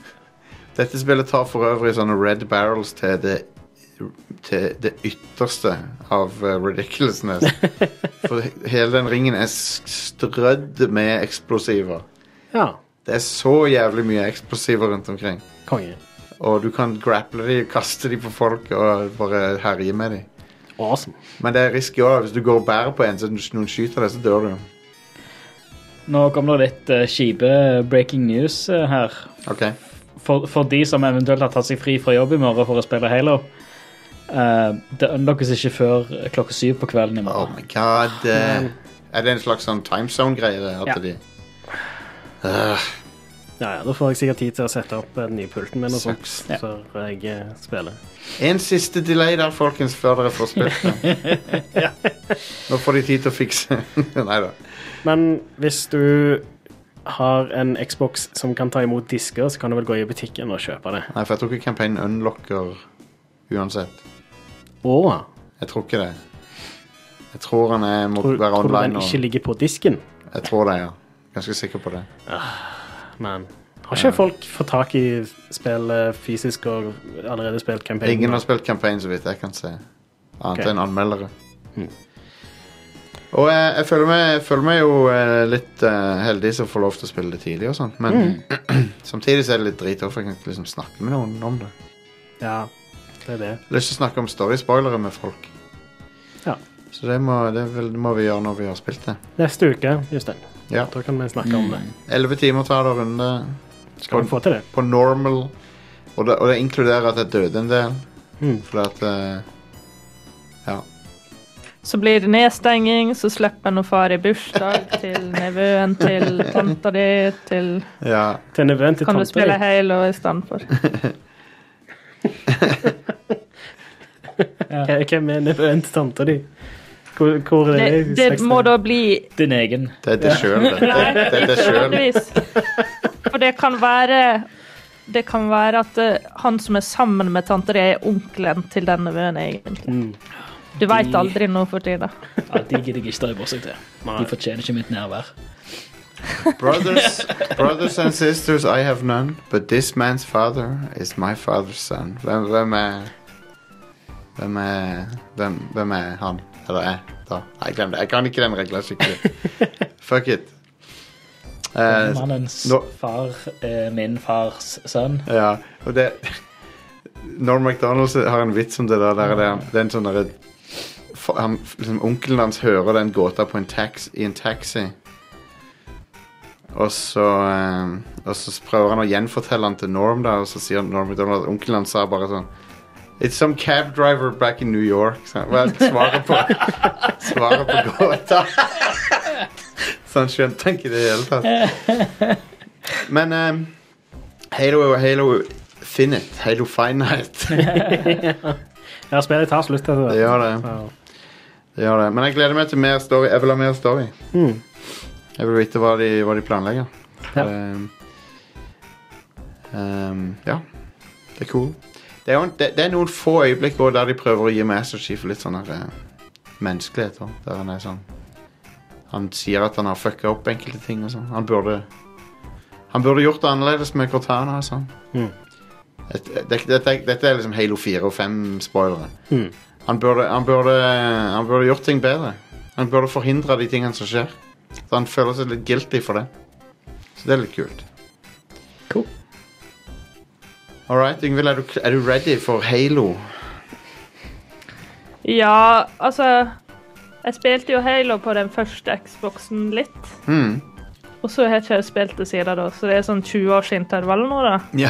Dette spillet tar for øvrig sånne red barrels til det til det ytterste av eh, ridiculousness. For he- hele den ringen er s- strødd med eksplosiver. Ja, Det er så jævlig mye eksplosiver rundt omkring. konge. Og du kan grapple de, kaste de på folk og bare herje med de. Awesome. Men det er risky òg. Hvis du går og bærer på en, så noen skyter deg, så dør du. Nå kom det litt eh, kjipe breaking news eh, her. Ok, For, for de som eventuelt har tatt seg fri fra jobb i morgen for å spille Halo. eh, det unlockes ikke før klokka syv på kvelden i Oh morgen. my god. eh, er det en slags sånn timezone-greie? det, At Ja. de Ah, Ja, ja, Da får jeg sikkert tid til å sette opp eh, den nye pulten min og sånt, Sucks. Ja. før jeg eh, spiller. En siste delay der, folkens, før dere får spilt det. Nå får de tid til å fikse. Nei da. Men hvis du har en Xbox som kan ta imot disker, så kan du vel gå i butikken og kjøpe det. Nei, for jeg tror ikke campaignen unlocker uansett. Og Jeg tror ikke det. Jeg tror han er, må tror, være tror du den online ikke nå. ligger på disken? Jeg tror det, ja. Ganske sikker på det. Men har ikke folk fått tak i spill eh, fysisk og allerede spilt campaign? Ingen har spilt campaign, så vidt jeg kan se. Annet Ok. enn anmeldere. Og jeg, jeg, føler meg, jeg føler meg jo eh, litt eh, heldig som får lov til å spille det tidlig og sånt, men Mm. samtidig så er det litt drit også, for jeg kan ikke liksom snakke med noen om det. Ja, det er det. Jeg har lyst til å snakke om story-spoilere med folk. Ja. Så det må, det vil, må vi gjøre når vi har spilt det. Neste uke, Jostein. Ja. Da kan vi snakke om det. Elleve timer tar det å runde Skal vi få til det? på normal, og det, og det inkluderer at jeg døde en del, Mm. fordi at eh, Ja. Så blir det nedstenging, så slipper en å fare i bursdag til nevøen til tanta di, til ja. Til nevøen til Kan du tante spille di. Halo i stedet for? Hva- Hvem er nevøen til tanta di? Hvor, hvor er Det, det? det må da bli Din egen. Det er det sjøl, det. Det, Nei, det er det ikke sjøl. nødvendigvis. For det kan være Det kan være at eh, han som er sammen med tante di, er onkelen til den nevøen, egentlig. Mm. Du veit aldri nå for tida. Ja, de gidder jeg ikke stå i borsdag til. De fortjener ikke mitt nærvær. Brothers, brothers and sisters, I have none, but this man's father is my father's son. Hvem, hvem er Hvem er hvem, hvem er han? Eller jeg, da? Nei, glem det. Jeg kan ikke den regla skikkelig. Fuck it. Eh, Mannens nå- far er min fars sønn. ja, og det Norm MacDonald har en vits om det der. der det er- det er en sånn derre f- han- liksom, Onkelen hans hører den gåta på en tax, i en taxi. Og så, eh, og så prøver han å gjenfortelle han til Norm, da, og så sier Norm MacDonald at onkelen hans sa bare sånn It's some cab driver back in New York. Så, hva er svaret på Svaret på gåta? så han skjønte han ikke det i det hele tatt. Men eh, Halo er jo Halo Finite. Halo Finite. Ja, spillet tar slutt. Altså. Det gjør det. Ja. Det gjør det. Men jeg gleder meg til mer story. Jeg vil ha mer story. Mm. Jeg vil vite hva de, hva de planlegger. Ja. Um, um, ja. Det er cool. Det er, jo en, det, det er noen få øyeblikk også der de prøver å gi Master Chief litt sånn her, eh, menneskelighet. også, Der han er sånn Han sier at han har fucka opp enkelte ting og sånn. Han burde Han burde gjort det annerledes med Cortana og sånn. Mm. Et- det- Dette dette er liksom Halo 4 og 5-spoilere. Mm. Han burde, han, burde, han burde gjort ting bedre. Han burde forhindre de tingene som skjer. Så han føler seg litt guilty for det. Så det er litt kult. Cool. All right, Yngvild, er, du- er du ready for Halo? Ja, altså Jeg spilte jo Halo på den første Xboxen litt. Mm. Og så har ikke jeg spilt det siden da, så det er sånn 20-årsintervall nå, da. Ja.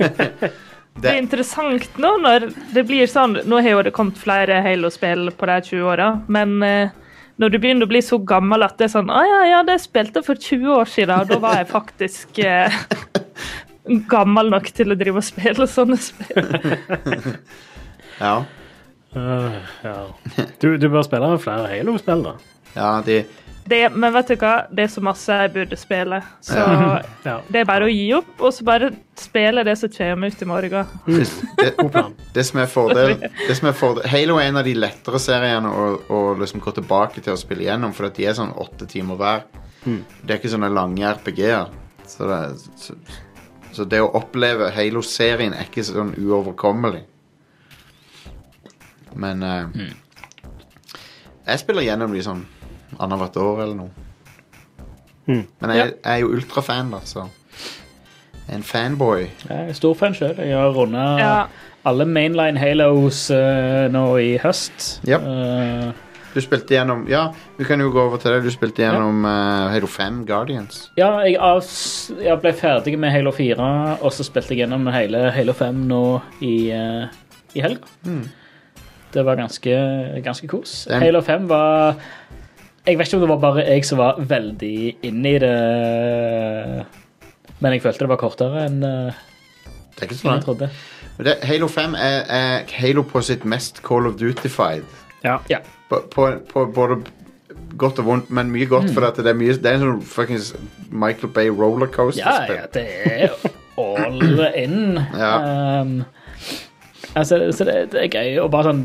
Det er interessant nå når det blir sånn Nå har jo det kommet flere Halo-spill på de 20 åra, men eh, når du begynner å bli så gammel at det er sånn Å ja, ja, det spilte jeg for 20 år siden, og da var jeg faktisk eh, gammel nok til å drive og spille sånne spill. ja. Øh, ja. Du, du bør spille flere Halo-spill, da. ja de, Det, men vet du hva, det er så masse jeg burde spille, så Ja, det er bare å gi opp, og så bare spille det som kommer ut i morgen. det, god plan. det som er fordel, det som er fordel Halo er en av de lettere seriene å, å liksom gå tilbake til å spille gjennom, for at de er sånn åtte timer hver. Det er ikke sånne lange RPG-er. Så, det er- så, så det å oppleve Halo-serien er ikke sånn uoverkommelig. Men eh, jeg spiller gjennom de sånn annethvert år eller noe. Mm. Men jeg, jeg er jo ultrafan, da, så jeg er en fanboy. Jeg er stor fan sjøl. Jeg har runda Ja. alle mainline halos eh, nå i høst. Ja. Eh, Du spilte gjennom Ja, vi kan jo gå over til det. Du spilte gjennom eh, Halo 5 Guardians. ja, jeg, avs- jeg ble ferdig med Halo 4, og så spilte jeg gjennom hele Halo 5 nå i, eh, i helga. Det var ganske, ganske kos. Den- Halo 5 var Jeg vet ikke om det var bare jeg som var veldig inne i det, men jeg følte det var kortere enn eh, Det er ikke enn sånn. jeg trodde. Det, Halo 5 er, er Halo på sitt mest Call of Duty-fied. Ja. Ja. På, på, på både godt og vondt, men mye Mm. godt, for at det er mye Det er en sånn fuckings Michael Bay Ja, rollercoaster-spill. ja, det er all in. Ja. Um, altså, så det, det er gøy å bare sånn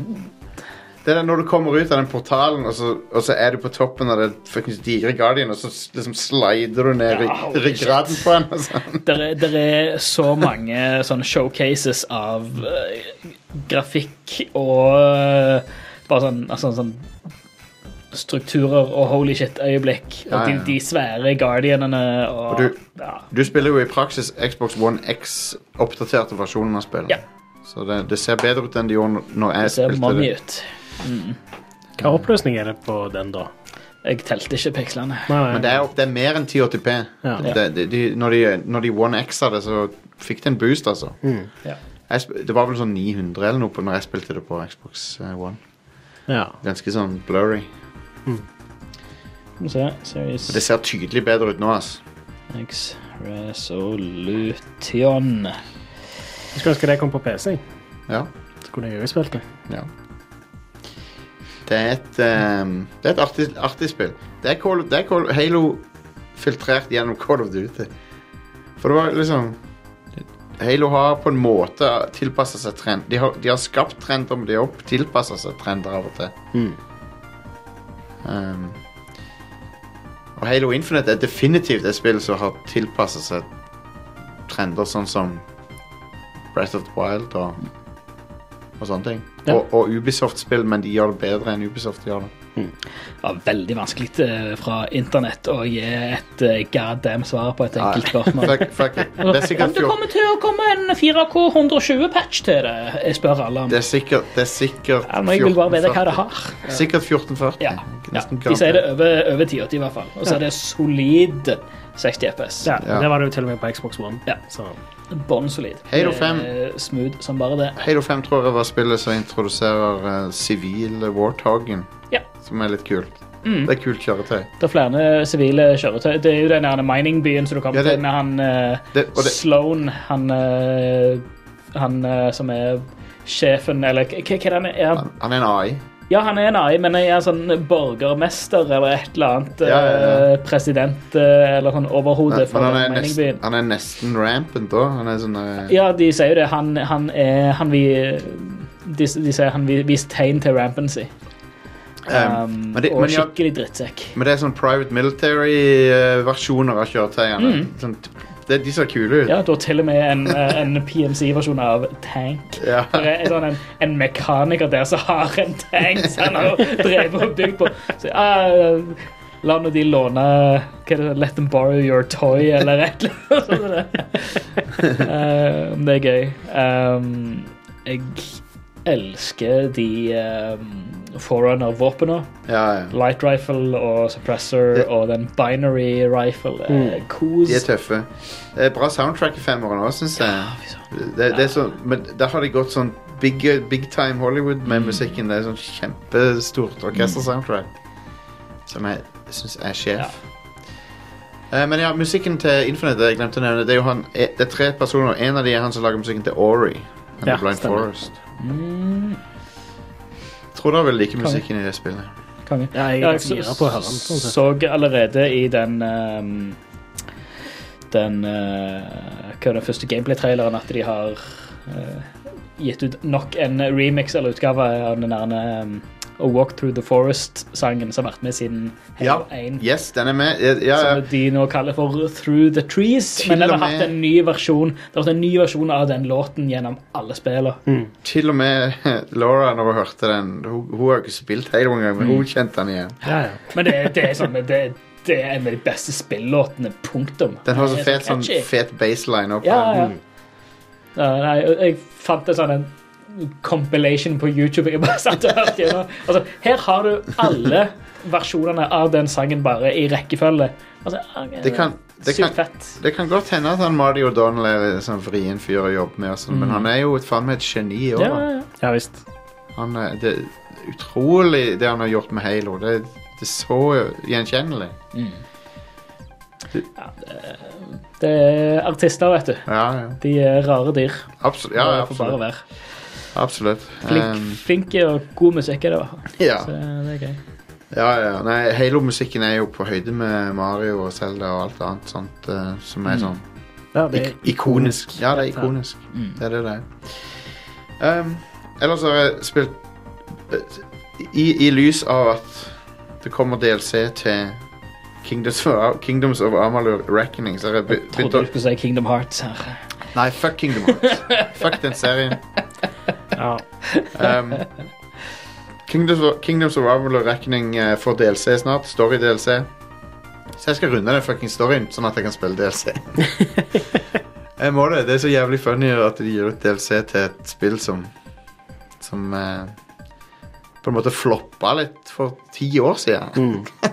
Det er når du kommer ut av den portalen, og så, og så er du på toppen av det fuckings digre Guardian, og så s- liksom slider du ned Ja, i holy ryggraden på den. Og sånn. Der er, der er så mange sånne showcases av eh, grafikk og eh, bare sånn, altså, sånn strukturer og holy shit-øyeblikk. Og Ja, ja, de, ja. de svære guardianene og, Og du- ja. Du spiller jo i praksis Xbox One X-oppdaterte versjonen av spillet. Ja. Så det, det ser bedre ut enn det gjorde når Det jeg ser spilte money det. ut. Hva oppløsning er det på den, da? Jeg telte ikke pikslene. Nei, nei. Men det er, opp- det er mer enn 1080P. Ja. Det, det, de, når, de, når de One X-a det, så fikk det en boost, altså. Ja. Jeg, sp- det var vel sånn 900 eller noe på når jeg spilte det på Xbox eh, One. ja. Ganske sånn blurry. Skal vi se. Series Men det ser tydelig bedre ut nå, altså. ass. X Resolution. Jeg skulle ønske det kom på PC. Ja. Så kunne jeg jo spilt det. ja. Det er et, ehm, det er et artig, artig spill. Det er, Call, det er Call, Halo filtrert gjennom Call of Duty. For det var liksom Halo har på en måte tilpassa seg trend. De har, de har skapt trender, men de har også tilpassa seg trender av og til. Ehm, og Halo Infinite er definitivt et spill som har tilpassa seg trender, sånn som Breath of the Wild og, og sånne ting. Ja. Og, og Ubisoft-spill, men de gjør det bedre enn Ubisoft gjør det. Det var veldig vanskelig eh, fra internett å gi et eh, goddamn svar på et enkelt spørsmål. Fuck, fuck it. Det er sikkert Om det 14 kommer til å komme en 4K 120-patch til det, jeg spør alle om. Det er sikkert, det er sikkert Ja, men jeg vil bare vite hva det har. Sikkert 1440. Ja, ja. Nesten De sier det over, over 1080 i hvert fall. Og så er det solid 60 FPS. Ja, Ja. Det var det jo til og med på Xbox One. Ja. Så Bånn solid. Halo Det er 5. Smooth som bare det. Halo 5 tror jeg var spillet som introduserer eh, sivil Warthogen, Ja. Mm. som er litt kult. Det er kult kjøretøy. Det er flere sivile kjøretøy. Det er jo den der miningbyen som du kom Ja, det- til med han eh, Det, og det, Sloan, han eh, Han eh, som er sjefen, eller hva hva er det han er? er? han- han, han er en AI. Ja, han er en AI, men jeg er sånn borgermester eller et eller annet. Ja, ja, eh, President eh, eller sånn overhode Men for han er, Ah. nesten, miningbyen. han er nesten rampant da. Han er sånn eh, Ja, de sier jo det. Han, han er Han vi de, de sier han vi- viser tegn til rampancy. ehm, Um, men, det, og men, ja, skikkelig drittsekk. men det er sånn private military-versjoner av kjøretøyene. Sånn, det, de ser kule ut. Mm. Ja, du har til og med en, eh, en PMC-versjon av tank. Ja. Det er sånn en, en mekaniker der som har en tank som han har drevet og bygd på. Så, ah, la nå de låne hva er det, Let them borrow your toy, eller et eller annet. sånt som det. Eh, Om det er gøy. Um, jeg elsker de um, Forerunner-våpena. Ja, ja. Light rifle og suppressor Ja. Mm. og den binary rifle. eh, Kos. De er tøffe. Det er bra soundtrack i femmeren òg, syns jeg. fy søren. Det, det er sånn, men der har de gått sånn big, big time Hollywood med musikken. Det er sånn kjempestort orkester-soundtrack. Som jeg syns er sjef. Eh, Ja. men ja, musikken til Infinite jeg glemte å nevne. Det er jo han, eh, det er tre personer. En av de er han som lager musikken til Ori. Han Ja, er Blind stemmer. Forest. Tror dere vil like musikken i det spillet. Konge. ja, jeg Ja, er jeg ganske gira så- på å høre den. Sånn sett. så allerede i den ehm, Den eh, Hva er den første gameplay-traileren at de har eh, gitt ut nok en remix eller utgave av den der ehm, A Walk Through the Forest-sangen som har vært med siden Ja. Halo 1. Yes, den er med. Ja, ja, ja. Som de nå kaller for Through the Trees. Til Men den og har hatt med- en ny versjon Det har vært en ny versjon av den låten gjennom alle spillene. Mm. Til og med Laura, når hun hørte den Hun, hun har jo ikke spilt Halo engang, men Mm. hun kjente den igjen. Ja, ja. Men det, det, er sånn, det, det er en av de beste spillåtene. Punktum. Den har så Det er fet, sånn catchy. fet baseline opp. Ja, ja. ja nei, jeg fant en sånn en compilation på YouTube. Jeg bare satt og hørte gjennom. Altså, her har du alle versjonene av den sangen bare i rekkefølge. Altså, ok, Det kan- det sykt kan- fett. Det kan godt hende at han Marty O'Donnell er en sånn vrien fyr å jobbe med, og sånn, men han er jo et, faen meg et geni òg. Mm. Ja, ja, ja. ja visst. Han er- Det er utrolig det han har gjort med Halo. Det, det er så gjenkjennelig. Mm. Det er artister, vet du. Ja, ja. De er rare dyr. Absolutt. Ja, Det får bare absolutt. være. absolutt. Flink, Um, flink og god musikk er det. i hvert fall. ja. Så det er gøy. ja, ja. Nei, Halo-musikken er jo på høyde med Mario og Zelda og alt annet sånt eh, som Mm. er sånn Ja, det Ik ikonisk. Ja, det er ikonisk. Det er det det er. Um, ellers har jeg spilt i, I lys av at det kommer DLC til Kingdoms of, Kingdoms of Amalur Reckoning, så har jeg be- begynt Trodde å du skulle si Kingdom Hearts her. Nei, fuck Kingdom Hearts. fuck den serien. Ja. Um, Kingdoms, Kingdoms Arrival og Reckoning eh, får DLC snart. Story-DLC. Så jeg skal runde den fucking storyen, sånn at jeg kan spille DLC. jeg må det. Det er så jævlig funny at de gir ut DLC til et spill som Som eh, på en måte floppa litt for ti år siden.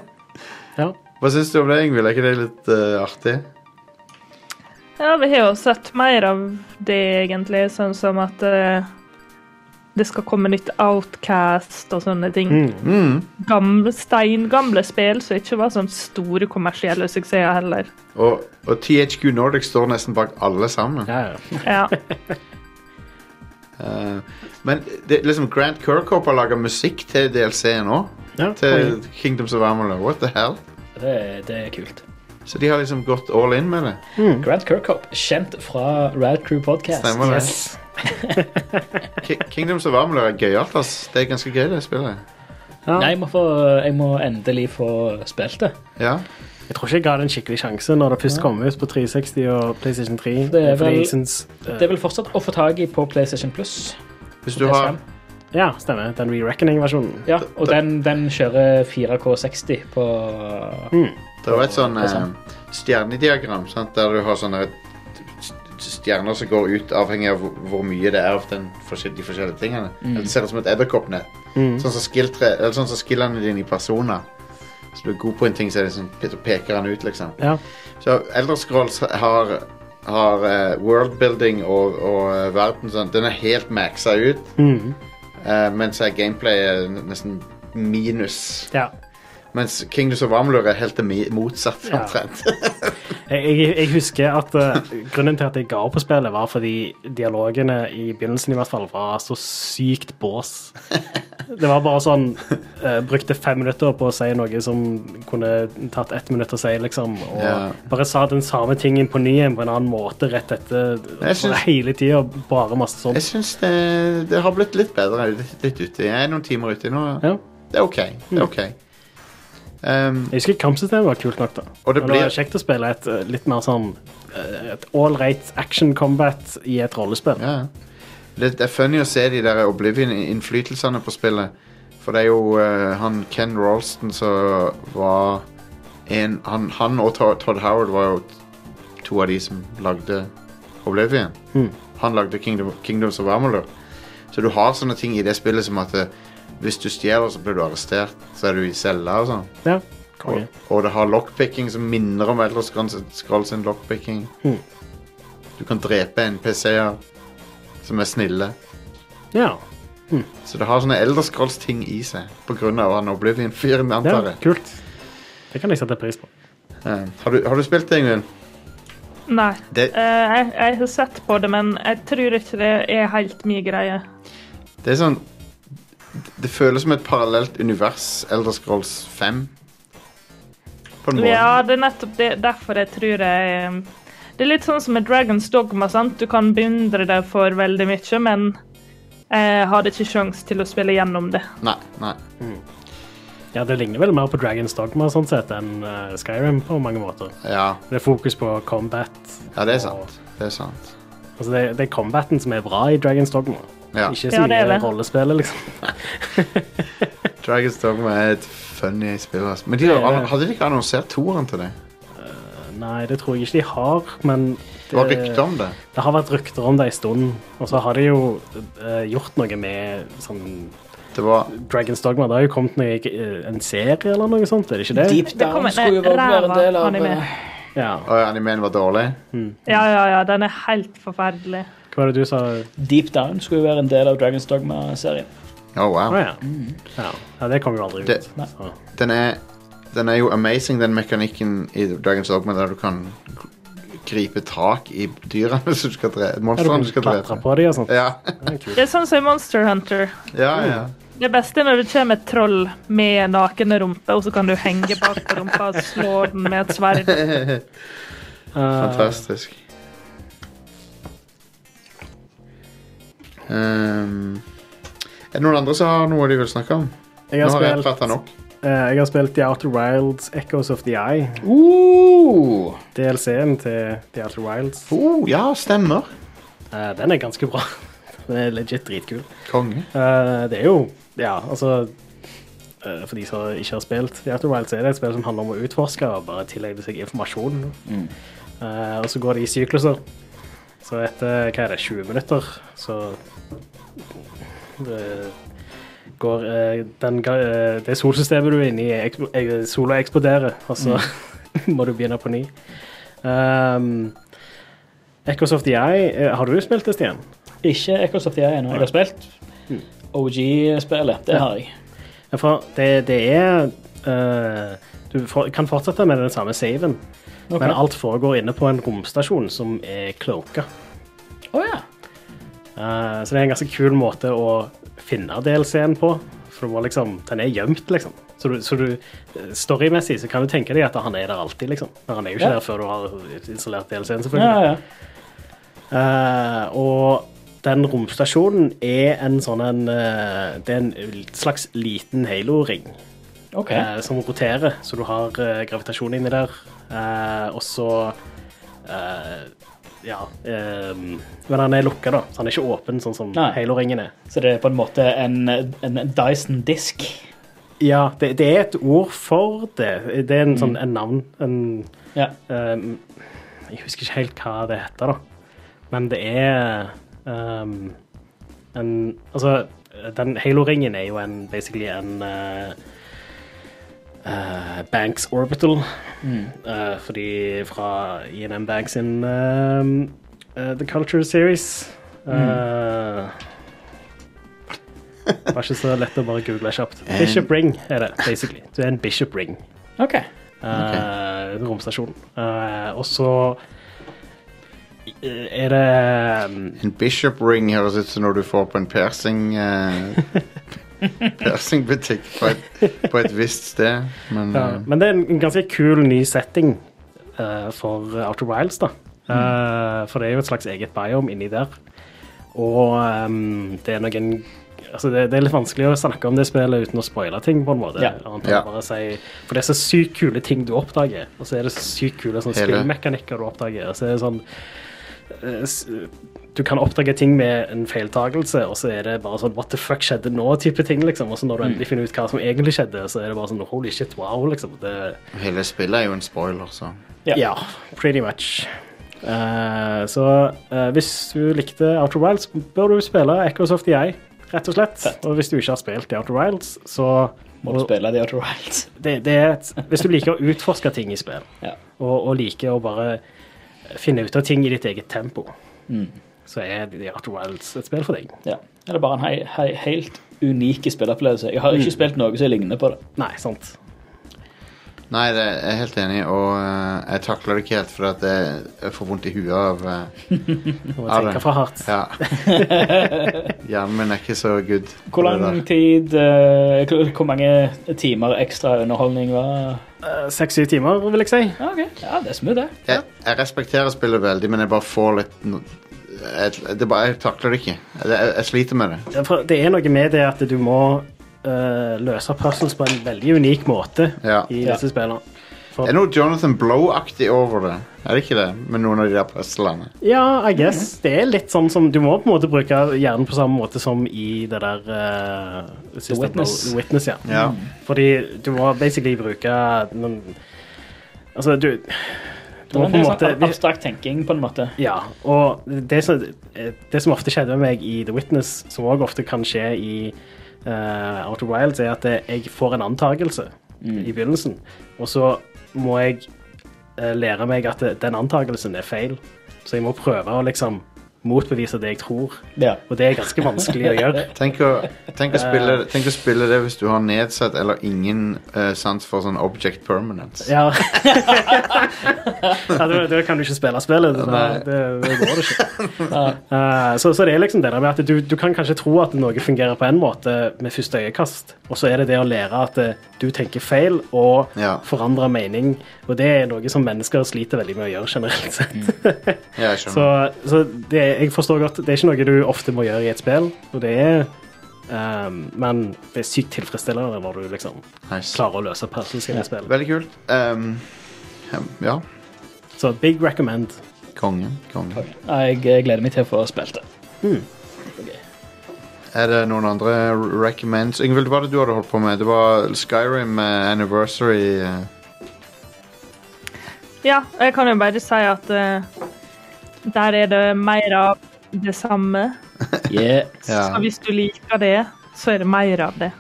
Ja. Hva syns du om det, Ingvild? Er ikke det litt eh, artig? Ja, vi har jo sett mer av det, egentlig. Sånn som at eh, det skal komme nytt Outcast og sånne ting. Gamle, steingamle spill som ikke var sånn store kommersielle suksesser heller. Og, og THQ Nordic står nesten bak alle sammen. Ja, ja. Ja. Eh, men det, liksom Grant Kirkhope har laga musikk til DLC-en òg. ja. Til konge. Kingdoms of Amalur. What the hell? Det, er- det er kult. Så de har liksom gått all in med det. Grant Kirkhope, kjent fra Rad Crew Podcast. Stemmer det. Yes. Ki- Kingdoms of Amalur er gøyalt, ass. Det er ganske gøy, det spillet. Ja. Nei, jeg må, få, jeg må endelig få spilt det. Ja. Jeg tror ikke jeg ga det en skikkelig sjanse når det først kom ut på 360 og PlayStation 3. Det er fordi vel- jeg synes, eh, Det er vel fortsatt å få tak i på PlayStation Plus. Hvis du har eh, Ja, stemmer. Den Re-Reckoning-versjonen. Ja, og den, den kjører 4K60 på Mm. Det var et sånn Det er sant. eh, stjernediagram, sant? der du har sånne st- stjerner som går ut avhengig av hvor- hvor mye det er av den, forskjell- de forskjellige tingene. Mm. Det ser ut som et edderkoppnett. Sånn som skilltre- eller sånn som skillene dine i personer. Så du er god på en ting, så, er det sånn, så peker han ut, liksom. Ja. Så Elder Scrolls har, har eh, worldbuilding og, og eh, verden sånn. Den er helt maxa ut, Mhm. eh, mens eh, gameplay er n- nesten minus. ja. Mens Kingdoms of Amalur er helt det mi- motsatt, Ja. omtrent. Jeg, jeg, jeg husker at eh, grunnen til at jeg ga opp å spille, var fordi dialogene i begynnelsen i hvert fall var så sykt bås. Det var bare sånn eh, Brukte fem minutter på å si noe som kunne tatt ett minutt å si, liksom. Og Ja. bare sa den samme tingen på ny igjen på en annen måte rett etter. Jeg syns- Hele tida bare masse sånn. sånt. Jeg syns det, det har blitt litt bedre. Litt, litt ute. Jeg er noen timer ute nå. Ja. Det er OK. Det er ok um, Jeg husker kampsystemet var kult nok, da. Og det Men det blir- var kjekt å spille et eh, litt mer sånn eh, et all right action combat i et rollespill. ja. det, det er funny å se de der Oblivion-innflytelsene på spillet. For det er jo eh, han Ken Ralston som var en Han, han og Todd Todd Howard var jo to av de som lagde Oblivion. Han lagde Kingdom, Kingdoms of Amalur. Så du har sånne ting i det spillet som at eh, hvis du stjeler, så blir du arrestert. Så er du i cella og sånn. Ja. Og, Konge. og det har lockpicking som minner om Elder Scrolls- Scrolls sin lockpicking. Hmm. Du kan drepe NPC-er som er snille. Ja. Så det har sånne Elder Scrolls-ting i seg pga. han Oblivion-fyren, ja, antar jeg. kult. Det kan jeg sette pris på. Eh, Har, du, har du spilt det, Ingvild? Nei. Det- Eh, jeg, jeg har sett på det, men jeg tror ikke det er helt min greie. Det er sånn Det føles som et parallelt univers, Elder Scrolls 5. På en måte. Ja, det er nettopp det, derfor jeg tror jeg eh, Det er litt sånn som med Dragons Dogma. sant? Du kan beundre det for veldig mye, men jeg hadde ikke sjanse til å spille gjennom det. Nei, nei. Ja, Det ligner vel mer på Dragons Dogma sånn sett enn eh, Skyrim på mange måter. Ja, Det er fokus på combat. ja det er sant. Det er sant. Altså, det, det er combaten som er bra i Dragons Dogma. Ja. Ikke Ja, så det mye er det. rollespillet, liksom. Dragons Dogma er et funny spill. ass. Men de, Det er det. hadde de ikke annonsert toeren til det? Nei, det tror jeg ikke de har, men Det var rykter om det. Det har vært rykter om det en stund, og så har de jo eh, gjort noe med sånn Det var Dragons Dogma. Det har jo kommet noe, eh, en serie eller noe sånt, er det ikke det? Deep Det kommer Down skulle jo en være være en del av ræva-anime. eh, Ja. Å, ja, animeen var dårlig? Ja, ja, ja, den er helt forferdelig. Hva var det du sa? Deep Down skulle jo være en del av Dragons Dogma-serien. Å, Å Oh, wow. ja. ja. Ja, det kom jo aldri ut. Det- Nei. Så. Den er, den er jo amazing, den mekanikken i Dragons Dogma der du kan gripe tak i dyrene som du skal drepe. Ja, du Monstrene kan du skal Sånn klatre drepe. på dem og sånt. Ja, Det er kult. Det er sånn som i Monster Hunter. ja. Mm. ja. Det beste er når det kommer et troll med nakne rumpe, og så kan du henge bak på rumpa og slå den med et sverd. Fantastisk. Ehm, er det noen andre som har noe de vil snakke om? Jeg Nå har har jeg spilt, prata nok. eh, jeg har spilt The Outer Wilds Echoes of the Eye, Uh, DLC-en til The Outer Wilds. Oh, Uh, ja, stemmer. Eh, den er ganske bra. Den er legit dritkul. Konge. Eh, det er jo Ja, altså eh, For de som ikke har spilt The Outer Wilds, er det et spill som handler om å utforske og bare tilegne seg informasjon. Eh, og så går det i sykluser. Så etter hva er det, 20 minutter, så eh, går eh, den, ga- eh, det solsystemet du er inne i, ekspl eh, sola eksploderer, og så må du begynne på ny. Um, Echoes of the Eye, eh, har du spilt det, Stian? Ikke Echoes of the Eye ennå. Jeg har spilt Mm. OG-spillet. Det har jeg. Ja, For det, det er eh, Du for, kan fortsette med den samme saven, Ok. men alt foregår inne på en romstasjon som er cloaka. Å ja. Eh, så det er en ganske kul måte å finne DLC-en på. For du må liksom, den er gjemt, liksom. Så, du, så du, eh, storymessig så kan du tenke deg at han er der alltid, liksom. Men han er jo ikke Ja. der før du har installert DLC-en, ja, selvfølgelig. ja. Eh, og den romstasjonen er en sånn en eh, Det er en slags liten halo-ring. OK. eh, som roterer, så du har eh, gravitasjon inni der. Eh, og så eh, Ja. eh, men han er lukka, da, så han er ikke åpen, sånn som Nei. Halo-ringen er. Så det er på en måte en, en Dyson-disk. Ja, det, det er et ord for det. Det er en sånn en navn en, Ja. ehm, Jeg husker ikke helt hva det heter, da. Men det er ehm, en Altså, den Halo-ringen er jo en basically en eh, eh, Banks Orbital. Eh, fordi fra INM Banks sin ehm, eh, The Culture Series Eh, det var ikke så lett å bare google kjapt. Bishop Ring er det, basically. Du er en Bishop Ring. OK. eh, Romstasjon. Eh, og så eh, er det mm, En bishop ring høres ut som når du får på en piercing eh, Piercingbutikk på, et- på et visst sted. Men ja, Mm. eh, Men det er en ganske kul ny setting eh, for Outer Wilds, da. Mm. Eh, for det er jo et slags eget biome inni der. Og ehm, det er noen Altså det, det er litt vanskelig å snakke om det spillet uten å spoile ting, på en måte. Ja. Annet enn Ja. å Bare si, for det er så sykt kule ting du oppdager, og så er det så sykt kule sånn Hele- spillmekanikker du oppdager. Og så er det sånn eh, s- Du kan oppdage ting med en feiltagelse, og så er det bare sånn What the fuck skjedde nå?-type ting, liksom. Og så Mm. når du endelig finner ut hva som egentlig skjedde, så er det bare sånn Holy shit, wow, liksom. Det, hele spillet er jo en spoiler, så Ja. ja, pretty much. Eh, så eh, hvis du likte Outer Wilds, bør du spille Echoes of the Eye, rett og slett. Fett. Og hvis du ikke har spilt i Outer Wilds, så Må du spille The Outer Wilds. det, det er et, Hvis du liker å utforske ting i spill, Ja. og, og liker å bare finne ut av ting i ditt eget tempo, så er The Outer Wilds et spill for deg. ja. Det er bare en hei, hei, helt unik spilleopplevelse. Jeg har ikke spilt noe som ligner på det. Nei, sant. Nei, det jeg er helt enig, og eh, jeg takler det ikke helt fordi at jeg, jeg får vondt i huet av eh, Du må Ja, det- tenke fra hardt. Ja. Hjernen min er ikke så good. Hvor lang tid eh, Hvor hvor mange timer ekstra underholdning var Eh, Seks-syv timer, vil jeg si. Ja, OK. Ja, det er smooth, det. Jeg, jeg respekterer spillet veldig, men jeg bare får litt no- jeg, det er bare, jeg takler det ikke. Jeg, jeg, jeg sliter med det. Ja, for Det er noe med det at du må eh, løse puzzles på en veldig unik måte Ja. i Ja. disse spillene. Det er noe Jonathan Blow-aktig over det. Er det ikke det? Med noen av de der puzzlene. Ja, I guess. Det er litt sånn som Du må på en måte bruke hjernen på samme måte som i det der eh, siste Witness. Bro- Witness ja. Ja. Fordi du må basically bruke noen Altså, du Det var på en en del måte- sånn abstrakt tenking, på en måte. Ja, og det som, eh, det som ofte skjedde med meg i The Witness, som også ofte kan skje i eh, Outer Wilds, er at jeg får en antagelse Mm. i begynnelsen, og så må jeg eh, lære meg at den antagelsen er feil. Så jeg må prøve å liksom motbevise det jeg tror, Ja. og det er ganske vanskelig å gjøre. Tenk å, tenk, å Eh. spille, tenk å spille det hvis du har nedsatt eller ingen eh, sans for sånn object permanence. Ja, ja da, da kan du ikke spille spillet. Da, Nei. det, det går det ikke. Eh, så, så det er liksom det der med at du, du kan kanskje tro at noe fungerer på en måte med første øyekast, og så er det det å lære at eh, du tenker feil og Ja. forandrer mening, og det er noe som mennesker sliter veldig med å gjøre generelt sett. Ja, jeg Så, skjønner. så det, jeg forstår godt, det er ikke noe du ofte må gjøre i et spill, og det er ehm, men det er sykt tilfredsstillende når du liksom Nice. klarer å løse puzzles i et spill. Veldig kult. Ehm, ja. Så big recommend. Konge. Konge. Jeg eh, gleder meg til å få spilt det. Ok. Er det noen andre recommends? Yngvild, hva var det du hadde holdt på med? Det var Skyrim eh, Anniversary. eh. Ja, og jeg kan jo bare si at eh, der er det mer av det samme. Yeah. Ja. Så hvis du liker det, så er det mer av det.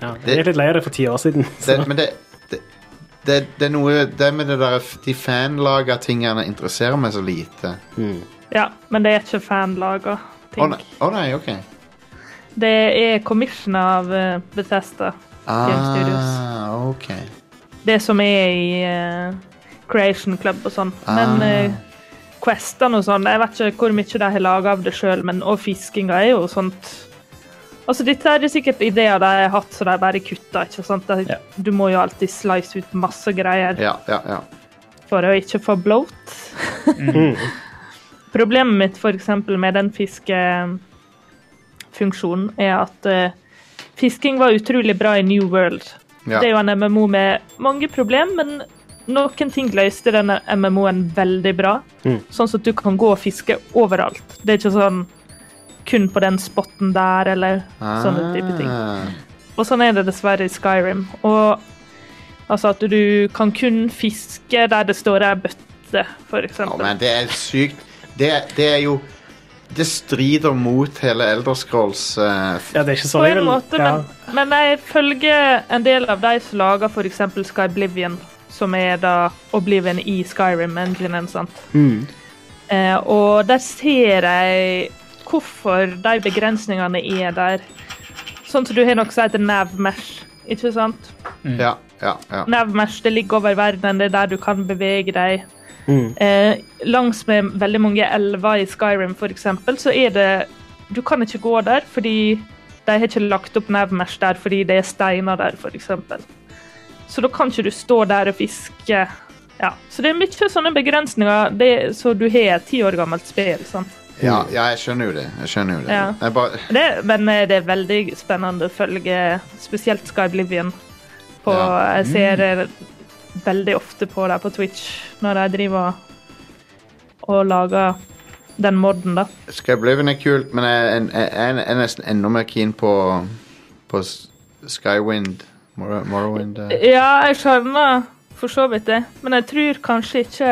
Ja, jeg er litt lei av det for ti år siden. Det, men det, det, det, det er noe Det med det der f- De fanlaga tingene interesserer meg så lite. Ja, men det er ikke fanlaga Å ting. nei, å nei, ok. det er commission av eh, Bethesda. Game Studios. Ah, ok. Det som er i eh, Creation Club og sånn. Men Ah. eh, questene og sånn, jeg vet ikke hvor mye de har laga av det sjøl, men og fiskinga er jo sånt Altså, dette er det sikkert ideer de har hatt, så de bare kutter, ikke sant? De, Ja. Du må jo alltid slice ut masse greier. Ja, ja, ja. for å ikke få bloat. Mm. Problemet mitt for eksempel med den fiskefunksjonen er at eh, fisking var utrolig bra i New World. Ja. Det er jo en MMO med mange problem, men noen ting løste denne MMO-en veldig bra. Sånn at du kan gå og fiske overalt. Det er ikke sånn kun på den spotten der, eller Ah. sånne sånn type ting. Og sånn er det dessverre i Skyrim. Og altså at du kan kun fiske der det står ei bøtte, for Å, eksempel. men det er sykt. Det, det er jo Det strider mot hele Elderscrolls uh, Ja, det er ikke på sånn jeg en vil måte, ja. men, men jeg følger en del av de som lager f.eks. Skyblivion, som er da Oblivion i Skyrim-enginen. sant? Eh, og der ser jeg hvorfor de begrensningene er der. Sånn som du har noe som heter navmesh, ikke sant? Ja, ja, ja. Nevmesh, det ligger over verden, det er der du kan bevege deg. Eh, langs med veldig mange elver i Skyrim for eksempel, så er det Du kan ikke gå der fordi de har ikke lagt opp Nevmesh der fordi det er steiner der, for eksempel. Så da kan ikke du stå der og fiske. Ja, Så det er mye sånne begrensninger. Det, så du har et ti år gammelt spill. sant? ja, ja jeg skjønner jo det. Jeg skjønner jo det. Ja. Jeg bare, Det, men eh, det er veldig spennende å følge spesielt Skyblivion. På, Ja. Mm. Jeg ser eh, veldig ofte på dem på Twitch når de driver og lager den modden, da. Skybliven er kult, men jeg, jeg, jeg, jeg er nesten enda mer keen på, på S- Skywind. Morrow- Morrowind. eh. Ja, jeg skjønner for så vidt det, men jeg tror kanskje ikke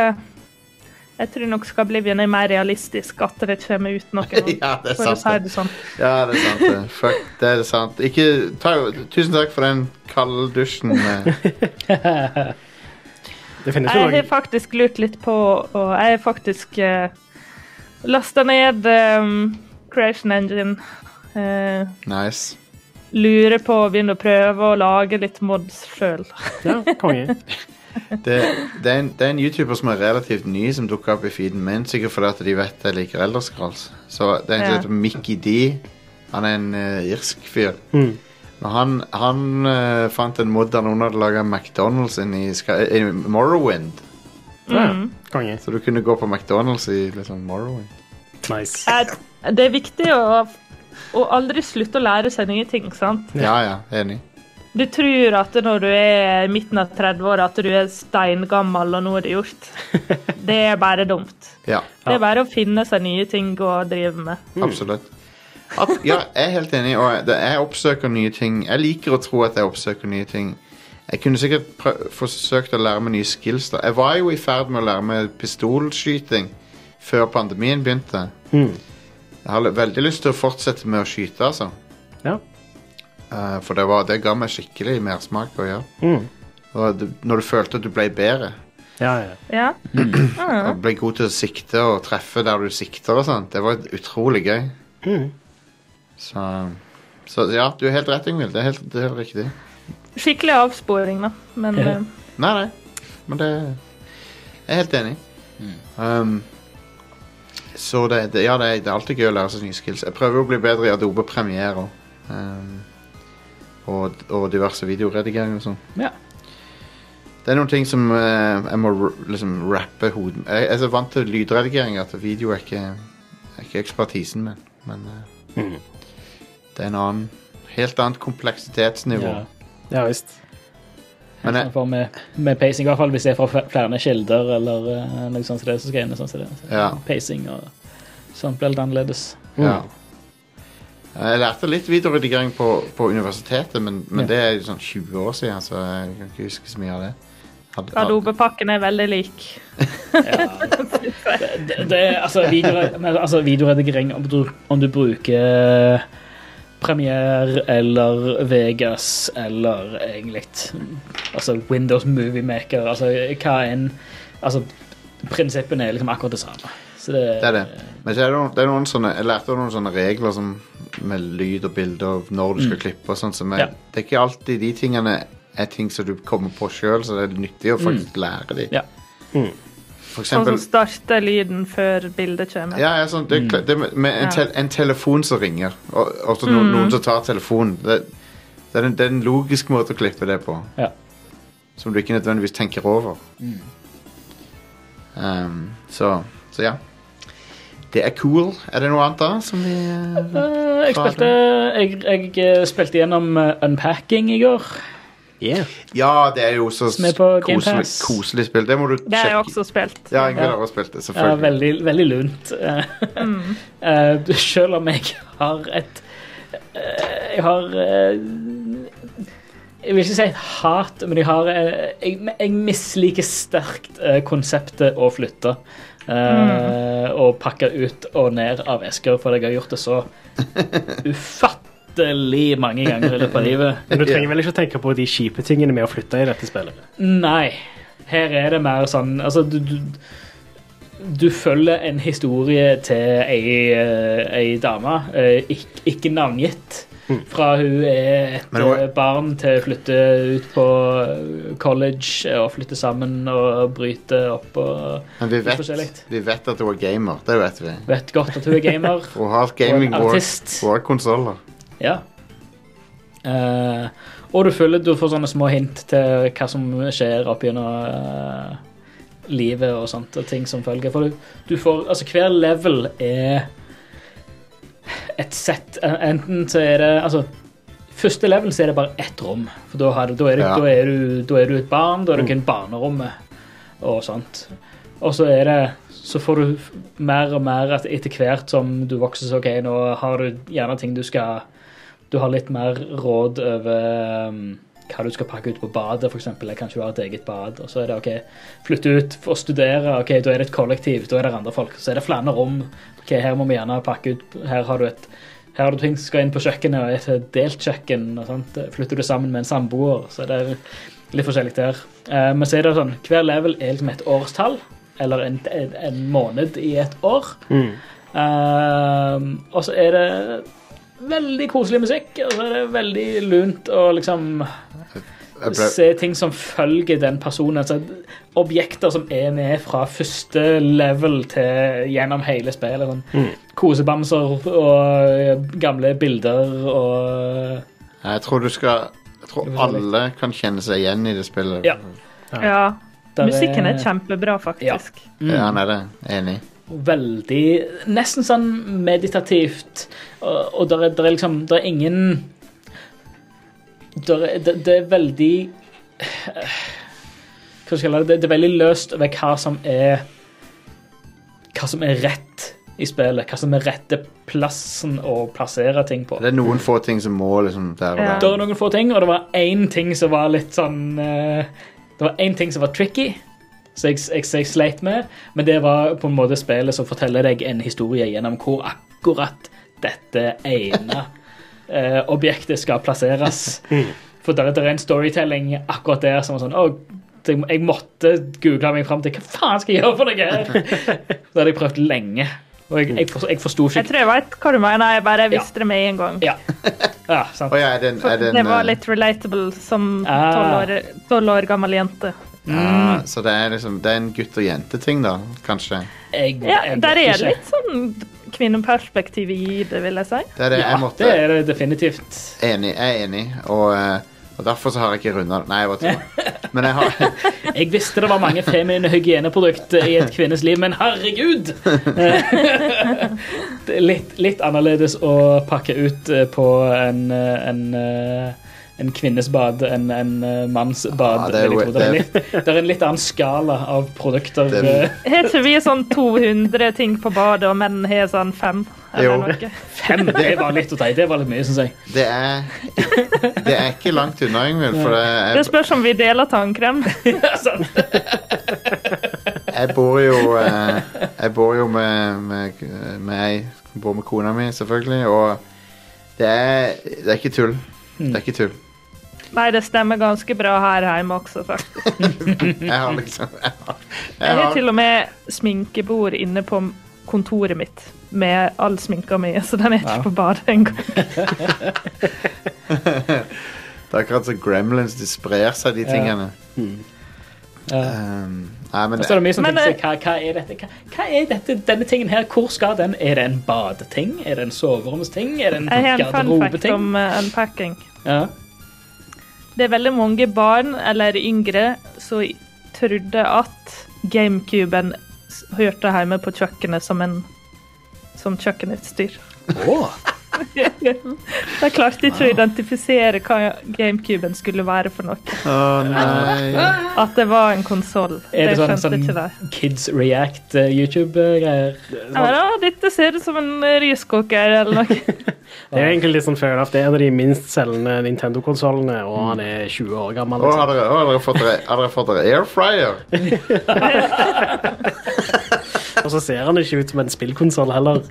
jeg tror nok Skyblivion er mer realistisk, at det kommer ut noe. Ja, det er for å sant, si det. det sånn. Ja, det er sant. Det. Fuck, det er sant. Ikke, ta, tusen takk for den kalde dusjen. eh. Det finnes jo Jeg har noe. faktisk lurt litt på, og jeg har faktisk uh, lasta ned ehm, Creation Engine. Eh, Nice. lurer på å begynne å prøve å lage litt mods sjøl. Ja, konge. Det, det, er en, det er en YouTuber som er relativt ny, som dukker opp i feeden min. Sikkert fordi at de vet jeg liker Elderscrolls. Så det er en som Ja. heter Mickey D. Han er en eh, irsk fyr. Mm. Og han, han eh, fant en mod der noen hadde laga McDonald's inni Sky, i Morrowind. Ja, Mm. konge. Så du kunne gå på McDonald's i liksom Morrowind. Nice. Det er viktig å, å aldri slutte å lære seg nye ting, sant? Ja ja, enig. Du tror at når du er i midten av 30-åra at du er steingammel, og nå er det gjort. Det er bare dumt. Ja, Det er bare å finne seg nye ting å drive med. absolutt. At, ja, jeg er helt enig, og jeg, det- jeg oppsøker nye ting. Jeg liker å tro at jeg oppsøker nye ting. Jeg kunne sikkert prø- forsøkt å lære meg nye skills. Da. Jeg var jo i ferd med å lære meg pistolskyting før pandemien begynte. Jeg har veldig lyst til å fortsette med å skyte, altså. Ja. Eh, for det, var, det ga meg skikkelig mersmak å gjøre. Og det, når du følte at du ble bedre. Ja, ja. Ja. Og ble god til å sikte og treffe der du sikter og sånt. Det var utrolig gøy. Så, så ja, du er helt rett, Ingvild. Det er helt, det er helt riktig. Skikkelig avsporing, da. Men Ja. eh, Nei, nei. Men det Jeg er helt enig. Mm. Um, så det, det Ja, det er, det er alltid gøy å lære seg nye skills. Jeg prøver å bli bedre i Adobe Premiere også. um, og, og diverse videoredigeringer og sånn. Ja. Det er noen ting som eh, jeg må r- liksom rappe hodet med. Jeg jeg er så vant til lydredigering at video er ikke, er ikke ekspertisen min. Men eh, Mm. det er en annen Helt annet kompleksitetsnivå. Ja. ja visst. Men jeg, Sånn for med, med pacing, i hvert fall hvis det er fra fl- flere kilder eller eh, noe sånt som det, så skal jeg inn i sånn som det. Så Ja. Mm. Pacing og sånt blir litt annerledes. Ja. Jeg lærte litt videoredigering på, på universitetet, men, men det er jo sånn 20 år siden, så jeg kan ikke huske så mye av det. Hadde- Garderobepakken er veldig lik. Det, det, altså, videore- men, altså, videoredigering om du, om du bruker eh, Premiere eller Vegas eller egentlig altså Windows Movie Maker altså hva enn altså prinsippene er liksom akkurat det samme så det, Det er det. Men så er det, noen, det er noen sånne, jeg lærte om noen sånne regler som, med lyd og bilde og når du Mm. skal klippe og sånn. som er- Ja. Det er ikke alltid de tingene er ting som du kommer på sjøl, så det er nyttig å faktisk lære de. Ja. For Mm. Sånn eksempel som starter lyden før bildet kommer. ja, ja, sånn, det, er kla- det med, med en, Ja. Mm. tel, en telefon som ringer, og, og så noen, noen som tar telefonen det, det, er en, det er en logisk måte å klippe det på. Ja. Som du ikke nødvendigvis tenker over. Um, så, så ja. Det er cool. Er det noe annet da som vi eh, Eh, jeg Fader. spilte, jeg, jeg spilte gjennom eh, Unpacking i går Yeah. Ja, det er jo så Som er på Game koselig, Pass. koselig spill. Det må du Det har jeg sjekke. også spilt. Ja, Ingvild Ja. har også spilt det, Ja, selvfølgelig. veldig, veldig lunt. Eh, eh, Selv om jeg har et eh, Jeg har eh, Jeg vil ikke si et hat, men jeg har eh, Jeg, jeg misliker sterkt eh, konseptet å flytte. eh, Og pakke ut og ned av esker, for jeg har gjort det så ufattelig mange ganger i løpet av livet. Men du trenger vel ikke å tenke på de kjipe tingene med å flytte i dette spillet? Nei. Her er det mer sånn Altså, du, du, du følger en historie til ei, eh, ei dame, eh, ikke, ikke navngitt, fra hun er et Mm. Men hun er- eh, barn til flytter ut på eh, college og flytter sammen og bryter opp og Men vi Litt vet, forskjellig. vi vet at hun er gamer. Det vet vi. vet godt at hun er gamer. Hun har gaming Og en artist. og konsoller. Ja. Eh, og du føler du får sånne små hint til hva som skjer opp gjennom eh, livet og sånt, og ting som følger. For du, du får Altså, hver level er et sett Eh, Enten så er det Altså, første level så er det bare ett rom. For da, har du, da, er, du, Ja. da, er, du, da er du et barn, da er du ikke en barnerommet og sånt. Og så er det Så får du f- mer og mer at etter hvert som du vokser, så OK, nå har du gjerne ting du skal Du har litt mer råd over um, hva du skal pakke ut på badet, f.eks. Kanskje du har et eget bad. Og så er det OK, flytte ut og studere. OK, da er det et kollektiv. Da er det andre folk. Så er det flere rom. OK, her må vi gjerne pakke ut Her har du et her har du ting som skal inn på kjøkkenet, og et delt kjøkken. og sånt. Flytter du sammen med en samboer, så det er litt forskjellig der. Eh, Men så er det sånn, hver level er liksom et årstall, eller en, en, en måned i et år. Eh, og så er det veldig koselig musikk, og så er det veldig lunt og liksom Jeg ble, se ting som følger den personen. Altså, objekter som er med fra første level til gjennom hele spillet. Sånn. Mm. Kosebamser og gamle bilder og jeg tror du skal Jeg tror alle kan kjenne seg igjen i det spillet. Ja. Ja. Der Musikken er kjempebra, Ja. faktisk. Ja, han er det. Enig. veldig Nesten sånn meditativt. Og, og der, er, der er liksom Der er ingen der er, det, det er veldig Hva skal jeg kalle det? Det er veldig løst over hva som er Hva som er rett i spillet. Hva som er rette plassen å plassere ting på. Det er noen få ting som må liksom der Ja. og Det var der. noen få ting, og det var én ting som var litt sånn eh, Det var én ting som var tricky, som jeg, jeg, som jeg sleit med, men det var på en måte spillet som forteller deg en historie gjennom hvor akkurat dette ene eh, objektet skal plasseres. Mm. For der, der er en storytelling akkurat der som er sånn «Å, det- jeg måtte google meg fram til hva faen skal jeg gjøre for noe her? Det hadde jeg prøvd lenge, og jeg, jeg, forstod, jeg forsto Jeg ikke tror jeg vet hva du mener, jeg bare visste det med en gang. Ja. ja, sant. Å ja, er det en, er det en Det var eh, litt relatable som Ah. tolv år, 12 år gammel jente. ah, Mm. Så det er liksom Det er en gutt- og jenteting, da, kanskje. Jeg, Ja, jeg der vet er ikke. det litt sånn kvinneperspektiv i det, vil jeg si. Det er det Ja, jeg måtte det er det definitivt. Enig, jeg er enig, og, eh, og derfor så har jeg ikke runda Nei, jeg bare tuller. Men jeg har, Jeg visste det var mange feminine hygieneprodukter i et kvinnes liv, men herregud! Det er litt, litt annerledes å pakke ut eh, på en, eh, en eh, en kvinnes bad enn en eh, manns bad. Ah, det er vil jeg jo- tro. det, er en litt, det er en litt annen skala av produkter. Det er- eh, Har ikke vi sånn 200 ting på badet, og menn har sånn fem? Jo. Eller noe? Fem, det var litt å ta i. Det var litt mye, syns jeg. Det er, det er ikke langt unna, Ingvild, for Det jeg, spørs om vi deler tannkrem. Sånn. jeg bor jo eh, Jeg bor jo med, med, med ei Bor med kona mi, selvfølgelig, og det er, det er ikke tull. Det Mm. er ikke tull. Nei, det stemmer ganske bra her hjemme også, faktisk. Jeg har liksom Jeg har, jeg Jeg har har, til og med sminkebord inne på kontoret mitt med all sminka mi, så den er ikke Ja. på badet engang. det er akkurat som gremlins. De sprer seg, de tingene. Ja. Um, nei, men Og så er det mye som Men, tenker seg, hva, hva er dette? Hva, hva er dette, denne tingen her? Hvor skal den? Er det en badeting? Er det en soveromsting? Er det en Jeg har en fun fact garderobeting? om eh, unpacking. Ja. Det er veldig mange barn, eller yngre, som trodde at GameCuben s- hørte hjemme på kjøkkenet som en som kjøkkenutstyr. Åh. De klarte ikke å identifisere hva GameCuben skulle være for noe. Å nei. At det var en konsoll. Er Det det sånn, skjønte sånn ikke de. Kids React eh, YouTube-greier? Ja, men, «Å, dette ser ut som en eh, riskoker eller noe. Det er egentlig litt sånn fair enough. Det er en av de minst selgende Nintendo-konsollene, og han er 20 år gammel. Å, Liksom. har dere, å, har dere fått dere, har dere fått dere air fryer? Og så ser han ikke ut som en spillkonsoll heller.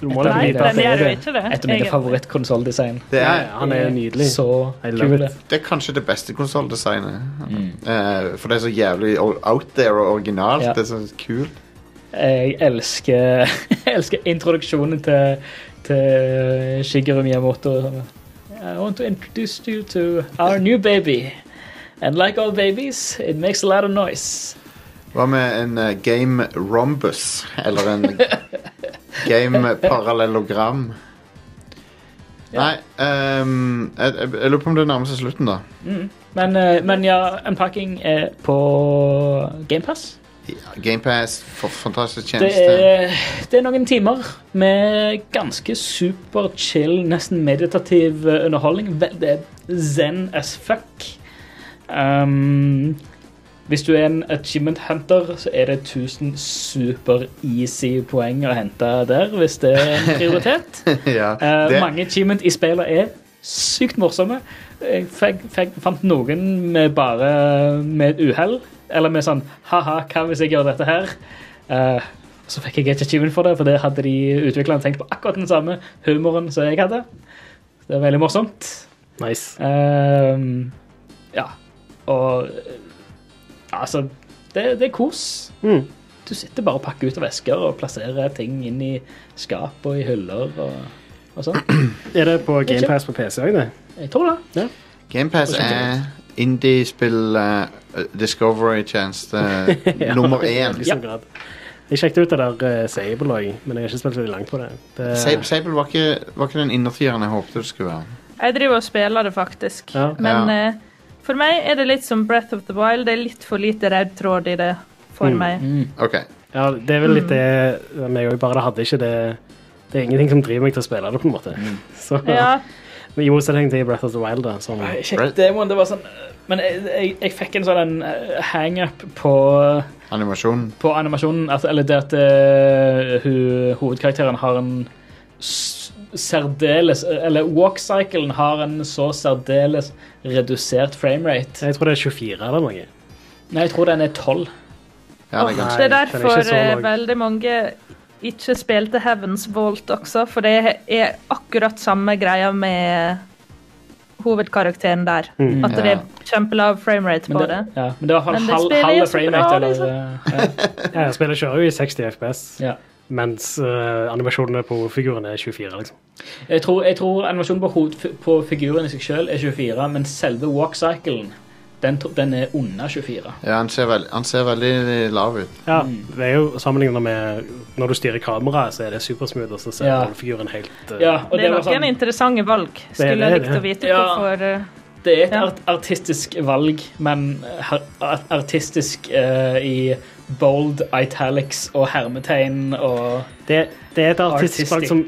Du må da Nei, vite at den det er gjør jo det. ikke det. Et av mine egentlig. favorittkonsolldesign. Det Ja, er, ja, han er jo nydelig. Så I love kul. it. det er kanskje det beste konsolldesignet. Eh, for det er så jævlig o- out there og originalt. Ja. Det er så kult. Jeg elsker, jeg elsker introduksjonen til, til Shigeru Miyamoto. I want to introduce you to our new baby. And like all babies, it makes a lot of noise. Hva med en eh, game rhombus? Eller en game parallellogram? Nei ehm, jeg, jeg, jeg lurer på om det nærmer seg slutten, da. Men, eh, men ja, Unpacking er på GamePass. Ja, GamePass, for fantastisk Det tjeneste. er, det er noen timer med ganske super chill, nesten meditativ eh, underholdning. Ve- Det er zen as fuck. Um, hvis du er en achievement hunter, så er det 1000 super easy poeng å hente der, hvis det er en prioritet. ja, Eh, det, Mange achievement i spillet er sykt morsomme. Jeg fikk, fikk, fant noen med bare med uhell. Eller med sånn Ha-ha, hva hvis jeg gjør dette her? Eh, så fikk jeg et achievement for det, for det hadde de utviklerne tenkt på akkurat den samme humoren som jeg hadde. Det er veldig morsomt. Nice. Ehm, ja. Og eh, altså det, det er kos. Mm. Du sitter bare og pakker ut av vesker og plasserer ting inn i skap og i hyller og, og sånn. Er det på GamePass på PC òg, det? Jeg tror det. GamePass er indiespill eh, Discovery-tjeneste nummer Ja, i én. stor Liksom, sånn grad. Jeg sjekket ut det der eh, Sable òg, men jeg har ikke spilt så veldig langt på det. det Sable Sable var ikke, var ikke den innertieren jeg håpte det skulle være. Jeg driver og spiller det, faktisk. Ja. Men Ja. eh, for meg er det litt som Breath of the Wild. Det er litt for lite rød tråd i det for Mm. meg. Ok, ja, det er vel litt det men jeg òg bare hadde ikke det Det er ingenting som driver meg til å spille det, på en måte. Mm. Så, Ja, Men I motsetning til Breath of the Wild, da. Som, Jeg sjekket demoen, det var sånn Men jeg, jeg, jeg fikk en sånn eh, hang-up på, animasjonen. på animasjonen. At, eller det at eh, hun, hovedkarakteren har en s- særdeles Eller walk-cyclen har en så særdeles redusert framerate. jeg tror det er 24 eller noe. Nei, jeg tror den er 12. Ja, det er ganske Nei, det er den er derfor ikke så eh, lang. veldig mange ikke spilte Heavens Vault også, for det er akkurat samme greia med hovedkarakteren der. Mm. At det er kjempelav framerate på Men det, det. ja, men det var i hvert Men fall det halv, spiller halv jo så bra, framerate. Eller, liksom. eh, Ja, jeg spiller kjører jo i 60 FPS, ja, ja. mens eh, animasjonene på figuren er 24, liksom. Jeg tror, jeg tror animasjonen på, hoved, på figuren i seg selv er 24, men selve walk-cyclen den, tro- den er under 24. Ja, han ser, veld, han ser veldig lav ut. Ja, Mm. det er jo sammenlignet med når du styrer kameraet, så er det supersmooth, og så ser Ja. du figuren helt eh, Ja, og Det er var sånn, noen interessante valg. Skulle det, jeg likt det. å vite Ja. hvorfor. eh, Det er et Ja. art artistisk valg, men har- art- artistisk eh, i bold, italics og hermetegn og Det, det er et artistisk Artistic. valg som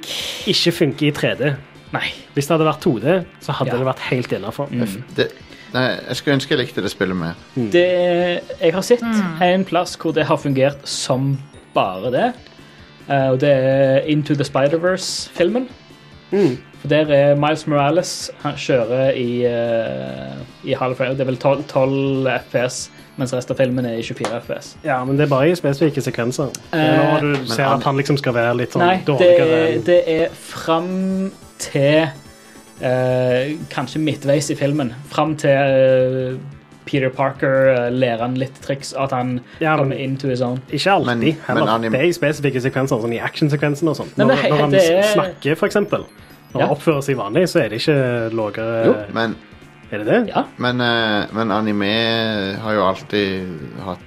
ikke funker i 3D. Nei. Hvis det hadde vært 2D, så hadde Ja. Mm. det vært helt innafor. Det, nei, jeg skulle ønske jeg likte det spillet mer. Det, jeg har sett Mm. en plass hvor det har fungert som bare det. Eh, Og det er Into the Spider-Verse-filmen. Mm. For Der er Miles Morales. Han kjører i, eh, i halv frame. Det er vel 12, 12 FPS, mens resten av filmen er i 24 FPS. Ja, men det er bare i spesifikke sekvenser. Det er når Eh, du ser han- at han liksom skal være litt sånn Nei, det, dårligere enn det er fram til eh, Kanskje midtveis i filmen. Fram til eh, Peter Parker eh, lærer han litt triks, at han Ja, men- kommer into his own. Ikke alltid, Men- heller. men anim- det er i spesifikke sekvenser, sånn i actionsekvensen og sånt. Nei, Når, men he- når han det er- snakker, for eksempel. Når Ja. han oppfører seg vanlig, så er det ikke lavere Men, Er det det? Ja. men, eh, men anime har jo alltid hatt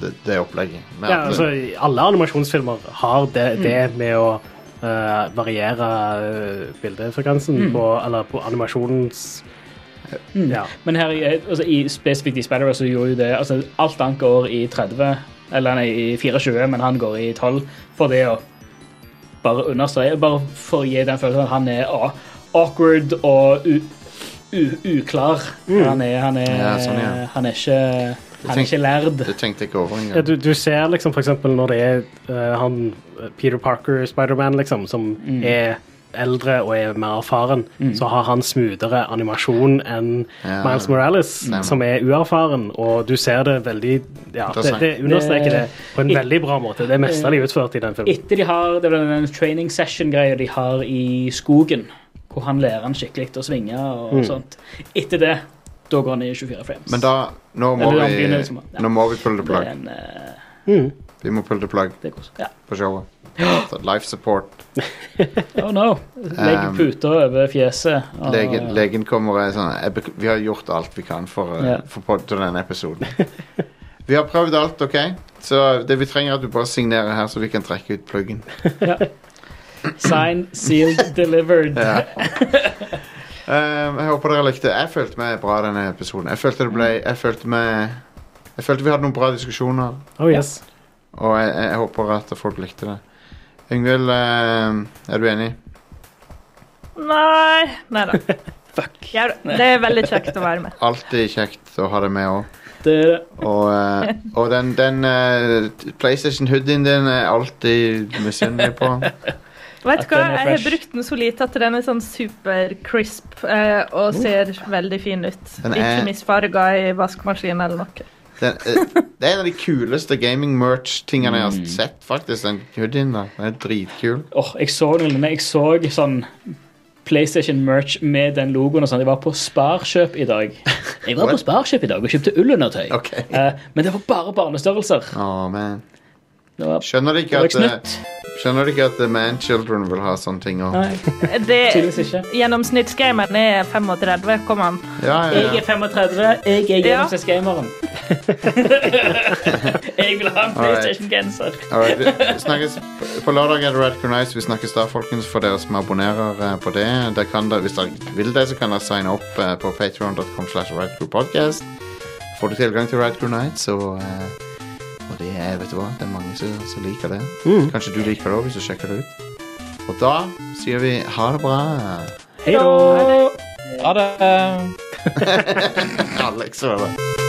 det, det opplegget. Med Ja, at- altså, alle animasjonsfilmer har det, det Mm. med å eh, variere eh, bildefrekvensen Mm. på, eller på animasjonens Ja. Men her i, altså, i spesifikt i Spider-Verse så gjorde jo det altså, Alt annet går i 30, eller nei, i 24, men han går i 12 for det å bare understreke Bare for å gi den følelsen at han er a- awkward og u, u, uklar. Han, er, han, er, Mm. Ja, sånn, ja. han er ikke Han er ikke lærd. Det tenkte jeg ikke over Ja, engang. du, du ser liksom for eksempel når det er eh, han eh, Peter Parker, Spider-Man, liksom, som er eldre og er mer erfaren, så har han smoothere animasjon enn Ja. Miles Morales, Stemmer. som er uerfaren, og du ser det veldig Ja, det, Interessant. det understreker det på en Det- veldig bra måte. Det er eh, meste de utførte i den filmen. Etter de har det var den training session-greia de har i skogen, hvor han lærer han skikkelig å svinge og sånt. Etter det, da går han i 24 frames. Mm. Men da Nå må, Eller han vi, begynner liksom- ja. nå må vi pulle det det er plagg. en, eh, Mm. Vi må pulle det plagg det går så. Ja. på showet. Life support. Oh no. Legg Um, puter over fjeset. Ah, og- Legen, legen kommer og er sånn jeg, bek- Vi har gjort alt vi kan for, eh, Ja. for pod til denne episoden. Vi har prøvd alt, OK? Så det vi trenger, er at du bare signerer her, så vi kan trekke ut pluggen. Sign, sealed, delivered. Ja. Ehm, jeg håper dere likte Jeg følte meg bra denne episoden. Jeg følte det ble Jeg følte meg Jeg følte vi hadde noen bra diskusjoner, Oh, yes. og jeg, jeg, jeg håper at folk likte det. Yngvild, ehm, er du enig? Nei. Nei da. Fuck. Det er veldig kjekt å være med. Alltid kjekt å ha deg med òg. Det, Og, eh, og den, den eh, PlayStation-hoodien din er jeg alltid misunnelig på. At Vet du hva, den er jeg har fresh. brukt den så lite at den er sånn super crisp eh, Oh. og ser veldig fin ut. Den er- Ikke misfarga i vaskemaskinen eller noe. Den, eh, det er en av de kuleste gaming-merch-tingene jeg har sett, faktisk. Den hoodien der. Den er dritkul. åh, jeg så den lignende. Jeg så sånn PlayStation-merch med den logoen og sånn. Jeg var på Sparkjøp i dag. Jeg var på What? Sparkjøp i dag og kjøpte ullundertøy. Ok. Eh, men det var bare barnestørrelser. Åh, man. Det var, Skjønner du det ikke var at ikke eh, snutt. Skjønner du ikke at The Man Children vil ha sånne ting òg? Nei, Det, tydeligvis ikke. gjennomsnittsgameren er 35, kom an. Ja, ja, Jeg er ja. 35, jeg er Ja. gjennomsnittsgameren. jeg vil ha en Alright. PlayStation-genser. Alright, vi snakkes På lørdag er det Red Cornice. Vi snakkes da, folkens, for dere som abonnerer eh, på det. Der kan dere, hvis dere vil det, så kan dere signe opp eh, på patreon.com slash radcrewpodcast. Får du tilgang til Red Cornice, og, eh, og det er, vet du hva, det er mange som, som liker det. Kanskje du liker det òg, hvis du sjekker det ut. Og da sier vi ha det bra. Hei da! Ha det. Alex, hva er det?